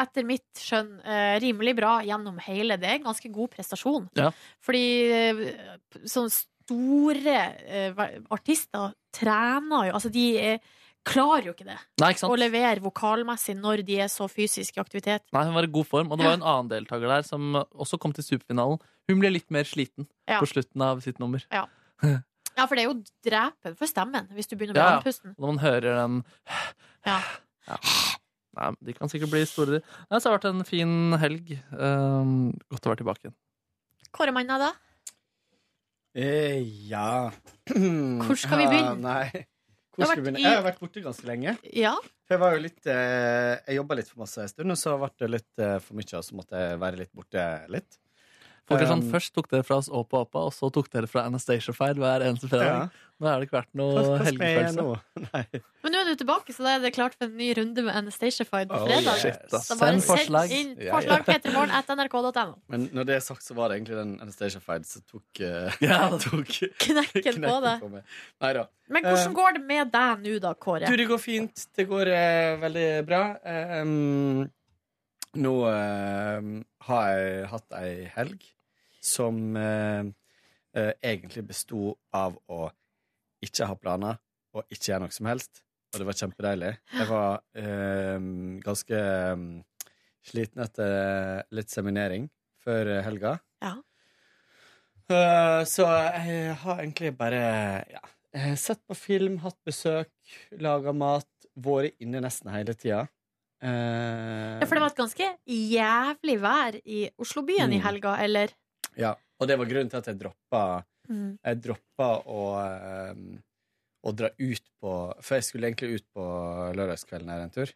etter mitt skjønn, eh, rimelig bra gjennom hele. Det er en ganske god prestasjon.
Ja.
Fordi eh, sånne store eh, ver- artister trener jo Altså, de eh, klarer jo ikke det.
Nei, ikke sant?
Å levere vokalmessig når de er så fysisk i aktivitet.
Nei, hun var i god form. Og det var en annen deltaker der som også kom til superfinalen. Hun ble litt mer sliten
Ja.
på slutten av sitt nummer.
Ja. ja, for det er jo drepen for stemmen hvis du begynner med
Ja, ja.
andpusten.
Og når man hører den
Ja.
ja. Nei, men de kan sikkert bli store, de. Nei, så har det vært en fin helg. Ehm, godt å være tilbake igjen.
Kåre Manna, da?
Eh, ja Hvor
skal vi begynne?
Nei.
Du
Hvor
har
skal vi
vært
begynne?
i-
Jeg har vært borte ganske lenge.
Ja.
For jeg var jo litt eh, Jeg jobba litt for masse en stund, og så ble det litt eh, for mye, og så måtte jeg være litt borte litt.
Folk er sånn,
Um,
Først tok dere fra oss Åpa Åpa, og så tok dere fra Anastacia Fire hver eneste fredag.
Ja.
Nå er det ikke vært
Hva- hva
noe
skal jeg gjøre
helgefølelse.
nå?
Men nå er du tilbake, så da er det klart for en ny runde med Anastacified på
Oh,
fredag.
shit, ass.
så bare
Send
send
forslag.
inn
Ja, ja.
forslag p3morgen.nrk.no.
Men når det er sagt, så var det egentlig den Anastacia Fide som tok, eh, tok
Knekken på det.
meg. Neida.
Men hvordan
Eh,
går det med deg nå da, Kåre?
Du, det går fint. Det går eh, veldig bra. Eh, em, nå eh, har jeg hatt ei helg som eh, eh, egentlig besto av å ikke ha planer og ikke gjøre noe som helst. Og det var kjempedeilig. Jeg var em, ganske em, sliten etter eh, litt seminering før helga.
Ja.
Eh, Så jeg har egentlig bare ja, eh, sett på film, hatt besøk, laga mat, vært inne nesten hele Eh, tida.
Ja, For det var et ganske jævlig vær i Oslobyen i
Mm.
helga, eller?
Ja, og det var grunnen til at jeg droppa
Mm.
Jeg droppa å, eh, å dra ut på For jeg skulle egentlig ut på lørdagskvelden her en tur,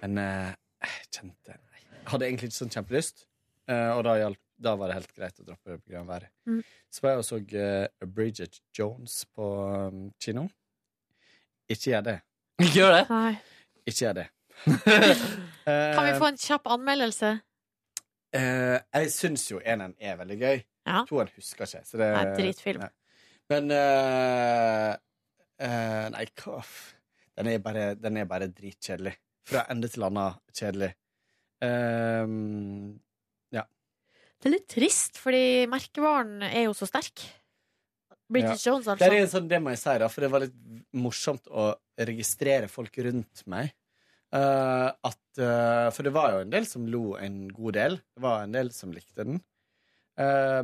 men eh, jeg kjente nei. Jeg hadde egentlig ikke sånn kjempelyst, eh, og da, hjalp, da var det helt greit å droppe det pga. været.
Mm.
Så var jeg og så eh, Bridget Jones på um, kino. Ikke gjør det.
Ikke gjør det.
Nei.
Ikke gjør det.
Kan vi få en kjapp anmeldelse?
Eh, jeg syns jo eneren er veldig gøy.
Ja.
Toen husker ikke. Så det,
Nei, dritfilm.
Nei. Men eh, eh, Nei, hva f- Den er bare, den er bare dritkjedelig. Fra ende til annen kjedelig. Ehm, ja.
Det er litt trist, fordi merkevaren er jo så sterk. Bridget
Ja.
Jones,
Det er
altså.
en sånn, det må jeg si, da, for det var litt morsomt å registrere folk rundt meg. Eh, at, eh, for det var jo en del som lo en god del. Det var en del som likte den. Eh,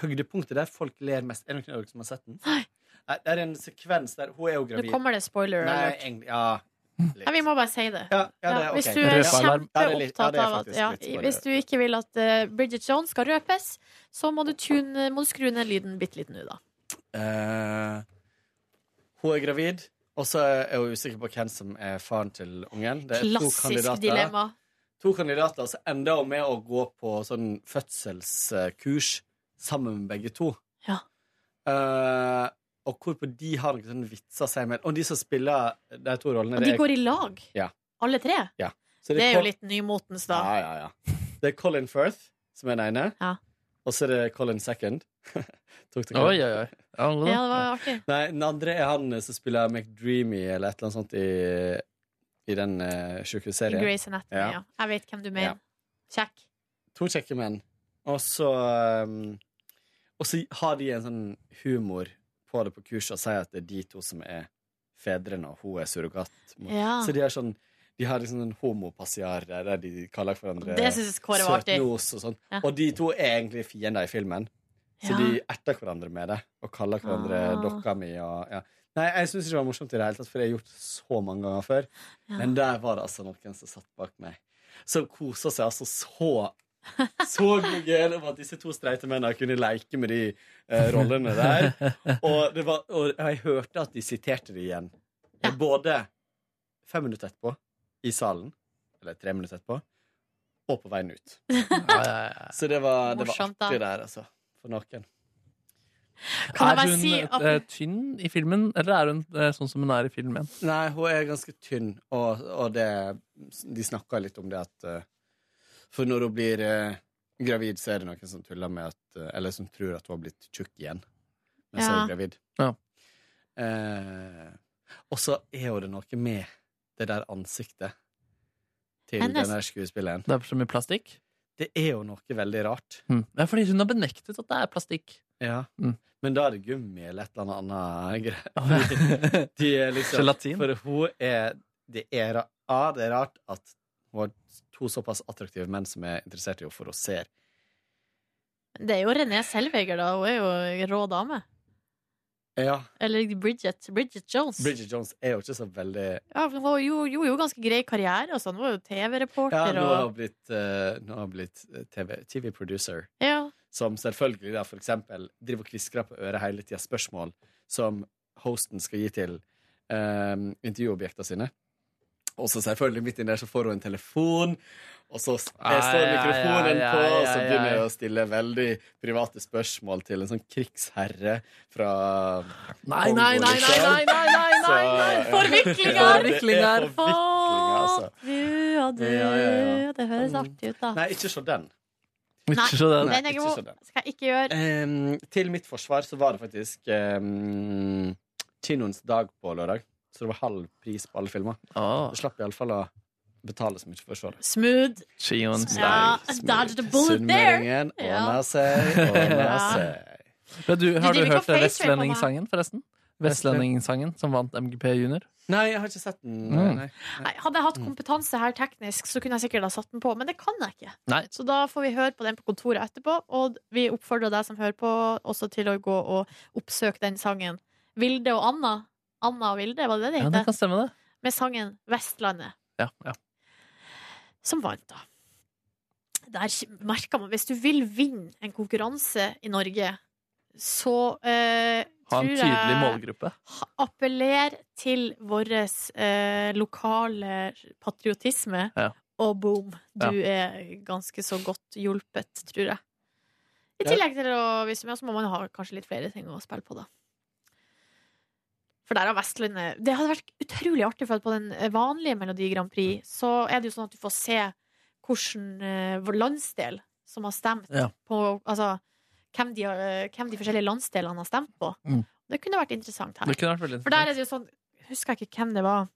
høydepunktet der folk ler mest Er det noen av dere som har sett den? Nei. Det er en sekvens der Hun er jo
Nå
gravid.
kommer det spoiler
Nei,
alert.
egentlig, ja.
Nei, vi må bare si det.
Ja, ja, det er
Ja,
ok.
hvis du
Rød
er
alarm. Ja, det er litt- ja,
kjempeopptatt
det er
av at
faktisk
ja,
litt bare-
Hvis du ikke vil at eh, Bridget Jones skal røpes, så må du, tune, må du skru ned lyden bitte litt nå, da.
Eh, hun er gravid, og så er hun usikker på hvem som er faren til ungen. Det er to
Klassisk
kandidater.
dilemma.
To kandidater, så ender hun med å gå på sånn fødselskurs sammen med begge to.
Ja.
Eh, og hvorpå de har noen sånne vitser seg imellom. Og de som spiller de to rollene
Og
det
de
er-
går i lag,
Ja.
alle tre.
ja. Så
Det er jo
Col-
litt sånn. nymotens, da.
Ja, ja, ja. Det er Colin Firth som er den ene, og så er det Colin Second. Tok dere
Oi, oi, oi. Ja,
Ja, det var artig.
Nei, den andre er han som spiller McDreamy eller et eller annet sånt i, i den uh,
I
sjukehusserien.
Grey's Anatomy, ja. Jeg vet hvem du mener. Kjekk.
To kjekke menn. Og så um, Og så har de en sånn humor på det på kurset og sier at det er de to som er fedrene, og hun er surrogatmor.
Ja.
Så de har sånn de har liksom en homopassiar der der de kaller hverandre
Det synes jeg Kåre var artig.
søtnos og sånn.
Ja.
Og de to er egentlig fiender i filmen, så
Ja.
de erter hverandre med det og kaller hverandre
Ah.
dokka mi og ja. Nei, jeg syns ikke det var morsomt i det hele tatt, for det har jeg gjort så mange ganger før.
Ja.
Men der var det altså noen som satt bak meg, som kosa seg altså så så god glede over at disse to streite mennene kunne leke med de eh, rollene der. Og, det var, og jeg hørte at de siterte det igjen. Eh, Både fem minutter etterpå i salen, eller tre minutter etterpå, og på veien ut. Så det var, det var
Morsomt, da.
artig der, altså. For noen.
Kan jeg
er
bare
hun
si at-
eh, tynn i filmen, eller er hun eh, sånn som hun er i filmen?
Nei, hun er ganske tynn, og, og det, de snakka litt om det at eh, For når hun blir eh, gravid, så er det noen som tuller med at eh, Eller som tror at hun har blitt tjukk igjen. Men så er
Ja.
hun gravid. Eh, og så er jo det noe med det der ansiktet til
Hennes-
denne skuespilleren.
Det er så mye plastikk.
Det er jo noe veldig rart.
Mm. Det er fordi hun har benektet at det er plastikk.
Ja.
Mm.
Men da er det gummi eller et eller annet annet greier. De er liksom,
Gelatin.
For hun er det er, ra- ja, det er rart at hun har to såpass attraktive menn som er interessert i henne, for hun ser
Det er jo René Selveger, da. Hun er jo en rå dame.
Ja,
Eller Bridget. Bridget Jones.
Bridget Jones er jo ikke så veldig
Ja, hun var jo, jo, jo ganske grei karriere og sånn. Hun var jo
Ja,
TV-reporter
nå har hun
og
blitt, eh, nå har hun blitt eh, TV, TV producer.
Ja.
Som selvfølgelig da for eksempel driver og kviskrer på øret hele tida spørsmål som hosten skal gi til eh, intervjuobjektene sine. Og så selvfølgelig midt inni der så får hun en telefon, og så s- eh, står
Ai, ai,
mikrofonen
ai,
på,
ai,
og så
ai,
begynner
ai.
hun å stille veldig private spørsmål til en sånn krigsherre fra
Nei, nei, nei, nei, nei, nei, nei, nei, nei. Forviklinger.
Forviklinger!
Forviklinger.
altså.
Du og du
Ja, ja, Mm.
Det høres artig ut, da.
Nei, ikke se den.
Nei,
Nei,
den er
ikke
god.
så den.
Skal jeg ikke gjøre.
Ehm, til mitt forsvar så var det faktisk um, kinoens dag på lørdag. Så det var halv pris på alle filmer. Så slapp jeg iallfall å betale så mye for å se det.
Smooth.
Kinoens
Ja, dodged a bullet there.
Sunnmøringen ordna seg, ordna
Ja.
seg.
Men du, har du,
driver ikke
hørt det
og facerape meg.
Vestlendingssangen, forresten? Vestlendingssangen som vant MGP Junior?
Nei, jeg har ikke sett den.
Mm.
Nei.
Nei, hadde jeg hatt kompetanse her teknisk, så kunne jeg sikkert ha satt den på, men det kan jeg ikke.
Nei.
Så da får vi høre på den på kontoret etterpå, og vi oppfordrer deg som hører på, også til å gå og oppsøke den sangen. Vilde og Anna. Anna og Vilde, var det det det
Ja,
het?
det kan stemme, det.
Med sangen 'Vestlandet',
Ja, ja.
som vant, da. Der merker man Hvis du vil vinne en konkurranse i Norge, så eh,
Ha en
tror
tydelig
jeg-
målgruppe.
Appeller til vår eh, lokale patriotisme,
Ja.
og boom, du er ganske så godt hjulpet, tror jeg. I tillegg til å vise meg, så må man ha kanskje litt flere ting å spille på, da. For der har Vestlandet Det hadde vært utrolig artig, for at på den eh, vanlige Melodi Grand
Mm.
Prix så er det jo sånn at du får se hvilken eh, vår landsdel som har stemt
Ja.
på Altså hvem de, har, eh, hvem de forskjellige landsdelene har stemt på.
Mm.
Det kunne vært interessant her.
Det kunne vært veldig
For der er det jo sånn Husker jeg ikke hvem det var.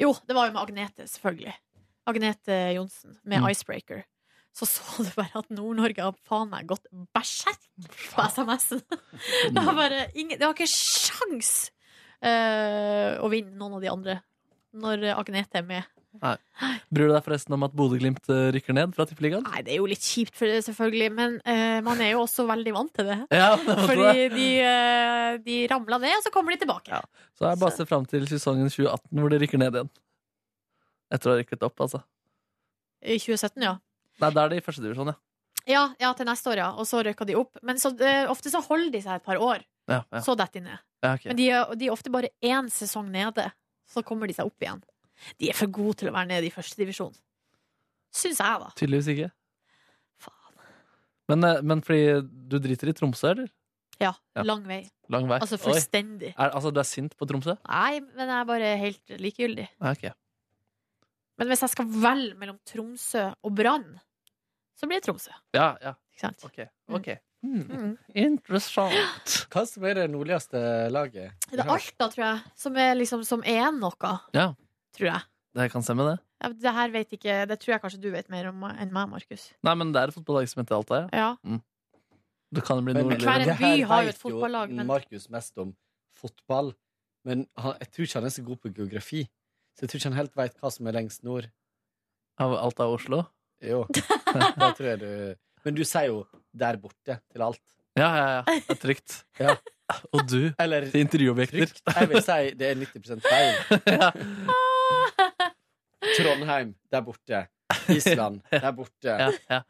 Jo, det var jo med Agnete, selvfølgelig. Agnete Johnsen med
Mm.
Icebreaker. Så så du bare at Nord-Norge har faen meg gått berserk på SMS-en! Det har bare ingen Det har ikke sjans eh, å vinne noen av de andre når Agnete er med.
Nei. Bryr du deg forresten om at Bodø-Glimt eh, rykker ned fra Tippeligaen?
Nei, det er jo litt kjipt, for det, selvfølgelig, men eh, man er jo også veldig vant til det.
Ja, det måtte
Fordi
det.
de, eh, de ramla ned, og så kommer de tilbake.
Så jeg bare ser fram til sesongen 2018 hvor de rykker ned igjen. Etter å ha rykket opp, altså.
I 2017, ja.
Nei, da er de i første divisjon, ja.
Ja, ja, til neste år, ja. Og så røyka de opp. Men så, eh, ofte så holder de seg et par år,
ja, ja.
så detter de ned.
ja, ok.
Men de er, de er ofte bare én sesong nede, så kommer de seg opp igjen. De er for gode til å være nede i første divisjon. Syns jeg, da.
Tydeligvis ikke. Men, eh, men fordi du driter i Tromsø, eller?
Ja,
Ja.
lang vei.
Lang vei.
Altså
Oi.
fullstendig.
Er, altså, du er sint på Tromsø?
Nei, men jeg er bare helt likegyldig.
Ja, ok.
Men hvis jeg skal velge mellom Tromsø og Brann, så blir det Tromsø.
Ja, ja.
Ikke sant?
Ok,
Mm.
ok. Hmm. Interessant.
Hva som er det nordligste laget?
Det er Alta, tror jeg, som er, liksom, som er noe.
Ja.
Tror jeg.
Det kan stemme, det.
Ja, Det her vet ikke Det tror jeg kanskje du vet mer om enn meg, Markus.
Nei, men det er et fotballag som heter Alta, ja.
Ja.
Mm. Det kan bli
Men-
nordlig.
Hver en
det
by
her
har jo
vet
et fotballag, men-
Markus mest om fotball, men han, jeg tror ikke han er så god på geografi. Så jeg tror ikke han helt veit hva som er lengst nord.
Av alt av Oslo?
Jo. Det tror jeg du Men du sier jo 'der borte' til alt.
Ja, ja, ja. Det er trygt.
Ja.
Og du, til intervjuobjekter.
Jeg vil si det er 90 feil.
Ja.
Trondheim, der borte. Island, der borte.
Ja, ja.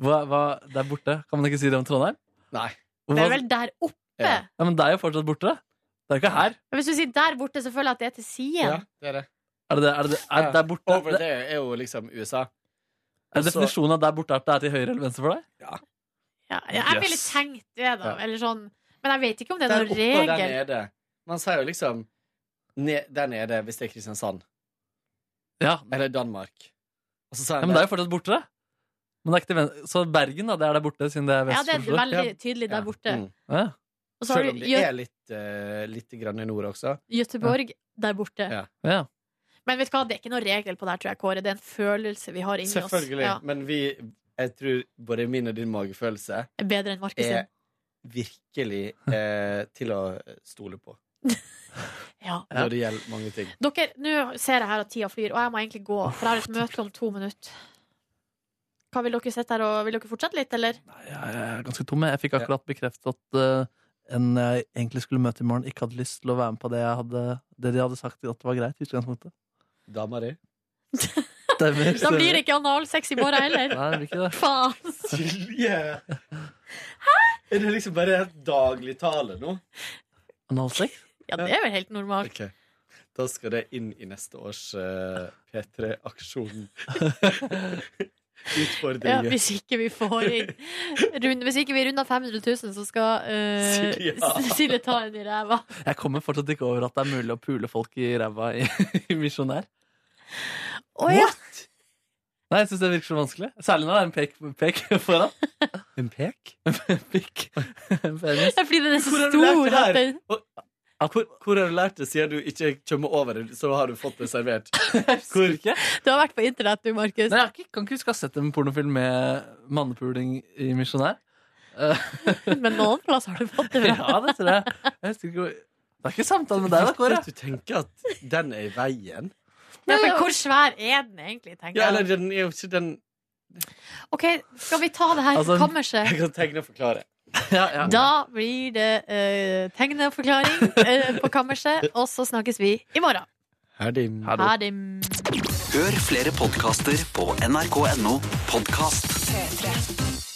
Hva, hva, der borte? Kan man ikke si det om Trondheim?
Nei.
Det er vel der oppe.
ja. ja, Men det er jo fortsatt borte. Det er jo ikke her.
Men Hvis du sier der borte, så føler jeg at det er til siden.
Ja, det er det.
Er det, er det, er det der borte?
Over
det,
there er jo liksom USA.
er definisjonen av der borte at det er til høyre eller venstre for deg?
Ja, jeg ville
Yes.
tenkt det, da.
Ja.
Eller sånn. Men jeg vet ikke om det er
Der
noen
oppe og der
regel.
nede. Man sier jo liksom ne- Der nede, hvis det er Kristiansand. Eller Danmark. Og så sier
Ja,
han
men det er
der-
jo fortsatt borte, det. Men det er ikke til ven så Bergen, da, det er der borte, siden det er
Ja,
vest
det
for
er
Oslo?
veldig tydelig der borte.
Mm. Ja.
Og så har
Selv
du
om det
Gø
er litt, eh, litt grann i nord også.
Göteborg der borte.
Ja.
Ja.
Men vet du hva, det er ikke noen regel på det her, tror jeg, Kåre. Det er en følelse vi har inni oss.
Selvfølgelig.
Ja.
Men vi Jeg tror både min og din magefølelse
Er Bedre enn Markus sin.
er virkelig eh, til å stole på
Ja.
når det gjelder mange ting.
Dere, nå ser jeg her at tida flyr, og jeg må egentlig gå, for jeg har et møte om to minutter. Hva vil dere sitte her og Vil dere fortsette litt, eller?
Jeg er ganske tom. jeg. Jeg fikk akkurat bekreftet at eh, en jeg egentlig skulle møte i morgen, ikke hadde lyst til å være med på det, jeg hadde, det de hadde sagt at var greit. i utgangspunktet.
Dama di.
Stemmer.
Da blir det ikke analsex i morgen heller.
Nei, det blir ikke det.
Faen!
Silje! Er det liksom bare daglig tale nå?
Analsex?
Ja, det er vel helt normalt.
Ok. Da skal det inn i neste års eh, P3-aksjon.
Ja,
Utfordringer.
hvis ikke vi får inn rund, Hvis ikke vi runder 500 000, så skal eh,
Silje.
S- Silje ta en i ræva.
Jeg kommer fortsatt ikke over at det er mulig å pule folk i ræva i, i Misjonær.
Å ja!
Nei, jeg syns det virker så vanskelig. Særlig når det er en pek, pek foran.
En pek?
En pikk. En penis.
Fordi den er så
Hvor har du lært
stor
det her?
at den
Hvor, hvor har du lært det, siden du ikke kommer over det, så har du fått det servert?
Hvor ikke?
Du har vært på internett, du, Markus.
Nei, jeg har ikke, kan ikke huske å ha sett en pornofilm med mannepuling i Misjonær. Eh,
Men noen plass har du fått det fra.
ja, det tror jeg. jeg husker ikke, hvor- det er ikke samtale med deg, da, Kåre.
At du tenker at den er i veien?
Ja, men hvor svær er den egentlig, tenker
Ja, eller
jeg.
den er jo ikke den
OK, skal vi ta det her
Altså, Jeg
kammerset?
kan tegne og forklare.
Da blir det uh, tegneforklaring eh, på kammerset, og så snakkes vi i morgen.
Herdim.
Ha det.
Hør flere podkaster på nrk.no podkast.